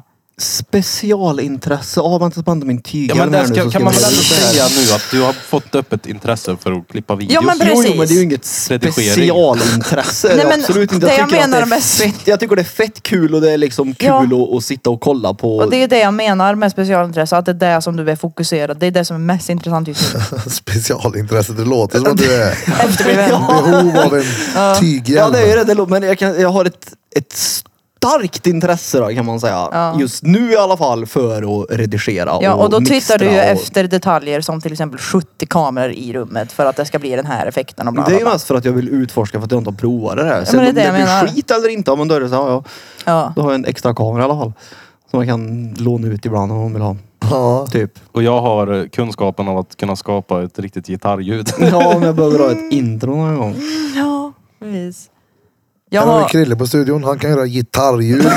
Specialintresse. Ja, vänta på min tygel
Ja, men
här
där
nu.
ska,
så
kan man väl
jag-
ändå säga nu att du har fått upp ett intresse för att klippa videos.
Ja, men precis.
Jo, jo, men det är ju inget specialintresse. det är
Nej, men
absolut inte.
det jag
tycker att
menar
det är
med-
fett, jag tycker det är fett kul och det är liksom kul
Ja.
att, att sitta och kolla på.
Och det är det jag menar med specialintresse, att det är det som du är fokuserad, det är det som är mest intressant
*laughs*
just nu.
specialintresse. Det låter som att du är
Efterbliven.
behov av en
*laughs* ja, det är ju
tyghjälm.
det. det lå- Men jag, kan, jag har ett, ett starkt intresse då, kan man säga.
Ja.
Just nu i alla fall för att redigera
Ja, och då
mixtra
tittar du ju
och-
efter detaljer som till exempel 70 kameror i rummet för att det ska bli den här effekten och bla,
Det är
bla,
ju
bla.
mest för att jag vill utforska för att jag inte har provat det här. Sen
men det är
om
det
det
jag menar.
blir skit eller inte, ja, men då är det så här, ja,
Ja.
Då har jag en extra kamera i alla fall. Som jag kan låna ut ibland om man vill ha.
Ja.
Typ.
Och jag har eh, kunskapen av att kunna skapa ett
*laughs*
riktigt gitarrljud.
Ja, om jag behöver ha ett intro någon gång.
ja, precis. Jag
Här har vi
har...
Krille på studion. Han kan göra gitarrljud.
*laughs*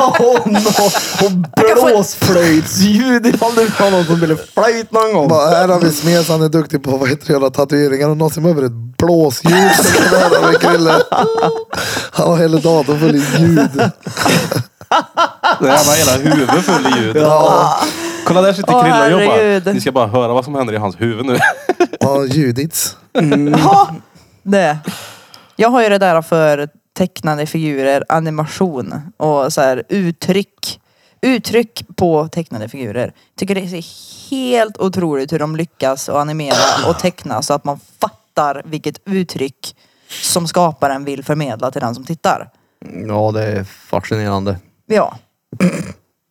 Åh, nå- Och blåsflöjtsljud ifall det var någon som ville flöjt någon gång.
Bara, här har vi Smes. Han är duktig på vad heter det, göra tatueringar. Och någon som behöver ett blåsljud så kan vi höra med Krille. Han har hela datorn full i ljud.
Det här var hela huvudet full i ljud. Kolla där sitter
Åh,
Krilla och
herregud.
jobbar. Ni ska bara höra vad som händer i hans huvud nu.
Ja, ljudits.
Ja, det. Jag har ju det där för tecknade figurer, animation och så här uttryck. Uttryck på tecknade figurer. Tycker det är så helt otroligt hur de lyckas och animera och teckna så att man fattar vilket uttryck som skaparen vill förmedla till den som tittar.
Ja, det är fascinerande.
Ja.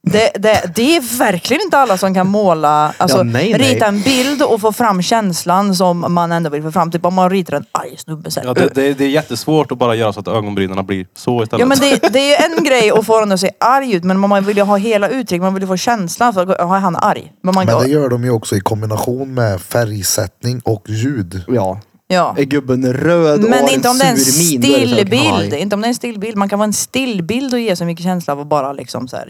Det, det, det är verkligen inte alla som kan måla, alltså
Ja, nej, nej.
rita en bild och få fram känslan som man ändå vill få fram. Typ om man ritar en arg snubbe så här.
Ja, det, det, det är jättesvårt att bara göra så att ögonbrynen blir så istället.
Ja men det, det är ju en grej att få den att se arg ut men man vill ju ha hela uttrycket, man vill ju få känslan för att "Ja, han är arg. Men man
Men det gör de ju också i kombination med färgsättning och ljud.
Ja.
ja.
Är gubben röd och
Men
har
inte om det är en
sur min, då är det så här,
stillbild.
"Aj."
Inte om det är en stillbild. Man kan vara en stillbild och ge så mycket känsla av att bara liksom så här.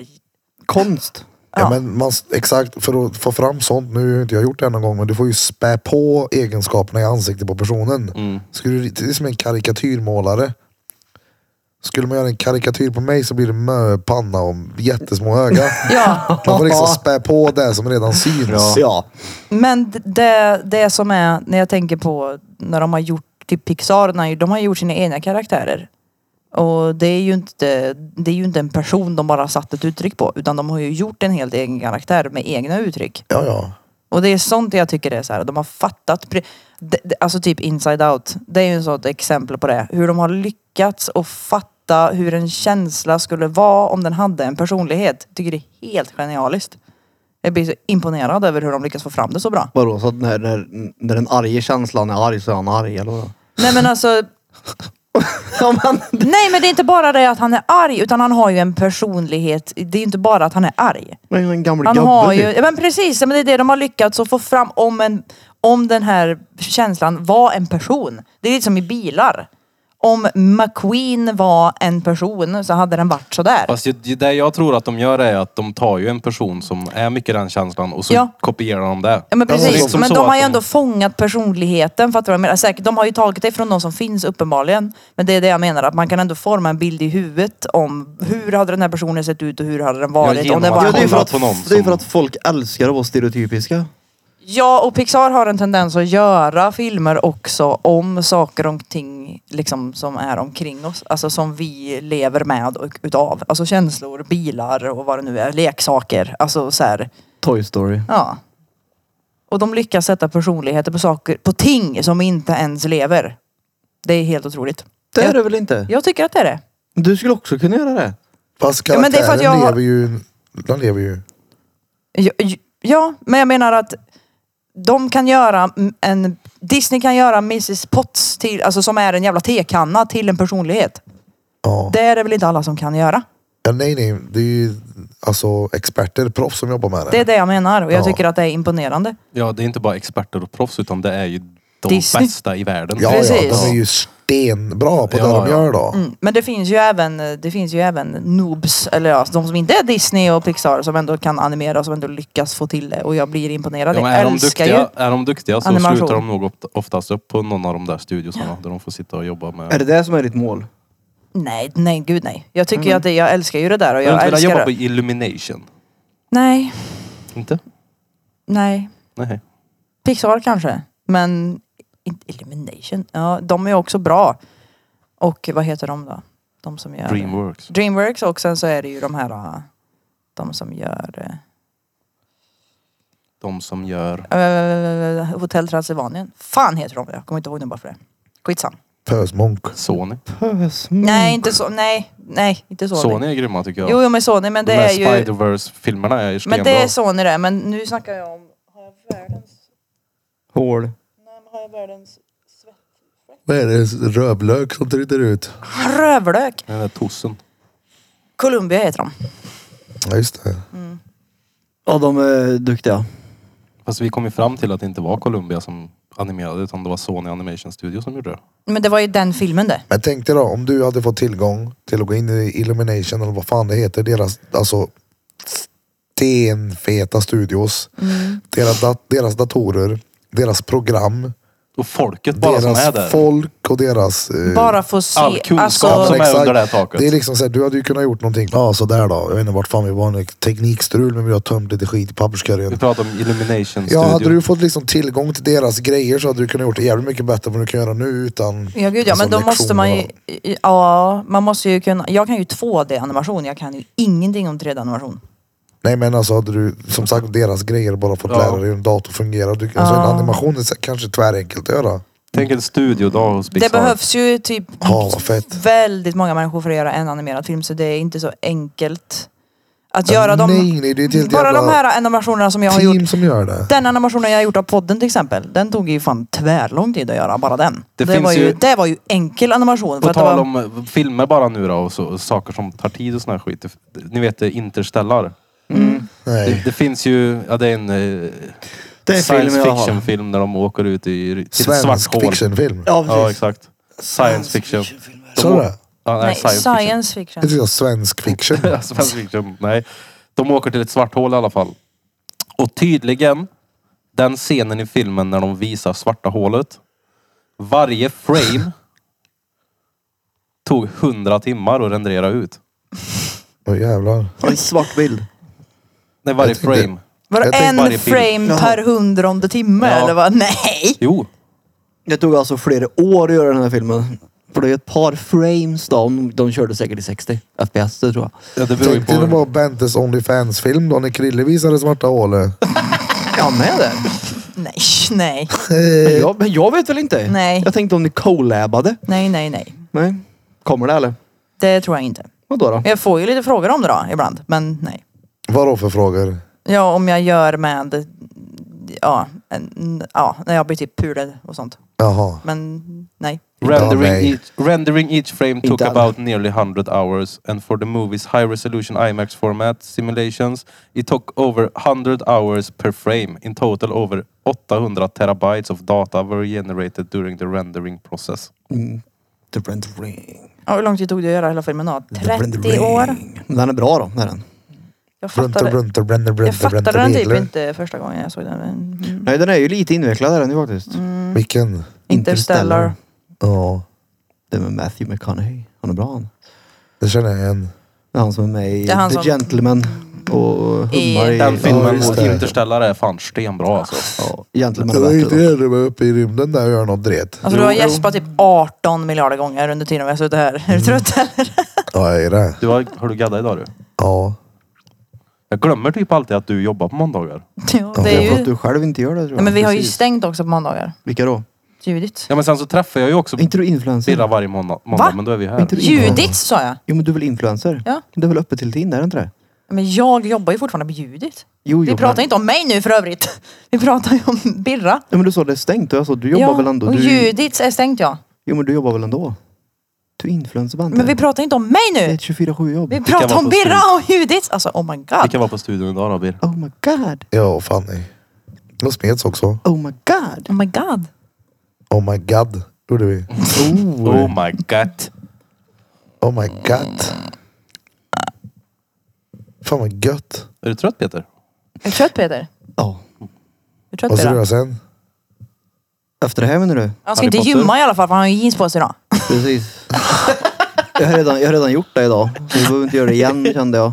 Konst.
Ja. men man, exakt, för att få fram sånt, nu har ju inte jag gjort det här någon gång, men du får ju spä på egenskaperna i ansiktet på personen. Skulle du, det är som en karikatyrmålare. Skulle man göra en karikatyr på mig så blir det möpanna och jättesmå öga.
Ja,
Man får liksom spä på det som redan syns.
Ja.
men det, det som är när jag tänker på när de har gjort, typ Pixar, när de har gjort sina egna karaktärer. Och det är ju inte, det är ju inte en person de bara satt ett uttryck på utan de har ju gjort en helt egen karaktär med egna uttryck.
Ja, ja.
Och det är sånt jag tycker är så här. de har fattat, pre- de- de- alltså typ Inside Out, det är ju ett sånt exempel på det. Hur de har lyckats att fatta hur en känsla skulle vara om den hade en personlighet. Tycker det är helt genialiskt. Jag blir så imponerad över hur de lyckas få fram det så bra.
Vadå, så att när, när, när den arga känslan är arg så är han arg eller vadå?
Nej men alltså,
*laughs* Ja, men
nej men det är inte bara det att han är arg utan han har ju en personlighet. Det är inte bara att han är arg.
det är ju en gammal
Han
gubbe
har ju,
typ.
ja men precis, ja, men det är det de har lyckats att få fram om, en, om den här känslan var en person. Det är lite som i bilar. Om McQueen var en person så hade den varit sådär.
Fast ju- ju- det jag tror att de gör är att de tar ju en person som är mycket den känslan och så
Ja.
kopierar de det.
Ja men
Ja, det är
precis,
liksom
men
så
de har
att
ju
de-
ändå fångat personligheten. Fattar du vad jag menar? Säkert, de har ju tagit det från de som finns uppenbarligen. Men det är det jag menar, att man kan ändå forma en bild i huvudet om hur hade den här personen sett ut och hur hade den varit.
genom
om det
att
var
Ja, det är ju för
kollat
att,
på
det
någon
är ju
som-
för att folk älskar att vara stereotypiska.
Ja, och Pixar har en tendens att göra filmer också om saker och ting liksom, som är omkring oss. Alltså som vi lever med och utav. Alltså känslor, bilar och vad det nu är. Leksaker. Alltså så här,
Toy Story.
ja. Och de lyckas sätta personligheter på saker, på ting som inte ens lever. Det är helt otroligt.
Det är
jag,
det väl inte?
jag tycker att det är det.
Du skulle också kunna göra det.
Fast
Ja, men det är för att
karaktären
jag-
lever ju... Den lever ju.
Ja, ja, men jag menar att de kan göra en... Disney kan göra Mrs Potts, till, alltså som är en jävla tekanna, till en personlighet.
Ja.
Det är det väl inte alla som kan göra.
ja. Nej, nej. Det är ju alltså experter, proffs som jobbar med det.
Det är det jag menar och jag
Ja.
tycker att det är imponerande.
Ja, det är inte bara experter och proffs utan det är ju de
Disney.
bästa i världen.
Ja,
Precis.
ja. De är ju stenbra på det
Ja,
de
ja.
gör då.
Mm. Men det finns ju även, det finns ju även noobs, eller ja, de som inte är Disney och Pixar som ändå kan animera, som ändå lyckas få till det och jag blir imponerad.
Ja, men
jag
är, de
älskar ju.
duktiga, är de duktiga så
animation.
slutar de nog oft- oftast upp på någon av de där studiosarna där de får sitta och jobba med...
Är det det som är ditt mål?
Nej, nej, gud nej. Jag tycker ju att det, jag älskar ju det där och
jag Mm. har
jag
inte velat
älskar
jobba på
det.
Illumination.
Nej,
Inte?
nej.
Nej.
Pixar kanske, men inte Illumination. Ja, de är också bra. Och vad heter de då? De som gör...
Dreamworks.
Dreamworks och sen så är det ju de här... äh, De som gör... eh,
De som gör...
Uh, Hotell Transylvanien. Fan heter de, jag kommer inte ihåg nu bara för det. Skitsam.
Pösmunk.
Sony.
Pös.
Nej, inte så. Nej, nej, inte Sony.
Sony är grymma tycker jag.
Jo, jo, men Sony, men det
de här
är ju...
Spiderverse-filmerna är ju
Men det är
stenbra.
Sony det, men nu snackar jag om... Har jag världens...
Hål.
Nej, men har jag världens...
Vad är det? Rövlök som tryter ut?
Rövlök!
Den där tossen.
Columbia heter de.
Ja, just det.
Ja, de är duktiga.
Fast vi kom ju fram till att det inte var Columbia som animerade utan det var Sony Animation Studio som gjorde det.
Men det var ju den filmen
Mm.
det.
Men tänk dig då, om du hade fått tillgång till att gå in i Illumination eller vad fan det heter, deras alltså stenfeta studios,
Mm.
deras, dat- deras datorer, deras program,
Och folket bara som är där.
deras folk och deras... eh,
Bara få se.
All kunskap
ja,
alltså,
som är
exakt.
under det här taket.
Det är liksom såhär, du hade ju kunnat gjort någonting, ja sådär då, jag vet inte vart fan vi var nu, teknikstrul men vi har tömt lite skit i
Vi
papperskorgen.
pratar om Illumination
Ja, hade
Studio.
du fått liksom tillgång till deras grejer så hade du kunnat gjort det jävligt mycket bättre än vad du kan göra nu utan...
Ja gud ja, men
alltså,
då måste man ju,
lektioner.
ja man måste ju kunna, jag kan ju 2D animation, jag kan ju ingenting om 3D animation.
Nej men alltså hade du som sagt deras grejer bara fått
Ja.
lära dig hur en dator fungerar. Du, alltså,
Ja.
En animation är så- kanske tvärenkelt att göra.
Tänk en studiodag hos Pixar.
Det behövs ju typ
Ja vad fett.
väldigt många människor för att göra en animerad film så det är inte så enkelt att göra de,
nej nej det är ett helt
bara
jävla
de här animationerna som jag har
team
gjort.
som gör det.
Den animationen jag har gjort av podden till exempel, den tog ju fan tvärlång tid att göra, bara den.
Det
Det,
finns
var, ju,
ju-
det var ju enkel animation.
På
att det
tal
var-
om eh, filmer bara nu då och så, och saker som tar tid och sån här skit. Det- Ni vet eh, Interstellar.
Mm.
Det,
Nej.
det finns ju, ja det är en eh,
Det är
science
filmen jag har.
fiction film där de åker ut i till ett svart
Svensk
hål.
fictionfilm.
Ja,
Ja
precis.
exakt. Science fiction.
Sa du det?
Ja, nej,
nej,
science, fiction.
science fiction.
Jag tyckte det var svensk
*laughs*
fiction.
science fiction. Nej. Alltså, De åker till ett svart hål i alla fall. Och tydligen, den scenen i filmen när de visar svarta hålet. Varje frame tog 100 timmar att rendera ut.
Åh jävlar.
En svart bild.
Nej, varje
Jag tänkte-
frame.
Var
Jag
det
tänkte
varje
en
film.
frame per hundrade timme
Ja.
eller vad? *laughs* Nej!
Jo,
Det tog alltså flera år att göra den här filmen. För det är ett par frames då. De körde säkert i 60 FPS, det tror jag.
ja, det beror ju
Tänkte det
på.
var Bentes Onlyfans-film då när Krille visade svarta hålet.
Ja, med det.
Nej, nej,
Men jag, men jag vet väl inte?
Nej.
Jag tänkte om ni collabade.
nej, nej, nej.
Nej. Kommer det eller?
Det tror jag inte.
Vadå då?
Jag får ju lite frågor om det då ibland, men nej.
Vadå för frågor?
Ja, om jag gör med, ja, en, ja när jag blir typ pulad och sånt.
Jaha.
Men nej.
Ja,
Rendering
nej.
each, rendering each frame took
alla.
about nearly 100 hours and for the movie's high resolution IMAX format simulations it took over 100 hours per frame. In total over 800 terabytes of data were generated during the rendering process.
Mm. The Rendering.
Ja, hur lång tid tog det att göra hela filmen då?
The
30
Rendering.
år?
Den är bra då, den är den.
Jag
Brunter,
fattade,
brunter, brunter,
jag
brunter,
fattade den typ
regler.
inte första gången jag såg den. men- Mm.
Nej, den är ju lite invecklad är den ju faktiskt.
Vilken?
Interstellar.
Ja.
Den med Matthew McConaughey. Han är bra han.
Det känner jag igen.
Det är han som är med i
Det är han
The
som- Mm.
Gentleman. Och och hummar
I-
i...
Den
Ja,
filmen
just
mot
det.
Interstellar är fan stenbra alltså.
Ja, egentligen
Det
med
var
det
inte
bättre.
det du var uppe i rymden där och gör något dret.
Alltså du har gäspat typ 18 miljarder gånger under tiden vi har suttit här. Är du trött eller?
Ja, jag är det.
Du har, har du gaddat idag du?
Ja.
Jag glömmer typ alltid att du jobbar på måndagar.
Jo,
Det
det är
är för att
ju...
du själv inte gör det tror jag.
Nej, men vi har ju
precis.
stängt också på måndagar.
Vilka då?
Judit.
Ja men sen så träffar jag ju också
Är inte du influencer?
Birra varje måndag, måndag
Va?
men då är vi här.
Inte du influencer?
Judit sa jag.
Jo men du är väl influencer?
Ja.
Det är väl öppet till din, är det inte det?
Men jag jobbar ju fortfarande på Judit.
Jo,
Vi
jo,
pratar
men-
inte om mig nu för övrigt. *laughs* Vi pratar ju om Birra.
Ja, men du sa det är stängt och jag sa du jobbar väl ändå?
och
Du,
Judits är stängt ja.
Jo men du jobbar väl ändå? Du är influencer Bente.
Men vi pratar inte om mig
Det är
nu.
ett 24-7 jobb.
Vi pratar
vara
om
på
Birra och Judits. Alltså oh my
Vi
god.
kan vara på studion idag då Bir.
Oh my god.
Ja, och Fanny. De smeds också.
Oh my god.
Oh my god.
Oh my god, gjorde vi.
Oh my god.
Oh my god. Fan vad gött.
Är du trött Peter?
Är du trött Peter?
Ja.
Är du trött
Vad ska du
Birra?
göra sen?
Efter det här menar du?
Han ska
Harry
inte
Potter?
gymma i alla fall för han har ju jeans på sig idag.
Precis. jag, har redan, jag har redan gjort det idag. Så vi behöver inte göra det igen kände jag.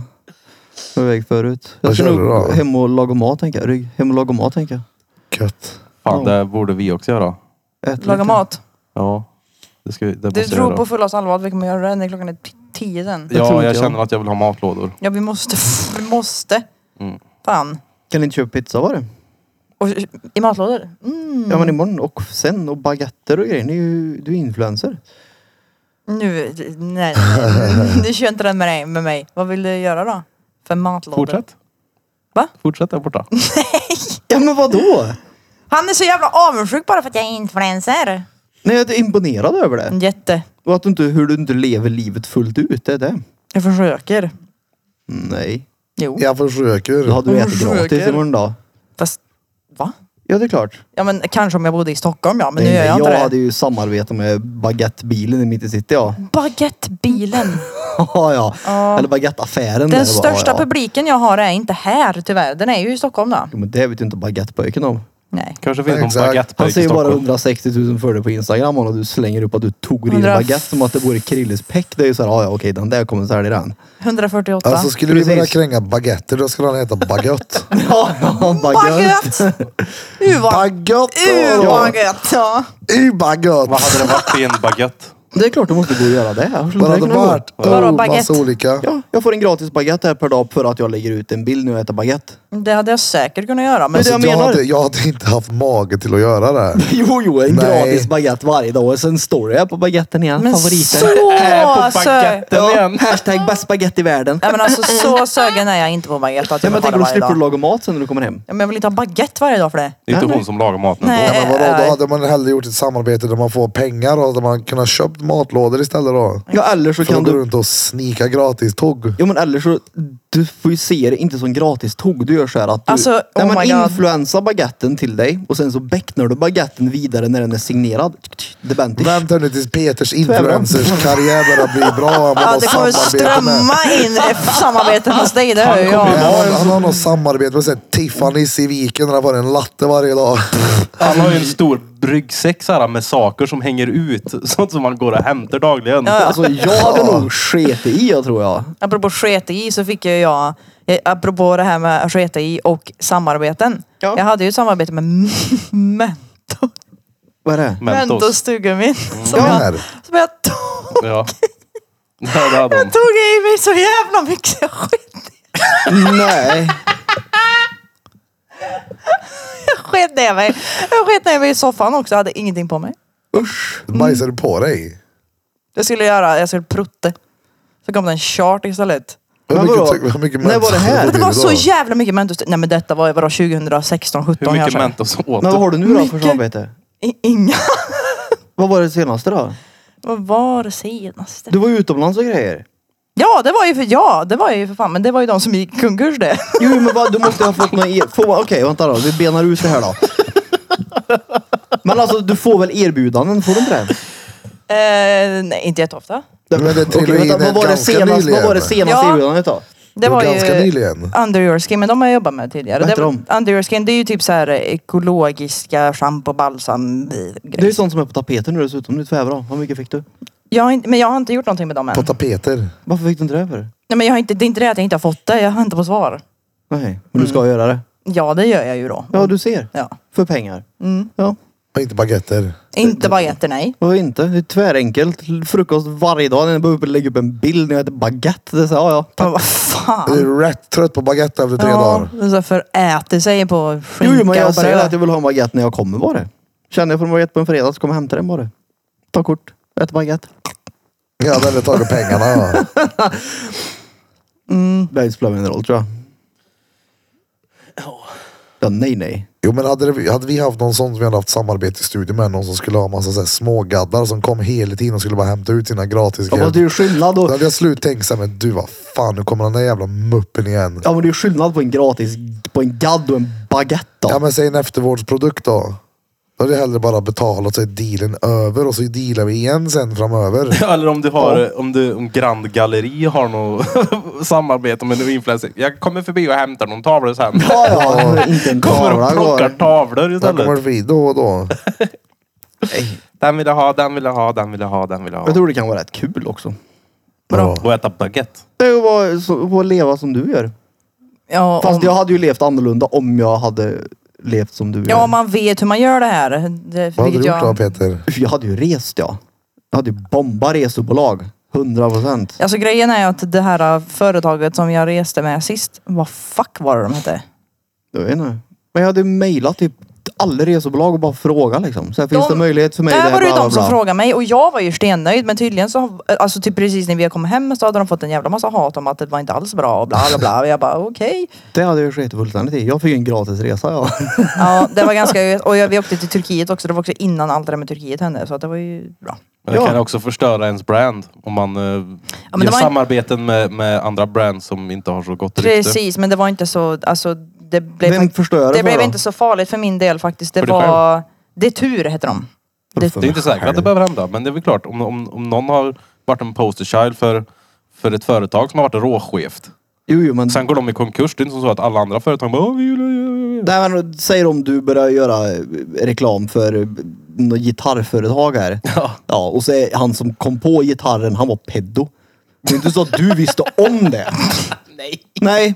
Jag var iväg förut. Jag
Vad
ska
körde du
nog
då?
hem och laga mat tänker jag. Rygg. Hem och laga mat tänker
Gött.
Fan det borde vi också göra.
jag. Äta
Laga
lite.
mat.
Ja. Det, ska, vi- det
Du
måste jag
tror
göra.
på fullaste allvar att vi kommer göra det när klockan är t- tio sen.
Jag tror
Ja,
inte
jag
jag.
känner att jag vill ha matlådor.
Ja vi måste. *laughs* Vi måste. Fan.
Kan ni inte köpa pizza var det?
Och i matlådor? Mm.
Ja men imorgon och sen och baguetter och grejer. Ni är ju, du är influencer.
Nu, nej, nej, nej. Du kör inte den med, dig, med mig. Vad vill du göra då? För matlådor?
Fortsätt.
Va?
Fortsätt där borta.
Ja men vadå?
Han är så jävla avundsjuk bara för att jag är influencer.
Nej jag är imponerad över det.
En jätte.
Och att du inte, hur du inte lever livet fullt ut. Det är det.
Jag försöker.
Nej.
Jo.
Jag försöker.
Då hade du
Hon
ätit
Mm. försöker.
gratis imorgon då.
Fast, va?
Ja det är klart.
Ja men kanske om jag bodde i Stockholm ja, men nu gör jag, inte
jag
det.
hade ju samarbete med baguettebilen i mitt i city ja.
Baguettebilen.
*laughs* ja, ja. Eller baguetteaffären. där,
Den
det var,
största
ja.
publiken jag har är inte här tyvärr. Den är ju i Stockholm då.
Jo, men det vet ju inte baguettepöken om.
Nej.
Kanske finns någon
Exakt.
baguettepöjk
Han
i
säger bara
Stockholm.
160 000 följare på Instagram och du slänger upp att du tog i en
100.
baguette som att det vore Krilles peck. Det är ju såhär, ja ja okej den där kommer
*laughs*
sälja den.
148.
Alltså skulle vi
Precis.
börja kränga baguetter då skulle han heta baguette.
Ja, ja baguette.
Baguette! U vad
baguette!
U vad gött! Ja.
I baguette!
Vad hade det varit i en baguette?
Det är klart du måste gå och göra det. Hur skulle
Vad hade
det
det
kunna gå?
varit?
Vadå,
Oh,
baguette?
massa olika.
Ja, jag får en gratis baguette här per dag för att jag lägger ut en bild när jag äter baguette. *laughs*
Det hade jag säkert kunnat göra. Men
det
Jag,
jag menar.
hade, jag hade inte haft mage till att göra det.
*laughs*
här.
Jo, jo, en
Nej.
gratis baguette varje dag och sen står jag på baguetten igen.
Men
favoriten.
så
*laughs*
sög...
baguetten igen.
hashtag bäst baguette i världen.
Nej men alltså så sögen är jag inte på baguette att
Ja,
jag
men
vill ha
tänk
det
om du
varje
slipper
dag.
laga mat sen när du kommer hem.
Ja, men jag vill inte ha baguette varje dag för det.
Det
Nej,
är inte
nej.
hon som lagar maten ändå.
Ja,
Nej.
men vadå,
Eh,
då hade man hellre gjort ett samarbete där man får pengar och där man kunnat köpt matlådor istället då.
Ja, eller så
För
kan
att gå
du...
runt och snika gratis tåg.
Jo, men eller så... Du får ju se det inte som gratis tog. Du gör så här att du...
Alltså,
nej,
oh
man
my God.
influensar baguetten till dig och sen så becknar du baguetten vidare när den är signerad. The Bentish.
Vänta nu tills Peters
Tvärtom.
influencers karriär börjar bli bra. Han
Ja,
har
det kommer
samarbete med.
strömma in ett samarbete hos dig, det hör ju
Nej,
jag.
Han, han har något samarbete med så här Tiffany's i Viken där han får en latte varje dag.
Han har ju en stor ryggsäck så här, med saker som hänger ut. *laughs* Sånt som man går och hämtar dagligen.
Ja, ja.
Alltså, jag hade nog sket i jag tror jag.
Apropå sketa i så fick ju jag, eh, apropå det här med att sketa i och samarbeten.
Ja.
Jag hade ju ett samarbete med Mentos,
Vad är det?
Mentos tuggummin.
Mm.
Som, jag,
Där.
som jag, tog,
Ja. Ja, det hade hon.
jag tog i mig så jävla mycket jag sket
Nej.
jag sket ner mig. Jag sket ner mig i soffan också, jag hade ingenting på mig.
Usch.
Bajsar du på dig?
Jag skulle göra, jag skulle prutte. Så kom det en chart istället.
Hur
Men vadå?
mycket, tugg- hur mycket
När var det här?
mens har du fått
Det
i
var
dig
så
då?
jävla mycket Mentos. Nej men detta var, vadå 2016, 17
Hur mycket
kanske?
Mentos åt
Men vad
du?
har du nu då för
Mycket.
samarbete?
I- Inga. *laughs*
Vad var det senaste då?
Vad var det senaste?
Du var ju utomlands och grejer.
Ja det var ju för, ja det var ju för fan, men det var ju de som gick konkurs *laughs* det.
Jo men vad, du måste ha fått någon er... få... Okej vänta då, vi benar ut det här då. Men alltså du får väl erbjudanden? Får du inte det?
Eh, nej inte jätteofta.
Men det trillade
Okej, vänta,
in
vad,
ett
var det
ganska
senast, vad
nyligen.
var det senaste
Ja.
erbjudandet då?
Det var,
ganska
ju
nyligen.
Under Your Skin, men de har jag jobbat med tidigare.
Vad
Det,
heter
var- under Your Skin, det är ju typ så här ekologiska schampo, balsam,
Det är ju
grejs.
sånt som är på tapeten nu dessutom. Nu tvärar Hur mycket fick du?
Jag har inte, men jag har inte gjort någonting med dem än.
På tapeter.
Varför fick du inte det för?
Nej men jag har inte, det är inte det att jag inte har fått det, jag väntar på svar.
Nej, men du ska göra det.
Ja, det gör jag ju då.
Ja, du ser.
Ja.
För pengar.
Mm.
Ja,
Och inte baguetter.
Inte baguetter, nej.
varför inte? Det är tvärenkelt. Frukost varje dag. Jag behöver lägga upp en bild när jag äter baguette. Det är så, ja, ja.
Men vad
Du
fan.
är rätt trött på baguette efter tre
Ja,
dagar.
det är så för äter sig på skinka
Jo, jo, men jag
och
säger
bröd.
att jag vill ha en baguette när jag kommer bara. Känner jag för en baguette på en fredag så kommer jag hämta den bara. Ta kort. Ät baguette.
Jag hade hellre tagit pengarna. Ja.
Det spelar ingen roll tror jag. Ja, nej, nej.
Jo men hade, det, hade vi haft någon sån som vi hade haft samarbete i studion med. Någon som skulle ha massa så här smågaddar som kom hela tiden och skulle bara hämta ut sina gratis
Ja, men det är ju skillnad
Då
då.
hade jag slut tänkt såhär, men du vad fan nu kommer den där jävla muppen igen.
Ja, men det är ju skillnad på en gratis, på en gadd och en baguette då.
Ja men säg en eftervårdsprodukt då. Då hade jag hellre bara betalat så är dealen över och så dealar vi igen sen framöver.
*laughs* Eller om du har, om du, om Grand Galleri har något *laughs* samarbete med någon influencer. Jag kommer förbi och hämtar någon tavla sen.
Ja, ja, inte en
Kommer
tavla
och plockar
kvar.
tavlor
Den kommer
istället.
vi då och då.
Den vill jag ha, den vill jag ha, den vill jag ha, den vill jag
Jag
ha.
tror det kan vara rätt kul också.
Ja.
Och äta baguette.
Det är att vara så- att leva som du gör.
Ja,
Fast
om,
jag hade ju levt annorlunda om jag hade levt som du
ja,
gör.
om man vet hur man gör det här. Det,
Vad hade
vilket
du gjort då
jag,
Peter?
Jag hade ju rest ja. Jag hade ju bombat resebolag. 100 procent.
alltså grejen är att det här äh, företaget som jag reste med sist, vad fuck var det de hette?
Jag vet inte. Men jag hade ju mejlat typ alla resebolag och bara frågat liksom. Så här, finns
De-
det möjlighet för mig?
Där var det ju
bla, bla,
de som
bla.
frågade mig och jag var ju stennöjd men tydligen så, alltså typ precis när vi kom hem så hade de fått en jävla massa hat om att det var inte alls bra och bla bla bla. Och jag bara okej.
Det hade jag ju skitit fullständigt i. Jag fick ju en gratis resa ja.
Ja det var ganska, och jag, vi åkte till Turkiet också, det var också innan allt det där med Turkiet hände så att det var ju bra.
Men det
Ja.
kan också förstöra ens brand om man eh,
men det
gör
var en-
samarbeten med, med andra brands som inte har så gott rykte.
Precis men det var inte så, alltså det blev,
Vem förstörde
det
för
blev
då?
inte så farligt för min del faktiskt. Det
För dig
var, det tur hette de. Det,
Det är inte säkert att det behöver hända, men det är väl klart om, om, om någon har varit en posterchild för, för ett företag som har varit råskevt.
Jo, jo men...
Sen går de i konkurs. Det är inte så att alla andra företag bara "Åh, vi vill, vi vill."
Nej, men säg om du börjar göra eh, reklam för eh, något gitarrföretag här. Ja. och så är han som kom på gitarren, han var peddo. Det är inte så att du visste om
*laughs*
det. Nej. Nej.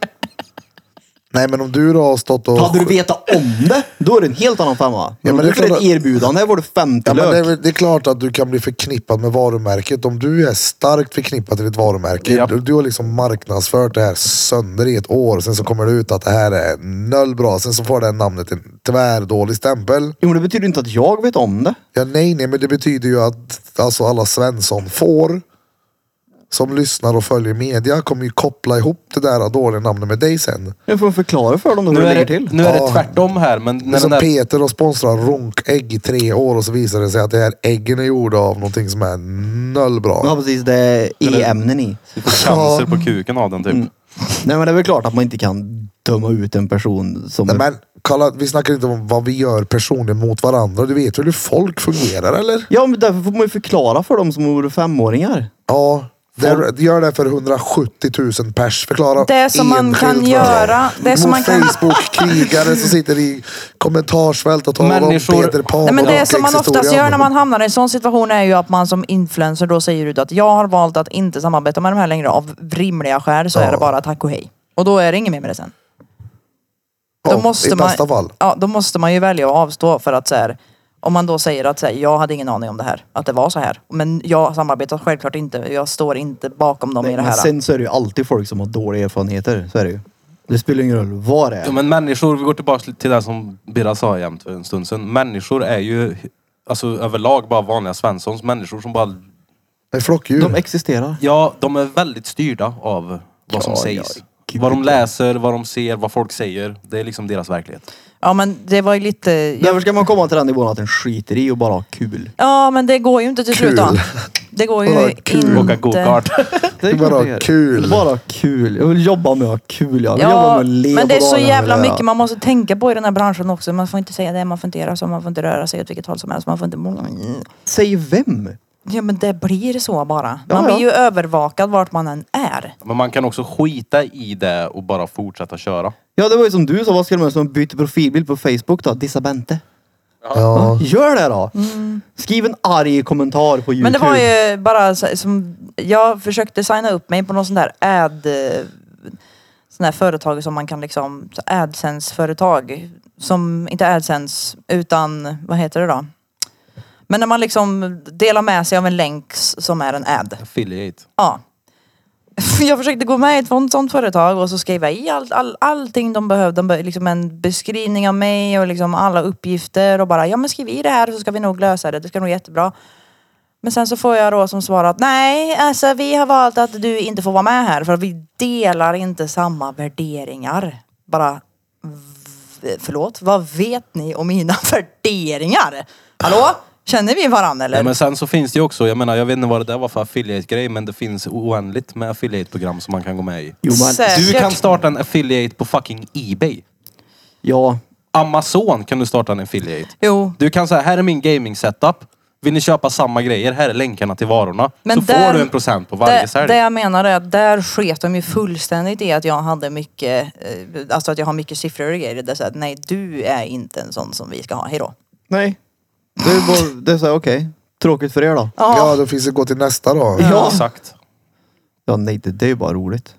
Nej men om du då har stått och...
Hade du vetat om det, då är det en helt annan femma. Men
Ja, men
om du
det är
får
klart
ett
att-
erbjudande, här var det femte
Ja, men det, är,
lök.
väl- det är klart att du kan bli förknippad med varumärket. Om du är starkt förknippad till ditt varumärke.
Ja.
Du, du har liksom marknadsfört det här sönder i ett år. Sen så kommer det ut att det här är noll bra. Sen så får det här namnet en tvärdålig stämpel.
Jo, men det betyder inte att jag vet om det.
Ja, nej, nej, men det betyder ju att alltså, alla Svensson får som lyssnar och följer media kommer ju koppla ihop det där dåliga namnet med dig sen.
Jag får förklara för dem då hur
Nu
det
är
ligger
det,
till.
nu är det
Ja.
tvärtom här, men
Det är
när den
som
där
Peter och sponsrar ronkägg i tre år och så visar det sig att det här äggen är gjorda av någonting som är noll bra.
Ja, precis. Det är
Eller-
e-ämnen i.
Du får cancer på kuken av den typ.
Nej, men det är väl klart att man inte kan döma ut en person som...
Nej, men Karla, vi snackar inte om vad vi gör personligen mot varandra. Du vet väl hur folk fungerar eller?
Ja, men därför får man ju förklara för dem som vore femåringar.
Ja, det, gör det för 170 000 pers. Förklara
Det som man
enskilt
kan
vad
göra, det
Mot
som man kan-
Facebook-krigare som sitter i kommentarsfält och talar om
Människor-
Peter Pan
Nej, men
och
det som man oftast
rockexhistorien.
gör när man hamnar i en sån situation är ju att man som influencer då säger ut att jag har valt att inte samarbeta med de här längre av rimliga skäl så
Ja.
är det bara tack och hej. Och då är det inget mer med det sen.
Ja, I bästa fall.
Ja, då måste man ju välja att avstå för att så här, om man då säger att så här, jag hade ingen aning om det här, att det var så här. Men jag samarbetar självklart inte, jag står inte bakom dem i det
Men
här.
sen så är det ju alltid folk som har dåliga erfarenheter. Så är det ju. Det spelar ingen roll vad det
Ja,
är.
men människor, vi går tillbaka till det som Birra sa jämt för en stund sedan. Människor är ju alltså, överlag bara vanliga svenssons. Människor som bara
Det är flockdjur.
De existerar.
Ja, de är väldigt styrda av vad som
Ja,
sägs.
ja, gud,
vad de
ja.
läser, vad de ser, vad folk säger. Det är liksom deras verklighet.
Ja men det var ju lite,
Därför ska man komma till den nivån att en skiter i och bara ha kul.
ja men det går ju inte till
Kul.
slut då. Det går ju
Bara kul.
inte.
Åka go-kart.
Det är
bara
klart det gör.
kul.
Bara kul. Jag vill jobba med att ha kul. Jag vill jobba med
Ja,
att leva
men det är så
dagarna
jävla
med det.
mycket man måste tänka på i den här branschen också. Man får inte säga det, man får inte göra så, man får inte röra sig åt vilket håll som helst. Man får inte...
Säg vem?
Ja men det blir så bara.
Ja,
Man
ja.
blir ju övervakad vart man än är.
*laughs* Men man kan också skita i det och bara fortsätta köra.
Ja, det var ju som du sa. Vad skulle man göra som byter profilbild på Facebook då? Dissa Bente.
Ja.
Gör det då! Skriv en arg kommentar på Youtube.
Mm. Men det var ju bara så- som, jag försökte signa upp mig på någon sån där ad... eh, sådana här företag som man kan liksom, så AdSense-företag. Som, inte AdSense, utan vad heter det då? Men när man liksom delar med sig av en länk s- som är en ad.
Affiliate.
Ja. *laughs* Jag försökte gå med i ett sånt, sånt företag och så skrev jag i all, all, allting de behövde. De behövde liksom en beskrivning av mig och liksom alla uppgifter och bara ja men skriv i det här så ska vi nog lösa det. Det ska nog jättebra. Men sen så får jag då som svar att nej, alltså vi har valt att du inte får vara med här för att vi delar inte samma värderingar. Bara, v- förlåt, vad vet ni om mina *laughs* värderingar? Hallå? Känner vi varandra eller?
Ja, men sen så finns det ju också, jag menar jag vet inte vad det där var för affiliate-grej men det finns oändligt med affiliate-program som man kan gå med i.
Jo, men,
Säkert.
Du kan starta en affiliate på fucking Ebay.
ja,
Amazon kan du starta en affiliate.
Jo.
Du kan säga, här är min gaming setup. Vill ni köpa samma grejer? Här är länkarna till varorna. så får du en procent på varje
där,
sälj.
Det jag menar är att där sket de ju fullständigt i att jag hade mycket, eh, alltså att jag har mycket siffror och grejer. Det är så att nej, du är inte en sån som vi ska ha. Hejdå.
nej. Det är bara, det är såhär, okej. Tråkigt för er då.
Ja, då finns det gå till nästa då.
Ja, exakt.
Ja, nej, det, det är ju bara roligt.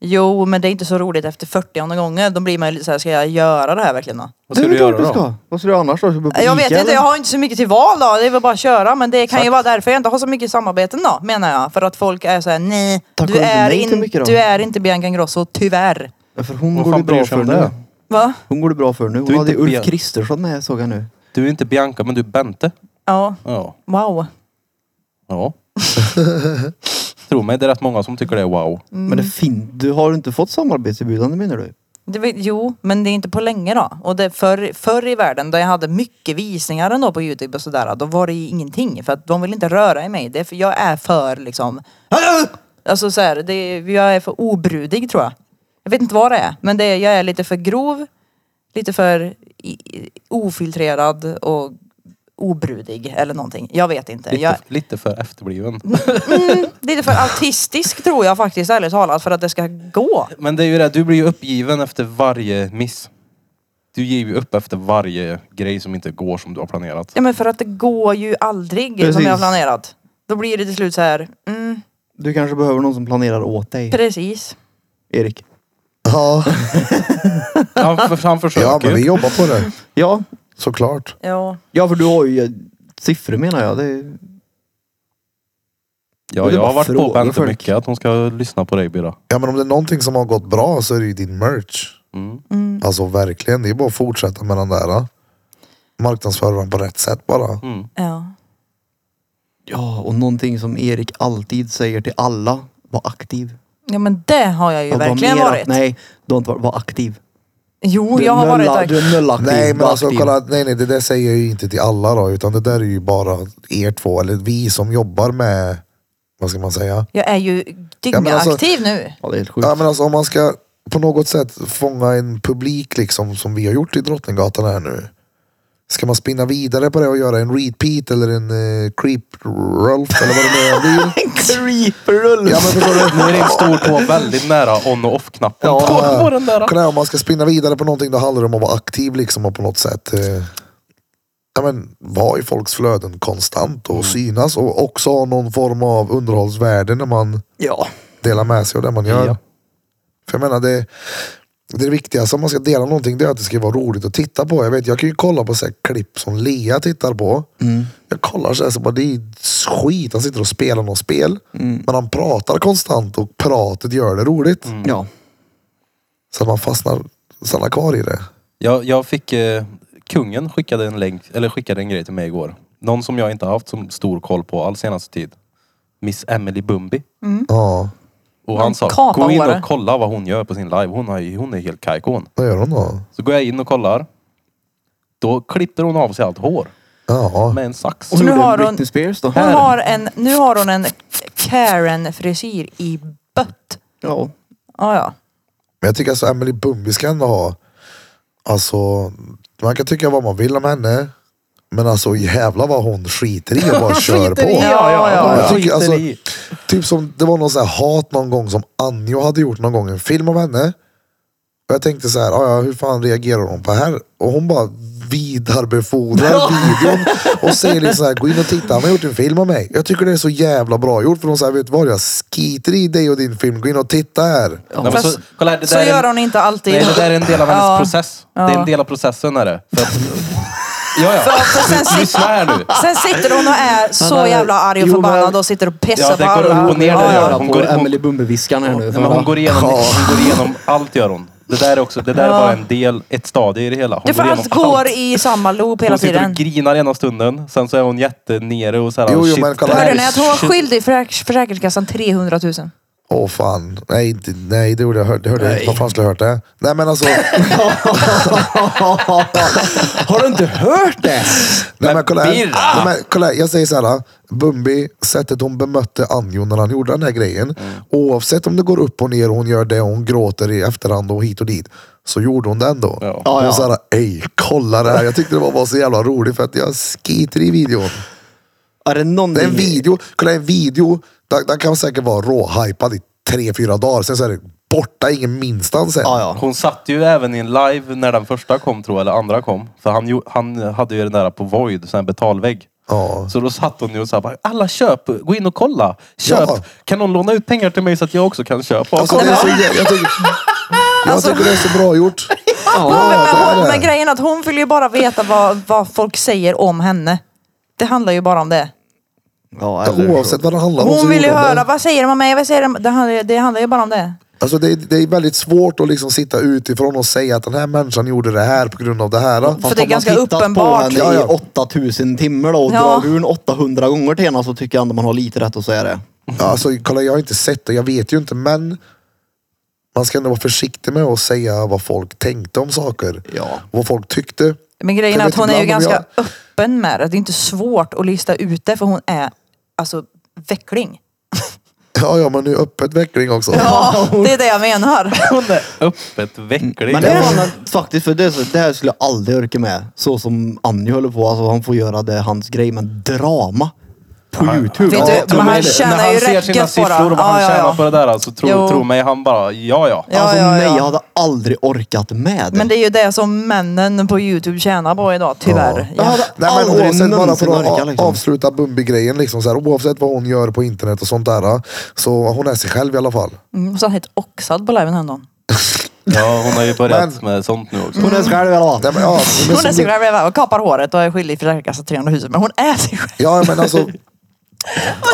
Jo, men det är inte så roligt efter 40 gånger. Då blir man ju lite såhär, ska jag göra det här verkligen då?
Vad ska du göra då?
Ska. Vad ska du annars då? Ska du på
Jag vet
Ica,
inte,
eller?
jag har inte så mycket till val då. Det är väl bara att köra. Men det kan ju vara därför jag inte har så mycket samarbeten då, menar jag. För att folk är såhär, nej,
Tack
du
och lov,
är,
nej till
in,
mycket då."
du är inte Bianca Ingrosso, tyvärr.
Ja, För hon
Vad
går
fan
det bra
bryr sig
för
om
nu.
det?
Va?
Hon går det bra för nu. Hon
är
hade ju
inte
Ulf
ben-
Kristersson med såg jag nu.
Du är inte Bianca men du är Bente.
Ja,
Ja.
wow. *laughs*
Ja. Tro mig, det är rätt många som tycker det är wow.
Men det fin- du har inte fått samarbetserbjudande menar du?
Det var, jo, men det är inte på länge då. Och det, förr, förr i världen då jag hade mycket visningar ändå på Youtube och sådär, då var det ju ingenting. För att de vill inte röra i mig. Det är för, jag är för liksom... Alltså så här, det, jag är för obrudig tror jag. Jag vet inte vad det är, men det, är- jag är lite för grov, lite för i, i- ofiltrerad och obrudig eller någonting. Jag vet inte.
Lite,
Jag,
lite för efterbliven.
lite för autistisk tror jag faktiskt, ärligt talat, för att det ska gå.
Men det är ju det, du blir ju uppgiven efter varje miss. Du ger ju upp efter varje grej som inte går som du har planerat.
Ja men för att det går ju aldrig som
Precis.
jag har planerat. Då blir det till slut så här, mm,
Du kanske behöver någon som planerar åt dig,
precis.
Erik.
Ja,
Han, för, han försöker
ja men vi jobbar på det.
Ja,
Såklart.
Ja.
ja för du har ju eh, siffror menar jag. Det är...
Ja,
Och det
jag
bara
har varit på
frågar
Bente
folk.
mycket att hon ska lyssna på dig Birra.
Ja, men om det är någonting som har gått bra så är det ju din merch.
Mm.
Alltså verkligen. Det är bara att fortsätta med den där. då. Marknadsföra den på rätt sätt bara.
ja.
Ja, och någonting som Erik alltid säger till alla. Var aktiv.
Ja men det har jag ju
Att vara
verkligen
mer-
varit.
Nej, du har inte varit. Var aktiv.
Jo,
Du
jag har varit
nölla-
där.
Du är nollaktiv.
Nej men
var
alltså
aktiv.
kolla, nej nej det där säger jag ju inte till alla då. Utan det där är ju bara er två, eller vi som jobbar med, vad ska man säga?
Jag är ju
men alltså-
dyngaktiv nu.
Ja, det är helt sjukt.
Ja men alltså om man ska på något sätt fånga en publik liksom som vi har gjort i Drottninggatan här nu. Ska man spinna vidare på det och göra en repeat eller en eh, creep Rolf eller vad det nu är jag vill?
*laughs* Creeper-rull.
Ja men förstår du?
Nu är din stortå väldigt nära on och off-knappen. Ja. På den där.
Ah, Kolla här, om man ska spinna vidare på någonting då handlar det om att vara aktiv liksom och på något sätt eh, ja, men, vara i folks flöden konstant och synas och också ha någon form av underhållsvärde när man
Ja.
delar med sig av det man gör.
Ja.
För jag menar det, det viktigaste om man ska dela någonting det är att det ska vara roligt att titta på. Jag vet, jag kan ju kolla på så här klipp som Lea tittar på. Jag kollar så här, så bara, det är skit. Han sitter och spelar något spel. Men han pratar konstant och pratet gör det
Mm.
roligt.
Ja.
Så att man fastnar, stannar kvar i det.
Jag, jag fick... Eh, kungen skickade en länk, eller skickade en grej till mig igår. Någon som jag inte haft som stor koll på all senaste tid. Miss Emily Bumbi.
Ja,
Och
Någon
han sa, gå in
kapahållare.
och kolla vad hon gör på sin live. Hon, har, ju- hon är helt kajko hon.
vad gör hon då?
Så går jag in och kollar. Då klipper hon av sig allt hår.
Ja,
Med en sax.
Så nu
gjorde
har hon-
Britney Spears då.
Hon har en, nu har hon en Karen-frisyr i bött.
Ja.
Ja, ja.
men jag tycker alltså Emily Bumbi ska ändå ha, alltså man kan tycka vad man vill om henne. Men alltså jävla vad *laughs* hon skiter i och bara kör på.
Ja, ja, ja.
Jag tycker, alltså,
Skiter i.
typ som, det var någon så här hat någon gång som Anjo hade gjort någon gång, en film av henne. Och jag tänkte så här, "Ah, ja, hur fan reagerar hon på det här? Och hon bara vidarebefordrar videon
*laughs*
och säger liksom så här, gå in och titta, han har gjort en film om mig. Jag tycker det är så jävla bra gjort för de säger, vet du vad, jag skiter i dig och din film, gå in och titta här.
Nej, men
Fast
så, kolla här, det
Så
där är
gör
en-
hon inte alltid.
Nej, det där är en del av hennes
Ja.
process.
Ja.
Det är en del av processen är det.
*laughs*
För att, ja, ja.
För sen, sit-
Lyssna här nu.
sen sitter hon och är så
har-
jävla arg och
jo,
förbannad
men-
och sitter och
Ja,
pissar
det
på
går
alla.
upp och ner
Ja,
där,
ja.
Hon
Hon
går-
går
hon-
Emelie Bumbeviskan här nu.
Nej, men hon går igenom, hon går igenom allt gör hon. Det där är också, det där är bara en del, ett stadie i det hela. Hon
Det är för
igenom
allt går i samma loop hela
Hon sitter
tiden.
och grinar ena stunden, sen så är hon jättenere och såhär...
Jo, jo, men kolla här.
Hörde ni att hon var skyldig förä- Försäkringskassan 300 000?
Åh fan, nej, inte, nej det gjorde jag, hör- det hörde jag inte. Vad fan skulle jag hört det? Nej men alltså, nej,
*laughs* Har du inte hört det?
men, kolla här.
Birra!
Nej, men, kolla här. Jag säger så här, Bumbi, sättet hon bemötte Anjo när han gjorde den här grejen.
Mm.
Oavsett om det går upp och ner och hon gör det och hon gråter i efterhand och hit och dit. Så gjorde hon det ändå.
Ja.
Hon
Ja, ja.
sa såhär, ej kolla det här. Jag tyckte det bara var så jävla roligt för att jag skiter i videon.
Är det någon
Det är en video, kolla en video, den, den kan säkert vara råhypad i tre, fyra dagar. Sen så är det borta, ingen minstans än.
Ja, ja.
Hon satt ju även i en live när den första kom tror jag, eller andra kom. För han, gjo- han hade ju den där på Void, sån här betalvägg.
Ja.
Så då satt hon ju och sa bara, alla köp, gå in och kolla. Köp!
Ja.
Kan någon låna ut pengar till mig så att jag också kan köpa?
Alltså, det är så, jä- jag
*laughs*
tycker, jag
Alltså-
tycker det är så bra gjort.
men,
det
men,
är
hon,
det.
men grejen är att hon vill ju bara veta vad, vad folk säger om henne. Det handlar ju bara om det.
Ja, eller-
Alltså, Oavsett vad det handlar om. så
Hon vill ju
gjorde hon det.
höra, vad säger de om mig? Vad säger de? Det, handlar, det handlar ju bara om det.
Alltså, det, är- det är väldigt svårt att liksom sitta utifrån och säga att den här människan gjorde det här på grund av det här. då.
Fast
det är
om man
ganska
tittat
uppenbart.
på henne
Ja,
i
ja.
8000 timmar då och
Ja.
dragit ur den 800 gånger till henne så tycker jag ändå man har lite rätt att säga det.
Alltså, kolla, jag har inte sett det, jag vet ju inte, men man ska ändå vara försiktig med att säga vad folk tänkte om saker.
Ja.
Vad folk tyckte.
Men grejen
Jag
är
vet
att hon är ju
ibland om
ganska öppen med det. Det är inte svårt att lista ut det för hon är alltså veckling.
Ja, ja, men nu är öppet veckling också.
Ja, det är det jag menar.
Hon är öppet vecklig.
Men det är annat, faktiskt, för det, är så- det här skulle jag aldrig orka med. Så som Anjo håller på, alltså han får göra det, hans grej, men drama. På youtube.
Vet du,
Ja,
men han
men-
tjänar
När han
ju
ser
rätt
sina
gött på det.
siffror och vad han
Ja, ja,
tjänar
ja.
på det där, alltså, tro,
Jo.
tro mig, han bara, ja ja.
Ja,
Alltså
ja, ja.
nej, jag hade aldrig orkat med det.
Men det är ju det som männen på Youtube tjänar på idag, tyvärr.
Jag
Ja.
hade
Nej, men
aldrig
oavsett, bara
någonsin
för att
orkat
a-
liksom.
avsluta Bumbi-grejen, liksom, så här, oavsett vad hon gör på internet och sånt där, så hon är sig själv i alla fall.
Mm, så han helt oxad på liven häromdagen.
Ja, hon har ju börjat med sånt nu också.
Hon är själv i alla fall.
Nej, men, ja, men, liksom
Hon är
så-
sig själv och kapar håret och är skyldig Försäkringskassan 300 000. Men hon är sig själv.
ja, men alltså,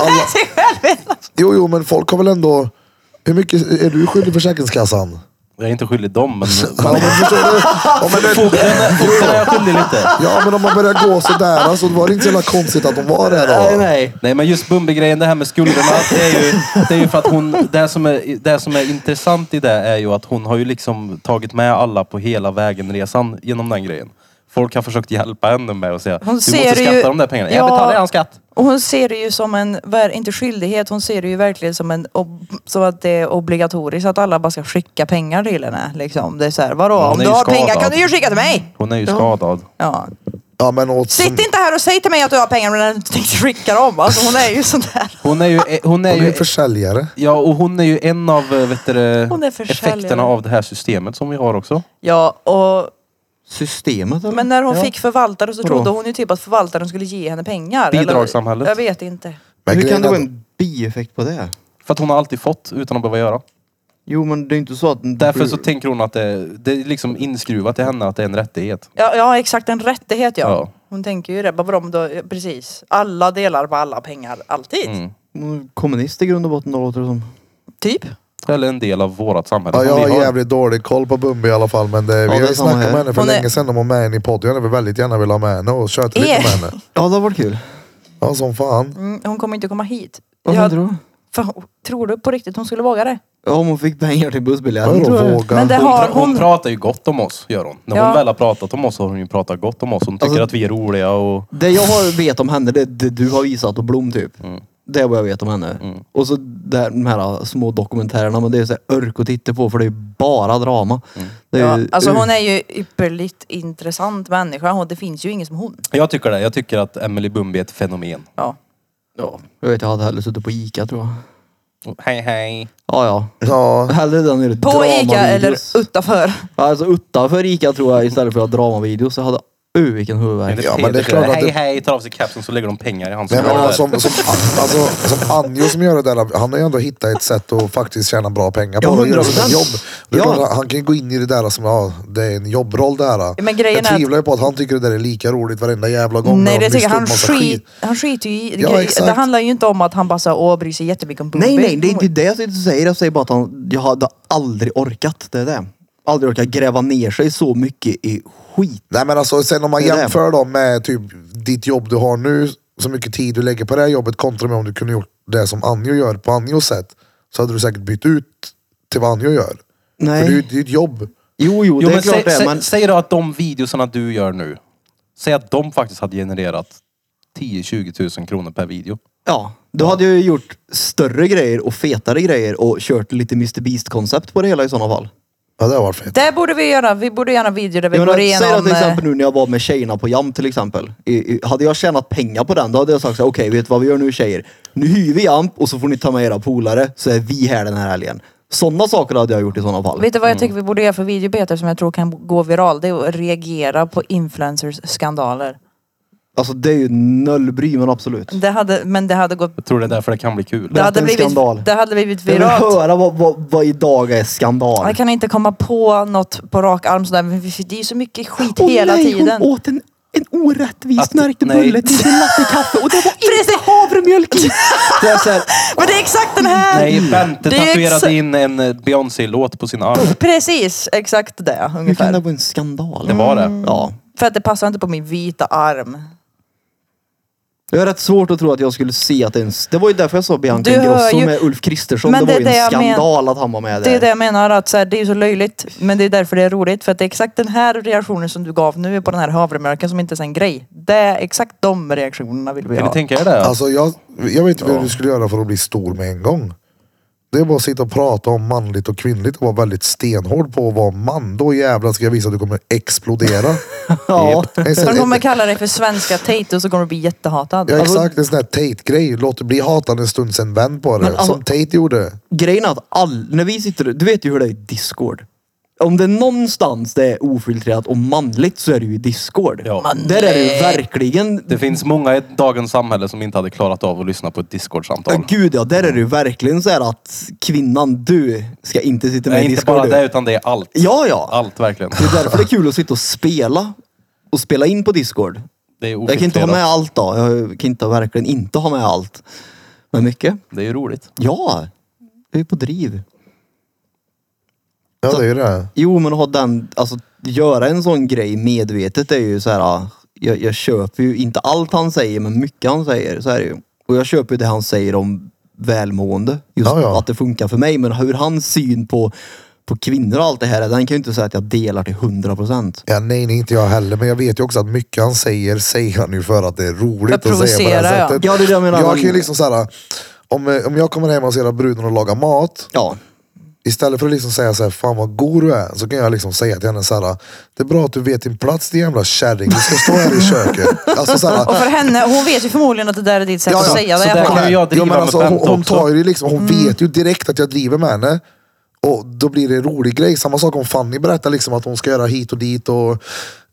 Hon är sig själv.
jo, jo, men folk har väl ändå... Hur mycket är du skyldig Försäkringskassan?
Jag är inte skyldig dem, men...
Ja, men, förstår du? Ja, men, det-
Fogden är- fogden är jag skyldig lite.
*laughs* ja, men om man börjar gå sådär, alltså, då var det inte så jävla konstigt att de var där.
Nej,
Då.
nej.
Nej men just Bumbi-grejen, det här med skulderna. Det är ju, det är ju för att hon, det som, är, det som är intressant i det är ju att hon har ju liksom tagit med alla på hela vägen-resan genom den grejen. Folk har försökt hjälpa henne med att säga,
Hon
du
ser
måste skatta
ju-
de där pengarna.
Ja.
Jag betalar redan skatt.
Och hon ser det ju som en, vad är- inte skyldighet, hon ser det ju verkligen som en, ob- som att det är obligatoriskt att alla bara ska skicka pengar till henne. Liksom. Det är så här, vadå?
hon
Om
är
du
ju
har
skadad.
pengar kan du ju skicka till mig!
Hon är ju skadad.
Ja.
Ja, men åt,
Sitt inte här och säg till mig att du har pengar när du inte tänkte skicka dem. Alltså, hon är ju sån där.
Hon är ju... eh, Hon är
hon är ju
ju
försäljare.
ja, och hon är ju en av eh, vet du, det,
Hon är försäljare.
effekterna av det här systemet som vi har också.
Ja, och,
Systemet eller?
men när hon
Ja.
fick förvaltare så
Vadå?
trodde hon ju typ att förvaltaren skulle ge henne pengar.
Bidragssamhället.
Eller? Jag vet inte.
Men
Hur kan
grejen
det
är
vara
att-
en bieffekt på det?
För att hon har alltid fått utan att behöva göra.
Jo men det är inte så att...
Därför så tänker hon att det, det är liksom inskruvat i henne att det är en rättighet.
Ja, ja exakt, en rättighet ja.
Ja.
Hon tänker ju det, bara vadå, men då, precis. Alla delar på alla pengar, alltid.
Mm.
Mm.
Hon är Kommunist i grund och botten då låter det som.
Typ.
Eller en del av vårat samhälle.
Ja,
som
jag
vi
har
har.
jävligt dålig koll på Bumbi i alla fall, men det,
det
vi
är
har ju
samma
snackat
här.
med henne för
Hon är-
länge sedan om hon var med henne i podden. Jag hade väl väldigt gärna velat ha med henne och kört lite
Eh.
med henne.
Ja det har varit kul.
Ja, som fan.
Mm, hon kommer inte komma hit.
Vad
Jag-
hände då?
Fan, tror du på riktigt hon skulle våga det?
Ja om hon fick pengar till bussbiljetten tror
Vadå
jag.
våga?
Men det
Hon,
har
pra- hon
hon.
pratar ju gott om oss, gör hon. När
Ja.
hon väl har pratat om oss så har hon ju pratat gott om oss. Hon tycker
Alltså-
att vi är roliga och...
Det jag har vet om henne, det är det du har visat och Blom typ. Det är vad jag vet om henne. Och så där, de här små dokumentärerna, men det är så här örk att titta på för det är bara drama. Det är
Ja,
ju-
alltså hon är ju ypperligt intressant människa och det finns ju ingen som hon.
Jag tycker det. Jag tycker att Emily Bumbi är ett fenomen.
Ja.
ja, jag vet, jag hade hellre suttit på Ica tror jag.
Hej hej.
Ja,
Ja,
ja. Hellre den är
På Ica eller
ut
utanför.
Alltså utanför Ica tror jag istället för att ha dramavideos. Jag hade Uh, vilken huvudvärk.
Ja, men det är klart att
hej,
det-
hej, tar av sig kapsen så lägger de pengar i hans
Nej, men
lådor.
han som, som, alltså, som Anjo som gör det där, han har ju ändå hittat ett sätt att faktiskt tjäna bra pengar på
Ja,
det. och göra sitt
100%.
jobb. Det är
Ja.
klart, han kan ju gå in i det där som, ja, det är en jobbroll det här.
Men grejen är
jag
att-
tvivlar ju på att han tycker det där är lika roligt varenda jävla gång. när
Nej,
de
det tycker
lyfter
jag.
upp massa
Han, skit, han skiter ju i...
Ja,
det,
exakt.
det handlar ju inte om att han bara så, åh, bryr sig jättemycket om Bobby.
Nej, nej, det är inte det jag sitter och säger. Jag säger bara att han, jag hade aldrig orkat. Det är det. Aldrig orkat gräva ner sig så mycket i skit.
Nej men alltså sen om man
Det är det.
jämför dem med typ ditt jobb du har nu, så mycket tid du lägger på det här jobbet kontra med om du kunde gjort det som Anjo gör på Anjos sätt. Så hade du säkert bytt ut till vad Anjo gör.
Nej.
För det är ju det är ju ett jobb.
Jo, jo,
Jo,
det är
men
klart
säg,
det är,
säg,
men...
säg då att de videosarna du gör nu, säg att de faktiskt hade genererat 10-20 000 kronor per video.
Ja, då hade jag ju gjort större grejer och fetare grejer och kört lite Mr Beast-koncept på det hela i sådana fall.
Ja det har varit fett.
Det borde vi göra. Vi borde göra en video där vi
Jag menar,
går
säg då
igenom...
till
eh,
exempel nu när jag var med tjejerna på Jam till exempel. I, i, hade jag tjänat pengar på den, då hade jag sagt så här, okej vet du vad vi gör nu tjejer? Nu hyr vi Jamp och så får ni ta med era polare så är vi här den här helgen. Sådana saker hade jag gjort i sådana fall.
Vet du vad jag tycker
Mm.
vi borde göra för video Peter som jag tror kan gå viral? Det är att reagera på influencers skandaler.
Alltså det är ju noll bry men absolut.
Det hade, men det hade gått...
Jag tror det är därför det kan bli kul.
Det
Berätta
hade,
en
blivit,
skandal.
det hade blivit
Jag vill
viralt.
höra vad, vad, vad idag är skandal.
Jag kan inte komma på något på rak arm sådär. men vi- Det är ju så mycket skit hela
nej,
tiden.
hon åt en, en orättvis
Att-
märkte
nej.
bulle till en lattekaffe
*laughs*
och det var
Precis!
inte havremjölk i. Det är så här,
Men det är exakt den här!
Nej, Bente
Det är
tatuerade
exa-
in en eh, Beyoncé-låt på sin arm.
Precis, exakt det
hur kan det
ungefär.
vara en skandal?
Det var
Mm.
det.
Ja.
För att det passar inte på min vita arm.
Jag har rätt svårt att tro att jag skulle se att det ens... Det var ju därför jag sa Bianca
Du hör
Ingrosso
ju-
med Ulf Kristersson. Det,
Men
var
det
ju
är det
en
jag men-
skandal att han var med
Det
där.
är det jag menar, att så här, det är ju så löjligt. Men det är därför det är roligt. För att det är exakt den här reaktionen som du gav nu på den här havremjölken som inte är en grej. Det är exakt de reaktionerna vill vi
Kan
ha.
ni tänka er det?
Alltså jag, jag vet inte hur du skulle göra för att bli stor med en gång. Det är bara att sitta och prata om manligt och kvinnligt och vara väldigt stenhård på att vara man. Då jävlar ska jag visa att du kommer
*laughs*
explodera.
Ja.
En sån-
De kommer kalla dig för svenska Tate och så kommer du bli jättehatad.
Ja exakt, en sån där Tate-grej. Låt det bli hatande en stund, sen vänd på det.
Men alltså-
Som Tate gjorde.
Grejen är att all... när vi sitter... Du vet ju hur det är i Discord. Om det är någonstans det är ofiltrerat och manligt så är det ju i Discord.
Ja.
Där är det ju verkligen...
Det finns många i dagens samhälle som inte hade klarat av att lyssna på ett
Ja,
Discord-samtal.
gud ja, där är det ju verkligen så här att kvinnan, du ska inte sitta med
Nej,
i
inte
Discord.
bara
du.
det, utan det är allt.
Ja, ja.
Allt verkligen.
Det är därför det är kul att sitta och spela. Och spela in på Discord.
Det är
Jag kan inte ha med
ofiltrerat.
allt då. Jag kan inte verkligen inte ha med allt. Men mycket.
Det är ju roligt.
Ja, det är på driv.
Ja det är ju det.
Jo, men ha den, alltså göra en sån grej medvetet är ju så här. ah, Jag, jag köper ju inte allt han säger, men mycket han säger. Så är det ju. Och jag köper ju det han säger om välmående. Just
Ja, ja.
att det funkar för mig. Men hur hans syn på, på kvinnor och allt det här är, den kan ju inte säga att jag delar till 100 procent.
Ja, nej, nej, inte jag heller. Men jag vet ju också att mycket han säger, säger han ju för att det är
För
roligt
att
att säga på det
provocera, ja.
här sättet.
Ja, det är det jag menar.
Jag
Men-
kan ju liksom såhär, om, eh, om jag kommer hem och ser att bruden och lagar mat,
Ja,
istället för att liksom säga såhär, fan vad god du är, så kan jag liksom säga till henne såhär, det är bra att du vet din plats din jävla kärring, du ska stå här i köket. Alltså
*laughs*
såhär,
Och för henne, hon vet ju förmodligen att det där är ditt sätt
Ja, ja.
att säga
Så
det.
där
på.
kan ju jag driva
Jo, men
med Mm.
alltså,
Bente
hon, hon
också.
tar ju liksom, hon vet ju direkt att jag driver med henne. Och då blir det en rolig grej. Samma sak om Fanny berättar liksom att hon ska göra hit och dit och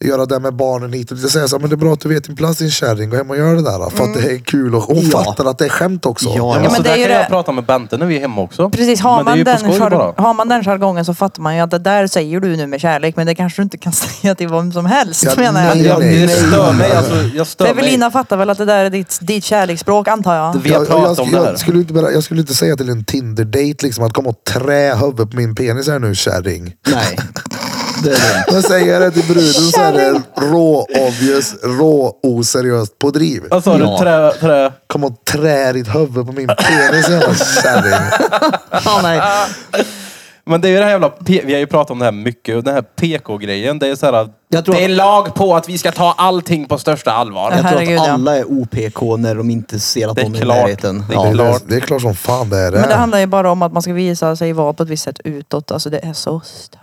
göra det med barnen hit och dit. Jag säger så här, men det är bra att du vet din plats din kärring. Gå hem och gör det där. För att det är kul. Och hon
Ja.
fattar att det är skämt också.
Ja,
Mm.
ja.
Ja, men
men
så
det
där
är ju
kan
det-
jag prata med Bente när vi är hemma också.
Precis, har
Men det är
man,
ju på
den
skoj bara.
jarg- har man den jargongen så fattar man ju att det där säger du nu med kärlek men det kanske du inte kan *laughs* säga till vem som helst
Ja,
menar jag.
nej,
Jag,
nej.
det stör mig. Alltså, jag stör mig.
Evelina fattar väl att det där är ditt, ditt kärleksspråk antar jag.
Vi har
Jag, jag,
pratat om
jag,
det här.
jag, skulle inte, bara- jag skulle inte säga till en Tinder-date liksom att komma och trä huvudet på min penis här nu kärring.
nej. Det är det.
Jag säger det till bruden så är det rå-obvious, rå-oseriöst på driv.
Vad sa du?
Ja.
Trä, trä.
Kom och trä ditt huvud på min penis jävla *laughs* kärring.
Ja, nej.
Men det är ju det här jävla, P- vi har ju pratat om det här mycket, och den här PK-grejen. Det är så här,
Jag tror
det är
att-
lag på att vi ska ta allting på största allvar.
Jag tror
Herregud,
att
ja.
alla är OPK när de inte ser att
Det är
någon är i
klart.
närheten.
Det
Det är
Ja.
är,
Klart.
det är klart som fan det är det.
Men det handlar ju bara om att man ska visa sig vara på ett visst sätt utåt. Alltså det är så störande.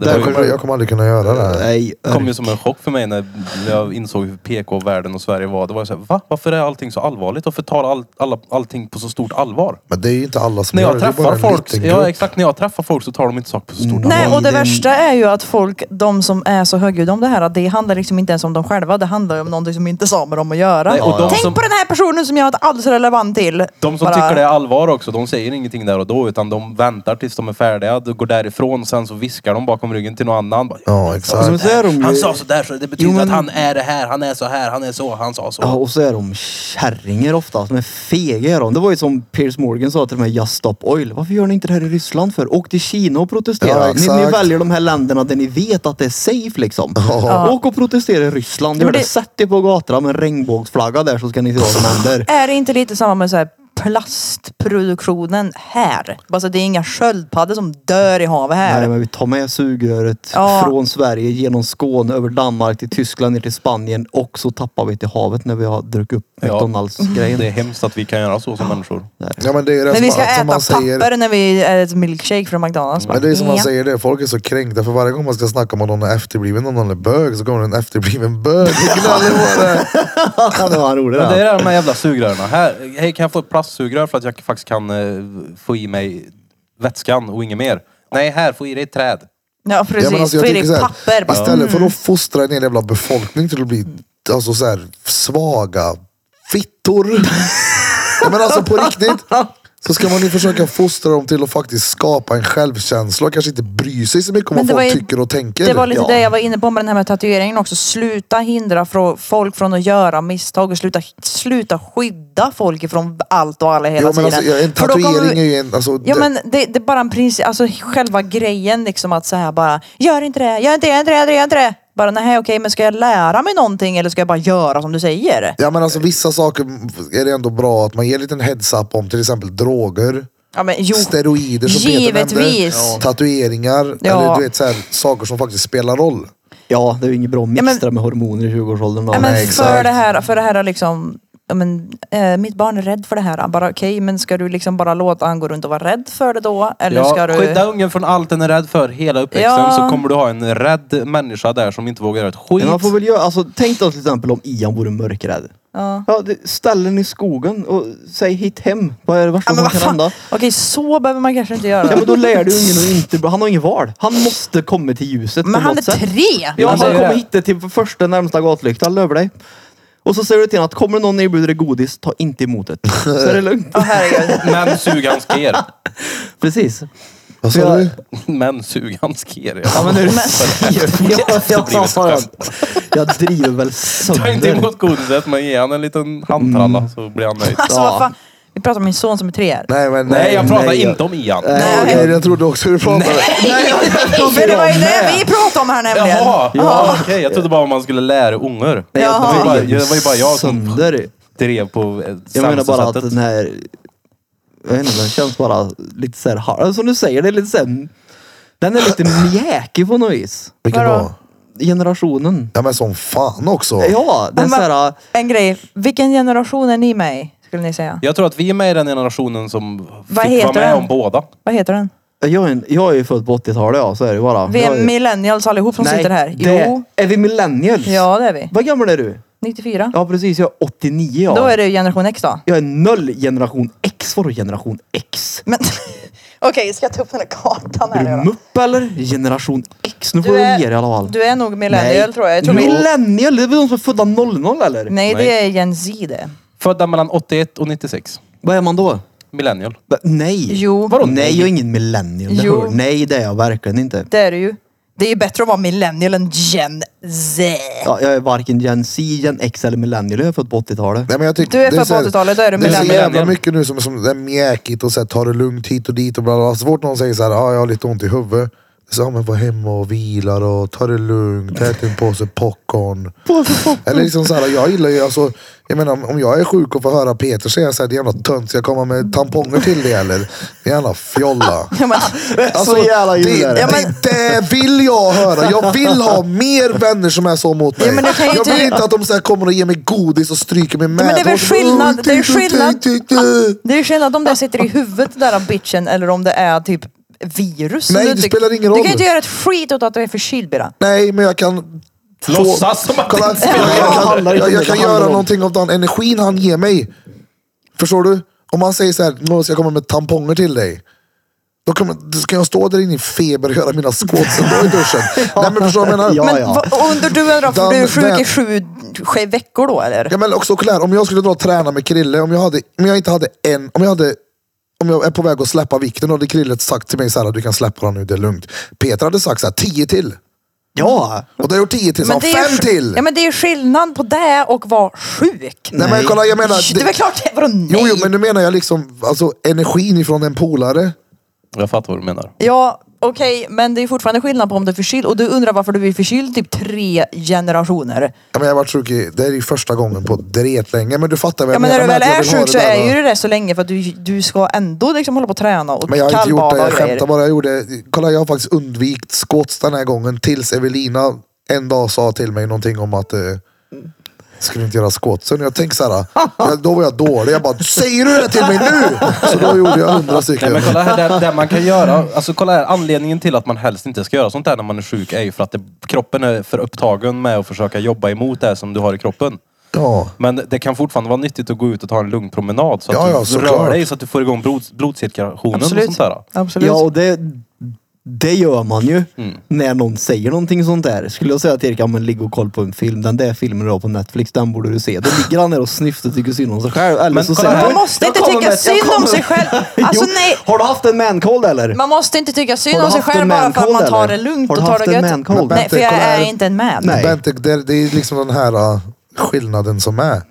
Det
Jag
var
kommer,
ju,
jag kommer aldrig kunna göra det här.
Nej,
kom ju som en chock för mig när jag insåg hur PK-världen och Sverige var. Det var ju såhär, va? Varför är allting så allvarligt? Varför tar all, alla, allting på så stort allvar?
Men det är ju inte alla som
När
gör
jag
det. det. är bara
träffar
en
folk,
liten
ja
grupp.
exakt, när jag träffar folk så tar de inte saker på så stort allvar.
Nej, och det
den-
värsta är ju att folk, de som är så högljudda om det här, att det handlar liksom inte ens om dem själva. Det handlar ju om någonting som inte sa med dem att göra.
Nej, och de
Tänk
som-
på den här personen som jag inte alls är relevant till.
De som
Bara-
tycker det är allvar också, de säger ingenting där och då utan de väntar tills de är färdiga, de går därifrån och sen så viskar de bakom ryggen till någon annan. Bara,
Ja,
Som
exakt.
så är de ju,
Han sa sådär så det betyder
Jo, men-
att han är det här, han är så här, han är så, han sa så.
Ja, och så är de kärringar ofta. De är fega är de. Det var ju som Piers Morgan sa till de här Just Stop Oil. Varför gör ni inte det här i Ryssland för? Åk till Kina och
Ja,
protestera. ni, ni
exakt.
väljer de här länderna där ni vet att det är safe liksom.
Ja.
Åk och protestera i Ryssland.
Ja,
Gör
men
det.
det-
Sätt er på gatan med en regnbågsflagga där så ska ni se
*laughs*
vad som händer.
Är det inte lite samma med så här plastproduktionen här? Alltså det är inga sköldpaddor som dör i havet här.
Nej, men vi tar med sugröret
Ja.
från Sverige genom Skåne, över Danmark till Tyskland, ner till Spanien och så tappar vi till havet när vi har druckit upp
*laughs*
Ja.
McDonalds-grejen.
Det är hemskt att vi kan göra så som människor.
Ja, men det är det
Men vi
som,
ska
som
äta
man säger.
papper när vi äter milkshake från McDonalds.
Men det är som man
Ja.
säger det, folk är så kränkta för varje gång man ska snacka om att någon är efterbliven och någon är bög så kommer en efterbliven bög och gnäller på det.
det var roligt
Men det
det.
är de här jävla sugrören. Här, hej, kan jag få ett plastsugrör för att jag faktiskt kan eh, få i mig vätskan och inget mer? Nej, här, få i dig ett träd.
Ja precis,
men alltså, jag
för det
tycker så
är
här,
papper. Mm. bara.
Istället för att fostra en hel jävla befolkning till att bli alltså, så här, svaga
*laughs*
fittor. ja, men alltså på riktigt. Så ska man ju försöka fostra dem till att faktiskt skapa en självkänsla och kanske inte bry sig så mycket om
Men
vad
det var
folk
ju-
tycker och tänker.
Det var lite
Ja.
det jag var inne på med den här med tatueringen också. Sluta hindra frå- folk från att göra misstag och sluta, sluta skydda folk ifrån allt och alla hela
jo, men
tiden.
alltså, ja, en
För då kommer
tatuering
vi-
är ju en... Alltså,
Ja
det-
men det, det är bara en princip, alltså själva grejen liksom att så här bara, gör inte det, gör inte det, gör inte det, gör inte det. Bara nej okej men ska jag lära mig någonting eller ska jag bara göra som du säger?
Ja men alltså vissa saker är det ändå bra att man ger en liten heads up om till exempel droger.
Ja men jo,
steroider som Peter nämnde.
Givetvis. Ja.
Tatueringar.
Ja.
Eller du vet så här, saker som faktiskt spelar roll.
Ja, det är ju inget bra att
Ja, men-
mixtra med hormoner i 20-årsåldern. då.
ja, men
Nej,
för
exakt.
det här, för det här liksom Ja, men, eh, mitt barn är rädd för det här. Bara okej, men ska du liksom bara låta han gå runt och vara rädd för det då? Eller ska du...
Skydda ungen från allt den är rädd för hela uppväxten
Ja.
så kommer du ha en rädd människa där som inte vågar göra ett skit.
Men man får väl göra, alltså, tänk då till exempel om Ian vore mörkrädd. Ja. det, ställ den i skogen och säg hit hem. Vad är det värsta
Ja, men
som
vad
kan
fan.
hända?
Okej, så behöver man kanske inte göra.
Ja men då lär du ungen att inte, han har ingen val. Han måste komma till ljuset på
men han är
något sätt.
tre! Alltså,
Ja, han
säger
kommer
det.
hitta till första närmsta gatlykta, jag lovar dig. Och så säger du till honom att kommer någon och erbjuder dig godis, ta inte emot det. Så är det lugnt.
Åh, herregud.
Men sug hans ger.
Precis.
Vad sa
Ja.
du?
*laughs* Men sug hans ger.
Ja
*laughs*
men är du jag, jag,
blir det
jag, *laughs* jag driver väl
Ta inte
sönder.
emot godiset men ge han en liten handtralla
Mm.
så blir han nöjd.
Alltså
Ja.
vad fan. Vi pratar om min son som är tre här.
Nej men
Nej jag pratar
nej,
inte om Ian.
*laughs*
Nej, okej, jag trodde också du pratade.
För det var ju det
jag med.
vi pratade om här nämligen.
Jaha! Ja, okej. Jag trodde bara man skulle lära ungar. Det
jag
var ju bara,
driver
det var ju bara jag som
Sönder.
drev på eh,
Jag menar
sämsta
bara att den
sättet.
här... Jag vet inte, den känns bara lite såhär... har- Som du säger, det är lite såhär... Den är lite mjäkig på något vis.
Vilken
Vadå?
då?
Generationen.
Ja men som fan också.
Ja, den
Men vad-
såhär...
En grej. Vilken generation är ni med i? Skulle ni säga.
Jag tror att vi är med i den generationen som
Vad
fick vara
heter
med
den?
om båda.
Vad heter den?
Jag är, en- jag är ju född på 80-talet ja, så är det ju bara.
Vi
Jag
är millennials allihop som
Nej,
sitter här.
det-
Jo.
Är vi millennials?
Ja det är vi.
Vad gammal är du?
94.
Ja precis, jag är 89 ja.
Då är det generation X då.
Jag är noll generation X. Vadå generation X?
Men *laughs* okej, ska jag ta upp den här kartan
Är
här
du
nu då?
mupp eller? Generation X? Nu får du ge dig i alla fall.
du är nog millennial tror jag. jag tror vi,
Millennial? Det är väl de som är födda 00 eller?
nej,
Nej.
det är Gen Z det.
Födda mellan 81 och 96.
Vad är man då?
Millennial.
Va- Nej.
Jo.
Vadå nej? Jag är ingen millennial. det
Jo.
hör- Nej, det är jag verkligen inte.
Det är det ju. Det är ju bättre att vara millennial än Gen Z.
Ja, jag är varken Gen Z, Gen X eller millennial. Jag är född på 80-talet.
Nej, men jag tycker,
Du är
det
född
så här-
på 80-talet, då är du
Det är så
millennial.
jävla mycket nu som, som är mjäkigt och så här, tar det lugnt hit och dit och bla bla. bla. Så fort någon säger så här, ah, jag har lite ont i huvudet. Så, ja, men var hemma och vilar och ta det lugnt, ät en påse popcorn. Eller liksom så här, jag gillar ju alltså, jag menar om- om jag är sjuk och får höra Peter säga såhär, det jävla tönt, ska jag komma med tamponger till det eller? Det jävla fjolla.
Ja, men,
Alltså,
Så jävla
det,
gillar
det,
det.
Ja, men-
det vill jag höra. Jag vill ha mer vänner som är så mot mig.
Ja, men du kan ju
jag vill
inte-
inte att de så här kommer och ger mig godis och stryker mig med. Oh,
men det är väl
Och så bara,
skillnad-
"Åh,
det är
titta,
skillnad."
titta, titta."
det är ju skillnad om det sitter i huvudet den där bitchen eller om det är typ virus. som
Nej,
du
det
inte-
spelar ingen
Du
roll.
kan ju inte göra ett skit åt att du är förkyld Birra.
Nej, men jag kan... få-
Låtsas som att det
Kolla,
inte spelar någon
jag
roll.
kan,
Handlar
jag,
inte om
jag,
det,
kan
det handlar
göra
om-
någonting av den energin han ger mig. Förstår du? Om han säger så här, nu ska jag komma med tamponger till dig. Då kan, man, då kan jag stå där inne i feber och göra mina squats ändå i
*laughs*
duschen. Nej men förstår du vad jag menar?
Ja,
Men
ja.
va- och under du undrar, för
Den-
du är sjuk
den-
i sju, sju veckor då eller?
Ja men också kolla om jag skulle dra och träna med Krille, om jag, hade, om jag inte hade en, om jag hade om jag är på väg att släppa vikten hade Krille sagt till mig så här, du kan släppa den nu, det är lugnt. Peter hade sagt så här, tio till.
Ja!
Och då har jag gjort tio till, så han,
det är,
fem till.
Ja men det är skillnad på det och vara sjuk.
nej, men kolla, jag menar.
det är väl klart det, vadå nej?
Jo, jo, men nu menar jag liksom alltså, energin ifrån en polare.
Jag fattar vad du menar.
Ja, okej, men det är fortfarande skillnad på om du är förkyld och du undrar varför du är förkyld typ tre generationer.
Ja, men jag har varit sjuk i, det är ju första gången på dret länge, men du fattar vad
Ja
jag
men när
menar.
du
med
väl
att jag
är
vill ha
sjuk så
där,
är ju
va?
det där så länge för att du, du ska ändå liksom hålla på och träna och
Men jag har inte gjort det,
kallbada
jag
och grejer.
skämtar bara. Jag gjorde, kolla jag har faktiskt undvikit skotts den här gången tills Evelina en dag sa till mig någonting om att eh, skulle inte göra skottsen. Jag tänkte
*laughs*
såhär, jag, då var jag dålig. Jag bara, säger du det till mig nu? Så då gjorde jag hundra
Nej,
stycken.
men kolla här, det, det man kan göra. Alltså kolla här, anledningen till att man helst inte ska göra sånt där när man är sjuk är ju för att det, kroppen är för upptagen med att försöka jobba emot det som du har i kroppen.
Ja.
Men det kan fortfarande vara nyttigt att gå ut och ta en lugn promenad så att
Ja, ja,
du
såklart.
rör dig så att du får igång blod, blodcirkulationen och sånt
Absolut.
där.
Absolut.
Ja, och det, det gör man ju
Mm.
när någon säger någonting sånt där. Skulle jag säga till Erik, ja men ligg och kolla på en film. Den där filmen du har på Netflix, den borde du se. Då ligger han där och snyftar och tycker synd om sig själv. Eller
Men
så
kolla
säger
här.
han,
Man
måste
"Jag
inte
kommer
tycka
med- jag
synd om
kommer med."
sig själv. Alltså,
*laughs* jo,
nej.
Har du haft en mancold eller?
Man måste inte tycka synd
Har du
om sig
haft en
själv bara för att
man-cold,
man tar det
eller?
lugnt
Har du
och tar
haft
det
en
gött.
man-cold?
Nej, för jag
Kolla här.
är inte en man.
Nej.
Bente, det, det är liksom den här eh, skillnaden som är.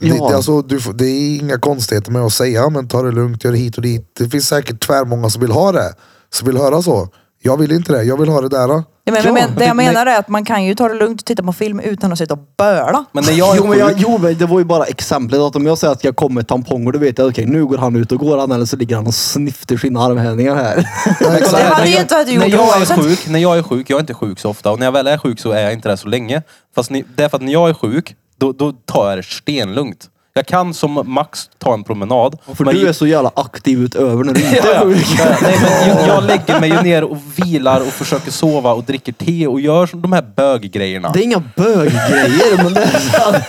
Det,
Ja.
det, alltså, du, får- det är inga konstigheter med att säga, men ta det lugnt, gör det hit och dit. Det finns säkert tvärmånga som vill ha det, som vill höra så. Jag vill inte det, jag vill ha det där. eh.
Ja, men,
Ja,
men, det
det-
jag menar är att man kan ju ta det lugnt och titta på film utan att sitta och böla.
Men när jag är
Jo men, jag,
sjuk,
jo men det var ju bara exemplet att om jag säger att jag kommer med tamponger då vet jag okej nu går han ut och går han eller så ligger han och snyfter sina armhävningar
*laughs*
här. *laughs*
Men kolla
Det
här,
hade
när
ju
jag-
inte varit gjort
när jag är
oavsett.
sjuk, När jag är sjuk, jag är inte sjuk så ofta och när jag väl är sjuk så är jag inte det så länge. Fast ni, det är för att när jag är sjuk, då, då tar jag det stenlugnt. Jag kan som max ta en promenad.
För
men
du
*laughs*
är så jävla aktiv utöver när du inte är sjuk.
Ja, Nej, men jag, jag lägger mig ju ner och vilar och försöker sova och dricker te och gör som de här böggrejerna.
Det är inga böggrejer, men det är så här,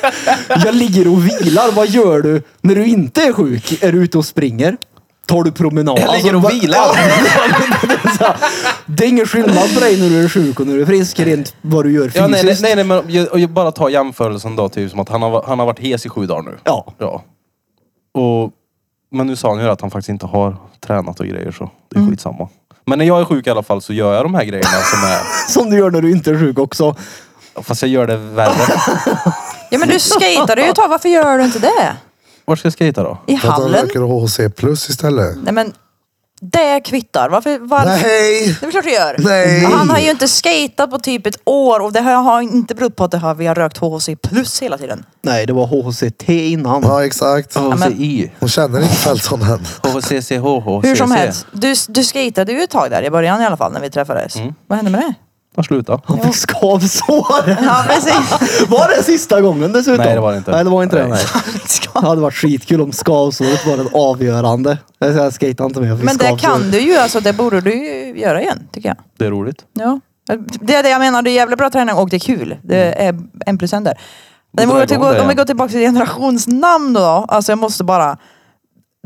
Jag ligger och vilar. Vad gör du när du inte är sjuk? Är du ute och springer? Tar du promenad? Alltså,
Jag ligger och
vad- *laughs*
vilar.
Det är ingen skillnad på dig när du är sjuk och när du är frisk. Rent vad du gör fysiskt.
Ja, nej, nej, nej, nej, men jag, och jag bara ta jämförelsen då, typ som att han har, han har varit hes i sju dagar nu.
Ja.
Ja. Och, men nu sa han ju att han faktiskt inte har tränat och grejer så det är skitsamma. Men när jag är sjuk i alla fall så gör jag de här grejerna som är...
Som du gör när du inte är sjuk också.
Fast jag gör det värre.
Ja men du skejtade ju ett tag, varför gör du inte det?
Var ska jag skejta då?
I
För att han
hallen?
röker HC plus istället.
Nej men, det kvittar. Varför? varför?
Nej!
Det är väl klart du gör.
Nej.
Han har ju inte skatat på typ ett år och det här har inte berott på att det har, vi har rökt HHC plus hela tiden.
Nej, det var HCT innan.
Ja, exakt.
HCI.
Hon känner inte Felton än.
HCCHHCC.
Hur som helst, du, du skatade ju ett tag där i början i alla fall när vi träffades. Vad hände med det?
Han slutade.
Han fick skavsår.
*laughs* Ja precis.
Var det sista gången dessutom?
Nej, det var det inte.
Nej, det var inte det.
Nej.
Nej. Det hade varit skitkul om skavsåret var det avgörande. Jag säger, skejta inte med. jag fick
Men det
skavsår.
kan du ju, alltså det borde du ju göra igen tycker jag.
Det är roligt.
Ja. Det är det jag menar, det är jävligt bra träning och det är kul. Det
Mm.
är en procent där. Men
Dra
om vi,
igång
går-
det
om vi
igen.
går tillbaka till generationsnamn då. Alltså jag måste bara.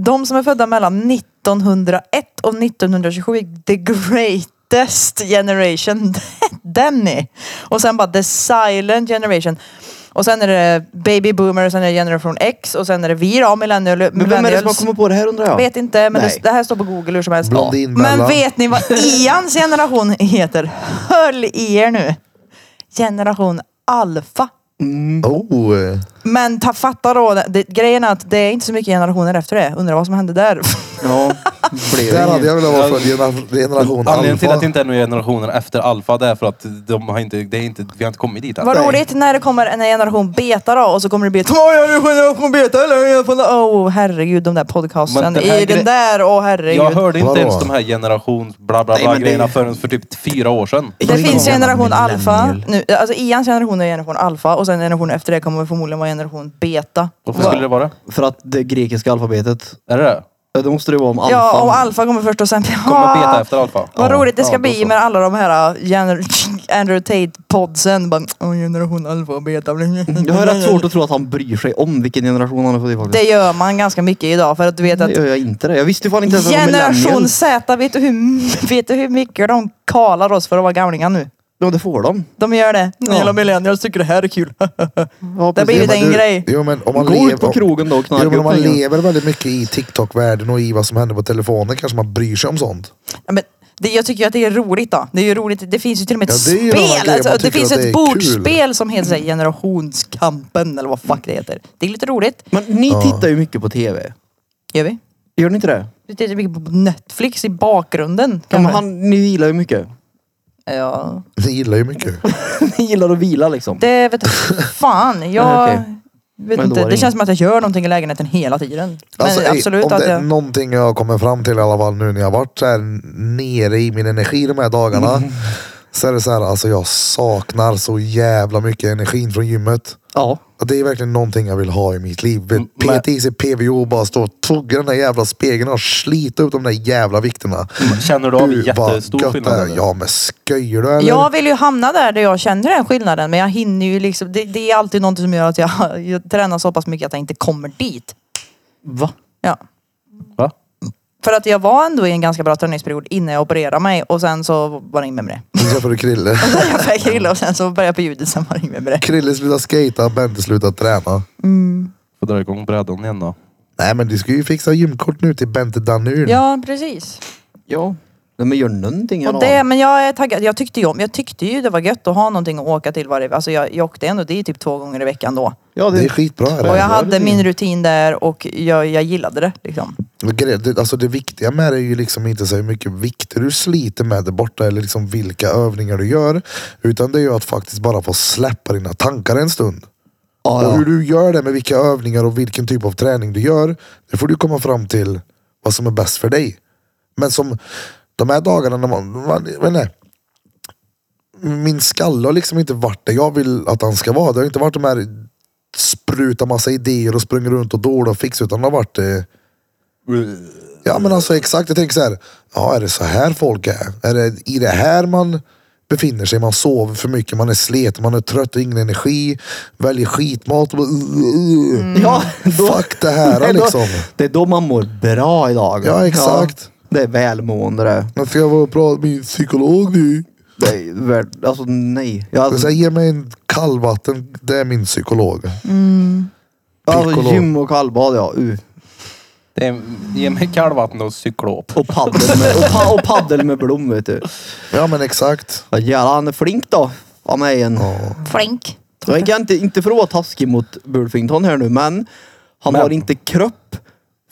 De som är födda mellan 1901 och 1927, the greatest generation, *laughs* Denny. Och sen bara the silent generation. Och sen är det baby boomer, och sen är det generation X och sen är det vi då, millennial,
Men vem är det som har kommit på det här undrar jag?
Vet inte, men det,
Nej.
det här står på google hur som helst.
Blondin Bella.
men vet ni
*laughs*
vad Ians generation heter? Höll i er nu. Generation alfa.
Oh. eh.
Men ta, fatta då, det- det, grejen är att det är inte så mycket generationer efter det. Undrar vad som hände där. *laughs*
Ja, blev
Där hade jag velat vara för
Ja.
gener- generation
Anledningen till att det
alfa.
inte är några generationer efter alfa det är för att de har inte, det är inte, vi har inte kommit dit än.
vad roligt när det kommer en generation beta då och så kommer det bli ett "Åh, är det generation beta eller är det generation-" Åh oh, herregud, de där podcasten.
Men den här
I
gre-
den där, åh herregud.
Jag hörde inte
Vadå?
ens de här generations bla bla
Nej,
bla
men det-
grejerna förrän för typ fyra år sedan.
Det finns
Millennial.
generation alfa. Nu, alltså Ians generation är generation alfa och sen generation efter det kommer förmodligen vara generation beta.
Varför skulle det vara det?
För att det grekiska alfabetet.
Är det det?
Ja, det måste det vara om alfan.
Ja, och alfa kommer först och sen... Ja,
Kommer att beta efter alfa.
Vad
Ja,
roligt det ska
ja, då
bli
så.
med alla de här gener- *laughs* Andrew Tate-podsen. Bara, "Åh, Generation alfa och beta.
*laughs* Jag har rätt svårt att tro att han bryr sig om vilken generation han är född i
Det
faktiskt.
gör man ganska mycket idag för att du vet
Det
att
gör jag inte det. Jag visste ju fan inte ens att de var
generation
millennials.
Z, vet du, hur, *laughs* vet du hur mycket de kalar oss för att vara gamlingar nu?
Ja, det får de.
De gör det.
Ja.
Hela millennials tycker det här är *laughs* kul.
Ja,
Det har
precis.
blivit en
Du,
grej.
Jo, men om man
Gå ut på
om-
krogen då och knarka
Jo, men om
upp
man
pengar.
lever väldigt mycket i TikTok-världen och i vad som händer på telefonen kanske man bryr sig om sånt.
Ja, men det, jag tycker ju att det är roligt då. Det är ju roligt. Det finns ju till och med ett
Ja, det är ju en annan
spel.
grej. Man
Alltså, det
tycker
finns
att
ett
det är
bordsspel som heter så här, generationskampen eller vad fuck det heter. Det är lite roligt.
Men ni tittar ju mycket på tv.
Gör vi.
Gör ni inte det?
Vi tittar typ mycket på Netflix i bakgrunden.
Ja, men
kanske.
han, ni vilar ju mycket. *laughs*
ja.
Ni gillar ju mycket.
ni gillar att vila liksom.
Det vet
*laughs*
fan. Jag
Nej, okej.
vet
då
inte.
var det
Det
inget.
känns som att jag gör någonting i lägenheten hela tiden. Men
Alltså, ey,
absolut
om det
att
är
jag...
någonting jag kommer fram till i alla fall nu när jag har varit så här nere i min energi de här dagarna.
Mm.
Så är det så här, alltså jag saknar så jävla mycket energin från gymmet.
Ja.
Och Det är verkligen någonting jag vill ha i mitt liv.
Mm,
Peta i sig PVO och bara stå och tugga den där jävla spegeln och slita ut de där jävla vikterna.
Känner du av jättestor
vad gött det
skillnad?
är.
eller?
Ja men skojar du eller?
Jag vill ju hamna där, där jag känner den skillnaden. Men jag hinner ju liksom. Det, det är alltid någonting som gör att jag, *laughs* jag tränar så pass mycket att jag inte kommer dit.
Va?
Ja.
Va?
För att jag var ändå i en ganska bra träningsperiod innan jag opererade mig och sen så var det inget med det. *laughs*
Nu träffar du Krille.
Sen jag fick grilla och sen så började jag på ljudet, sen var det inget med det.
Krille slutar skata, Bente slutar träna.
Får dra igång brädan igen då.
Nej men du ska ju fixa gymkort nu till Bente Danur.
Ja, precis.
Ja. Nej, men gör någonting i alla
Och det,
fall.
men jag är taggad. Jag tyckte ju om, jag tyckte ju det var gött att ha någonting att åka till varje, alltså jag, jag åkte ändå dit typ två gånger i veckan då.
Ja,
Det är skitbra. Är det?
Och jag
Ja, det
hade
är
min
fint.
rutin där och jag, jag gillade det liksom.
Men grej- det- Alltså det viktiga med det är ju liksom inte så hur mycket vikter du sliter med där borta eller liksom vilka övningar du gör. Utan det är ju att faktiskt bara få släppa dina tankar en stund.
Ja,
Och
ja.
hur du gör det med vilka övningar och vilken typ av träning du gör. Det får du komma fram till vad som är bäst för dig. Men som de här dagarna när man, man jag vet inte, min skalle har liksom inte varit där jag vill att han ska vara. Det har inte varit de här spruta massa idéer och sprungit runt och dåla och fixa utan det har varit eh, Ja men alltså exakt, jag tänker så här. Ja är det så här folk är? Är det i det här man befinner sig? Man sover för mycket, man är sleten, man är trött och ingen energi. Väljer skitmat och bara, uh,
*laughs* Ja, då-
*laughs* Fuck det här
Nej, Mm. *laughs* då-
liksom.
Det är då man mår bra idag.
Ja, exakt.
Ja, det är välmående det.
Men ska jag vara och prata med min psykolog nu?
det är, väl- alltså nej. Jag,
Men
alltså,
Så här, ge mig en kallvatten, det är min psykolog.
alltså,
Piccolo.
gym och kallbad ja. Uh.
Det är, ge mig kallvatten och cyklop.
Och paddel med, och pa, och paddel med Blom vet du.
Ja men exakt.
Ja, jävlar han är flink då. Av mig en.
Flink.
Jag kan inte, inte för att vara taskig mot Burfington här nu men han
Men.
har inte kropp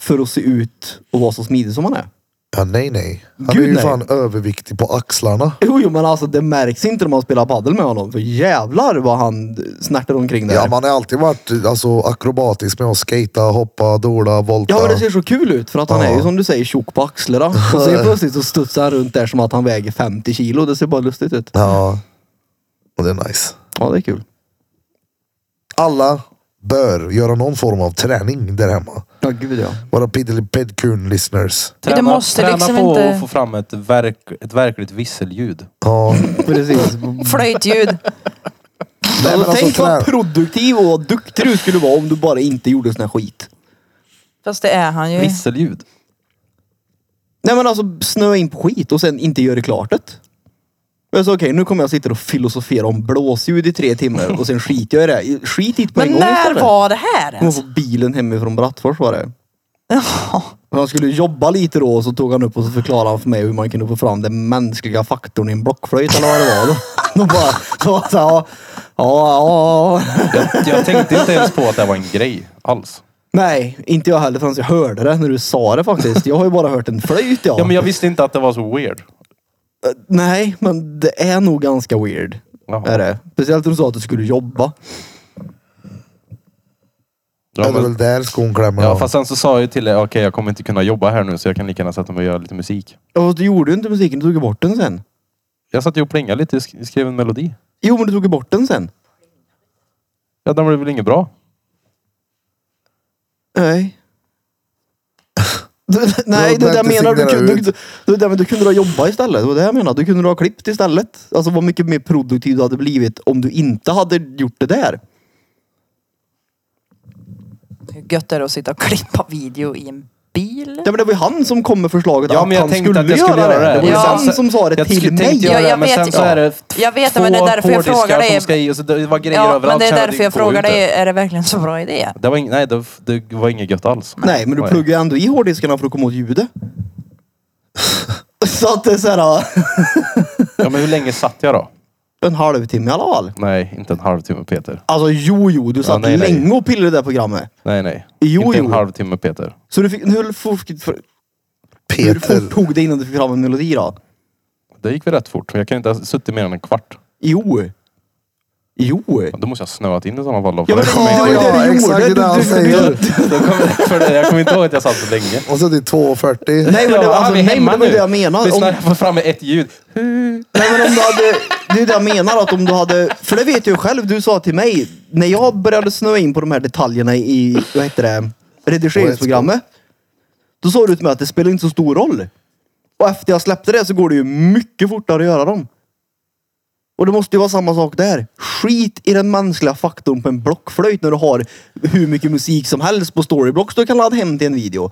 för att se ut och vara så smidig som han är.
Ja nej nej. Han
Gud,
är ju
nej.
fan överviktig på axlarna.
Jo, jo men alltså det märks inte när man spelar paddel med honom. För jävlar vad han snärtar omkring där.
Ja man har alltid varit alltså, akrobatisk med att skata, hoppa, dola, volta.
Ja men det ser så kul ut för att han
Ja.
är ju som du säger tjock på axlarna. Och så helt plötsligt så studsar han runt där som att han väger 50 kilo. Det ser bara lustigt ut.
Ja. Och det är nice.
Ja det är kul.
Alla bör göra någon form av träning där hemma.
Ja gud ja.
Våra piddelipedkun listeners.
Det måste
träna
liksom
på
inte-
att få fram ett, verk, ett verkligt visselljud.
Ja.
*laughs* Precis.
*laughs*
Flöjtljud.
Nej, men
alltså, tänk
alltså,
vad
trä-
produktiv och duktig du skulle vara om du bara inte gjorde sån här skit.
Fast det är han ju.
Visselljud.
Nej men alltså snöa in på skit och sen inte göra klart det. Men så okej, nu kommer jag sitta och filosofera om blåsljud i tre timmar och sen skiter jag i det. Skit i det på
Men
en gång
när
istället.
var det här
Han
ens?
Mm.
var på bilen hemifrån Brattfors var det. Och Han skulle jobba lite då och så tog han upp och så förklarade han för mig hur man kunde få fram den mänskliga faktorn i en blockflöjt eller vad det var.
*laughs*
Då, då bara, då var det så här, ja, ja, ja.
Jag tänkte inte ens på att det var en grej alls.
Nej, inte jag heller förrän jag hörde det när du sa det faktiskt. Jag har ju bara hört en flöjt ja.
Ja men jag visste inte att det var så weird.
Nej, men det är nog ganska weird.
Jaha.
Är det. Speciellt när du sa att du skulle jobba.
Det
Ja,
är väl
men,
där skon klämmer.
ja fast sen så sa jag ju till dig, okej jag kommer inte kunna jobba här nu så jag kan lika gärna sätta mig och göra lite musik.
Ja, fast du gjorde ju inte musiken, du tog ju bort den sen.
Jag satt ju och plingade lite, sk- skrev en melodi.
Jo, men du tog ju bort den sen.
Ja den blev väl inget bra.
Nej. *laughs* Nej, det
Du
är det jag
behöver inte
menar. Du,
signera
kunde- du,
ut.
du, du, det- men du kunde ha jobbat istället. Det var det jag menade. Du kunde ha klippt istället. Alltså vad mycket mer produktiv du hade blivit om du inte hade gjort det där.
Hur gött är det att sitta och klippa video i en bil?
Ja, men det var ju han som kom med förslaget
Ja,
att
men jag
han
tänkte
skulle,
att jag skulle
göra det.
göra det.
Det var ju
Ja.
han som sa det
Jag
till
skulle-
mig.
tänkte
Ja,
göra det,
jag
men
vet
sen så
ja.
är det
Jag vet, men det
två
är därför jag
hårddiskar
frågar dig.
som ska i och så det var grejer
Ja,
överallt.
men det är
så hade
därför jag
gått
frågar
ut det.
dig, är det verkligen så bra idé?
Det var, ing- nej, det, det var inget gött alls.
Nej, men du
Oj.
pluggar ju ändå i hårddiskarna för att komma åt ljudet. *laughs* Så att det är så här,
Ja, men hur länge satt jag då?
en halvtimme i alla fall.
Nej, inte en halvtimme Peter.
Alltså jo, jo, du satt
nej, nej.
länge och pillade i det här programmet.
Nej, nej.
Jo,
inte
jo.
en halvtimme Peter.
Så du fick, hur, fort, för, hur
Peter.
fort tog det innan du fick fram en melodi då?
Det gick väl rätt fort. Jag kan inte ha suttit mer än en kvart.
Jo. Jo.
Då måste jag ha snöat in i sådana fall. då, för
Ja, men
det
det,
kommer jag
det var ju
inte ihåg.
det du
exakt
gjorde.
det han
Du, du,
säger.
du, du,
Då kommer- för det- Jag kommer inte ihåg att jag satt så länge.
Och så till 2.40.
nej, men det var,
Ja,
alltså,
vi är
nej, men
hemma
det var ju
nu.
det jag menade.
Lyssna,
Om,
jag får fram ett ljud.
nej, men om du hade, det är det jag menar. Att om du hade, för det vet jag ju själv. Du sa till mig, när jag började snöa in på de här detaljerna i, vad heter det, redigeringsprogrammet. Då sa du till mig att det spelar inte så stor roll. Och efter jag släppte det så går det ju mycket fortare att göra dem. Och det måste ju vara samma sak där. Skit i den mänskliga faktorn på en blockflöjt när du har hur mycket musik som helst på storyblocks du kan ladda hem till en video.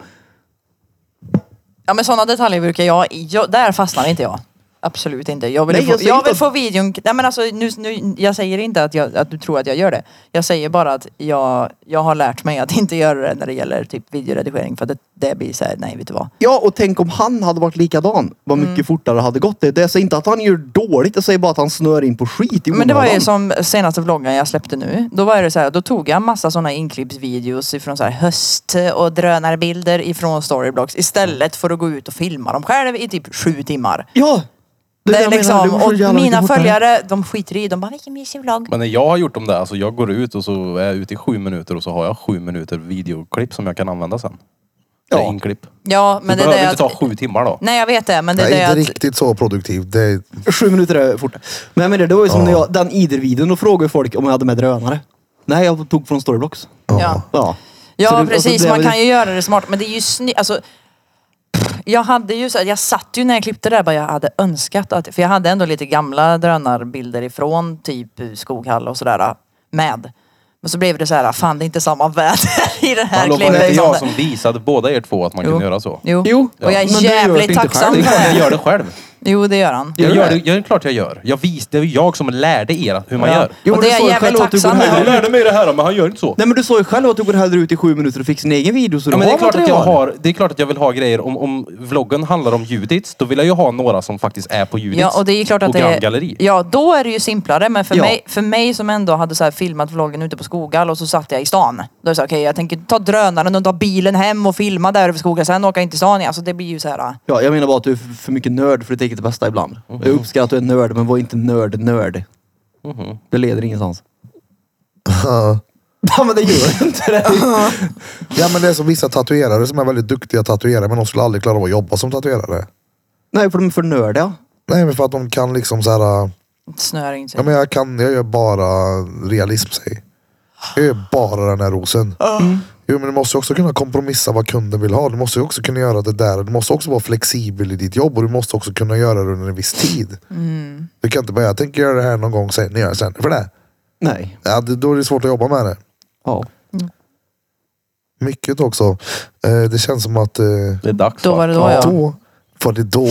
Ja men sådana detaljer brukar jag, jag där fastnar inte jag. Absolut inte. Jag vill,
Nej,
ju få,
jag säger
jag
inte
vill
att-
få videon, nej men alltså nu, nu, jag säger inte att, jag, att du tror att jag gör det. Jag säger bara att jag, jag har lärt mig att inte göra det när det gäller typ videoredigering för att det, det blir såhär, nej vet du vad.
Ja, och tänk om han hade varit likadan. Vad mycket
Mm.
fortare det hade gått. Det, det säger inte att han gör dåligt. Jag säger bara att han snör in på skit i
Men det var ju
onödan.
som senaste vloggen jag släppte nu. Då var det så här, då tog jag massa sådana inklippsvideos ifrån så här höst och drönarbilder ifrån storyblocks istället för att gå ut och filma dem själv i typ sju timmar.
Ja!
Det
där
är
jag menar,
liksom,
det var så jävla
och
mycket
mina
fortare.
följare, de skiter i, de bara vilken mysig vlogg.
Men när jag har gjort de där, alltså jag går ut och så är jag ute i sju minuter och så har jag sju minuter videoklipp som jag kan använda sen.
Ja.
Eller inklipp.
Ja, men det
det
är
behöver
det
inte ta
att...
sju timmar då.
Nej, jag vet det, men det är
jag är inte
det att...
riktigt så produktiv. Det är...
Sju minuter är fort. Men jag menar, det var ju som
Ja.
när jag, den Ider-videon, då frågade folk om jag hade med drönare. Nej, jag tog från Storyblocks.
Ja,
Ja. Så det-
ja
alltså,
precis.
det är
man
väl-
kan ju göra det smart, men det är ju snyggt. Alltså, pff, jag hade ju så här, jag satt ju när jag klippte det där bara jag hade önskat att, för jag hade ändå lite gamla drönarbilder ifrån typ Skoghall och sådär med. Men så blev det så här, fan det är inte samma väder *laughs* i det här
Hallå, var
klippet.
det inte jag
det-
som visade båda er två att man
Jo.
kunde göra så?
Jo.
Jo,
och jag
men
är
du gör det
jävligt
inte själv.
tacksam
Det är
för
klart jag
det.
gör det själv.
Jo, det gör han.
Jag
Gör
gör
det?
det, jag, det är klart jag gör. Jag vis, det är jag som lärde er hur man
Ja.
gör.
Jo,
Och
men
det
du
är jag
sa ju
jävligt
själv att du går
tacksam
hellre-
för.
lärde mig det här men han gör inte så.
Nej men du sa ju själv att du går hellre ut i sju minuter och fick sin egen video så du
Ja, men det,
har
är klart att jag
material.
har, det är klart att jag vill ha grejer. Om, om vloggen handlar om Judits, då vill jag ju ha några som faktiskt är på Judits.
Ja, och det är ju klart att det
Grand
är,
Galleri.
Ja, då är det ju simplare. Men för,
Ja.
mig, för mig som ändå hade så här filmat vloggen ute på Skogal och så satt jag i stan. Då är det så här, okej jag tänker ta drönaren och ta bilen hem och filma där över Skogal. Sen åka in till stan igen. Alltså det blir ju så här. ah.
Ja, jag menar bara att du är f- för mycket nörd för ditt eget bästa ibland. Jag
Mhm.
uppskattar att du är nörd, men var inte nörd-nörd. Det leder ingenstans. *laughs* ja, men det gör inte det.
Ja men det är som vissa tatuerare som är väldigt duktiga tatuerare men de skulle aldrig klara av att jobba som tatuerare.
Nej, för de är för nördiga.
Nej men för att de kan liksom så här.
Snör in sig.
Ja men jag kan, jag gör bara realism säg. Jag gör bara den här rosen. Jo men du måste ju också kunna kompromissa vad kunden vill ha. Du måste ju också kunna göra det där. Du måste också vara flexibel i ditt jobb och du måste också kunna göra det under en viss tid. Du kan inte bara, jag tänker göra det här någon gång sen, ni gör jag sen. För det?
Nej.
Ja, det, då är det svårt att jobba med det.
Ja.
Mycket också. Eh, det känns som att eh,
Det är dags
Då
va?
var det då ja.
då var det då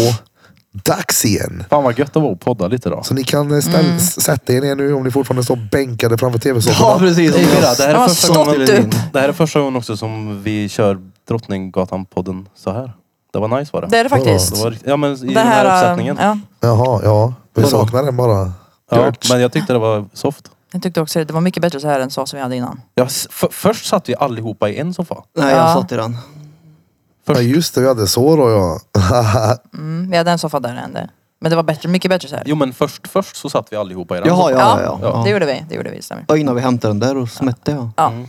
dags igen.
Fan vad gött det var att podda lite då.
Så ni kan eh, ställ, s- sätta er ner nu om ni fortfarande står bänkade framför
Ja,
tv-soffan.
precis.
Det är, det, här
Jag har
är första
stått
gången,
upp.
det här är första gången också som vi kör Drottninggatan-podden så här. Det var nice var det.
Det är det faktiskt.
Det var, ja, men i
Den
den här,
här, äh,
uppsättningen. Ja.
ja,
Jaha, ja. Vi
Vadå?
saknar den bara.
men jag tyckte det var soft.
jag tyckte också det var mycket bättre så här än så som vi hade innan.
Ja, s- för, först satt vi allihopa i en soffa.
Nej, jag
Ja.
satt i den.
Ja, just det, vi hade så då ja. *laughs*
Mm, vi hade en soffa där än det. Men det var bättre, mycket bättre så här.
Jo men först, först så satt vi allihopa i den
Jaha,
soffan.
ja, ja. ja.
det
ja.
gjorde vi. Det gjorde vi, stämmer.
Och innan vi hämtade den där och smätte jag.
Ja.
Mm.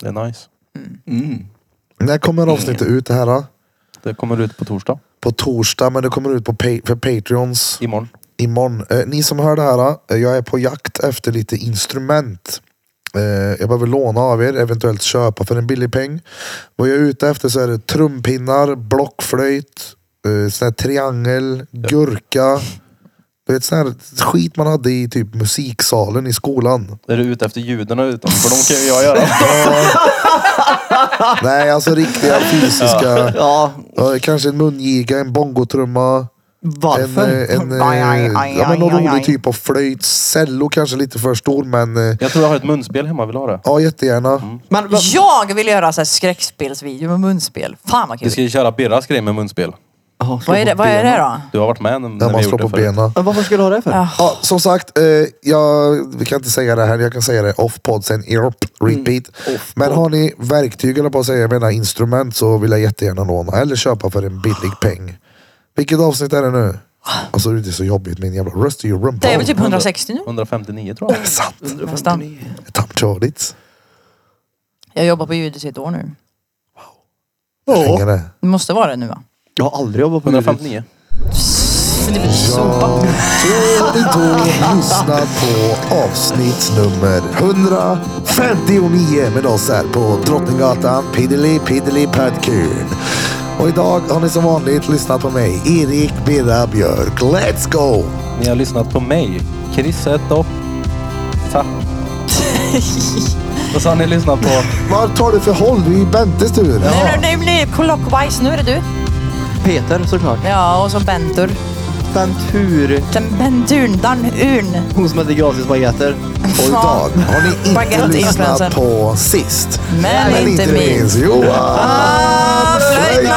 Det är nice.
Mm.
När kommer avsnittet ut det här? Då?
Det kommer ut på torsdag.
På torsdag, men det kommer ut på pa- för Patreons
Imorgon.
imorgon. Eh, ni som hör det här, eh, jag är på jakt efter lite instrument. Eh, jag behöver låna av er, eventuellt köpa för en billig peng. Vad jag är ute efter så är det trumpinnar, blockflöjt, eh, sån här triangel, gurka. Du vet sån här skit man hade i typ musiksalen i skolan.
Är du ute efter judarna utan? För de kan ju jag göra.
*laughs* Nej, alltså riktiga fysiska.
Ja,
Ja, kanske en mungiga, en bongotrumma. En,
varför?
eh, en, eh,
*laughs* Aj, aj, aj,
ja, men någon
aj, aj,
rolig
aj.
typ av flöjt. Cello kanske lite för stor men eh,
Jag tror jag har ett munspel hemma, vill du ha det?
ja jättegärna.
Mm.
Men, vad-
Jag vill göra så här skräckspelsvideo med munspel. Fan vad
Vi
kul.
ska ju köra Birras grej med munspel.
Jaha, slå
Vad är
på
det, vad är
benen.
det då?
Du har varit med när, när
Där
vi
man
har
slår
gjort
på
det förut.
benen.
Men varför ska du ha det för?
Ja.
Ja, som sagt, eh, jag vi kan inte säga det här. Jag kan säga det off-pod sen. Erop, repeat.
Mm,
Men har ni verktyg eller på att säga, jag menar instrument så vill jag jättegärna låna eller köpa för en billig peng. Vilket avsnitt är det nu? Alltså det är så jobbigt min jävla röst i rumpan.
Det är väl typ 160 nu?
159 tror jag.
sant.
Nästan.
Tapptjordigt.
Jag jobbar på Judis i ett år nu.
Hänger det?
Det måste vara det nu va?
Jag har aldrig jobbat på Judis.
159.
Då är det då lyssna på avsnitt nummer 159 med oss här på Drottninggatan Piddly Piddly Padkun. Och idag har ni som vanligt lyssnat på mig, Erik Birra Björk. Let's go!
Ni har lyssnat på mig, Chris Ettoff. *laughs* Ta. Och så har ni lyssnat på...
Vad tar du för håll? Det är ju Bentes tur.
Nej, nej, nej, clockwise. Nu är det du.
Peter såklart.
Ja, och så Bentur.
Bentur.
Den Benturn, Dan Urn.
Hon som äter gratisbaguetter.
Och idag har ni inte
Baguette-influensen.
lyssnat på sist.
Men inte minst. Ah,
Johan
Flöjtman!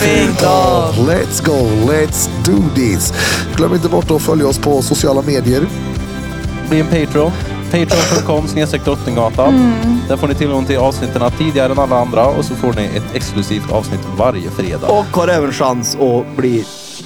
Burfington. Let's go, let's do this. Glöm inte bort att följa oss på sociala medier.
Bli en Patreon. Patreon.com snedstreck Drottninggatan. Där får ni tillgång till avsnitten tidigare än alla andra och så får ni ett exklusivt avsnitt varje fredag.
Och har även chans att bli,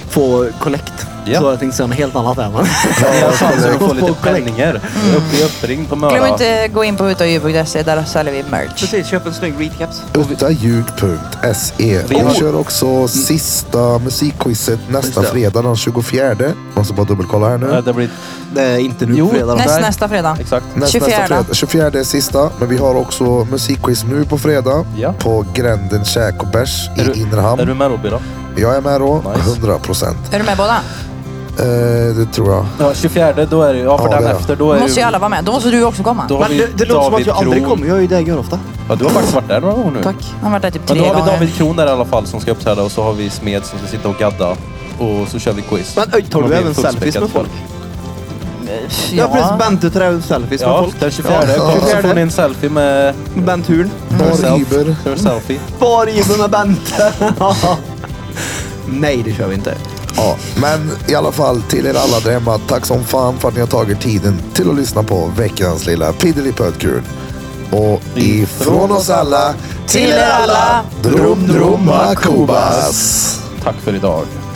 få kollekt.
Ja.
Så jag tänkte säga något helt annat här men.
ni har chansen att få
Och
lite
kollekt.
penningar. Mm. Upp i uppringd på
Glöm
Möra.
inte gå in på utaoju.se, där säljer vi merch.
Precis, köp en snygg recaps.
Uttaljug.se. Och vi kör också sista musikquizet nästa
det.
fredag den 24. Måste bara dubbelkolla här
Nej,
nu.
Eh, Det blir
Det är inte nu
Jo.
på fredag.
Näst, nästa fredag.
exakt.
Näst,
24.
Nästa fredag. 24 är sista, men vi har också musikquiz nu på fredag.
Ja.
På Gränden Käk och Bärs
Är
i
du-
Innerhamn.
Är du med Robby då?
Jag är med då,
Nice.
100 procent. Eh,
Är du med båda?
det tror jag.
Ja, 24 då är det Ja, för
Ja,
den
det är.
efter då
Då
är
måste ju alla vara med. Då måste du också komma.
Då har
Men
vi
det, det låter som att jag
David
aldrig
Kron.
kommer. Jag är ju där jag gör ofta.
Ja, du har faktiskt varit där några gånger nu.
Tack. Han har varit där typ
Men
tre
då har vi
gånger.
David Kron där i alla fall som ska uppträda och så har vi Smed som ska sitta och gadda. Och så kör vi quiz.
Men oj, tar
Kommer
du
bli
även
fullspäckat
selfies med folk? Ja, precis.
Ja.
Bente tar även selfies med
Ja,
folk.
den 24
Ja.
kommer så får ni en selfie *laughs* med
Benturen.
Bar
herself.
Iber.
Her selfie.
Bar Ibe med Bente. Nej, det kör vi inte.
Ja, men i alla fall till er alla där hemma. Tack som fan för att ni har tagit tiden till att lyssna på veckans lilla Piddelipödkul. Och ifrån oss alla
Till er alla,
Drum Drum Kubas.
Tack för idag.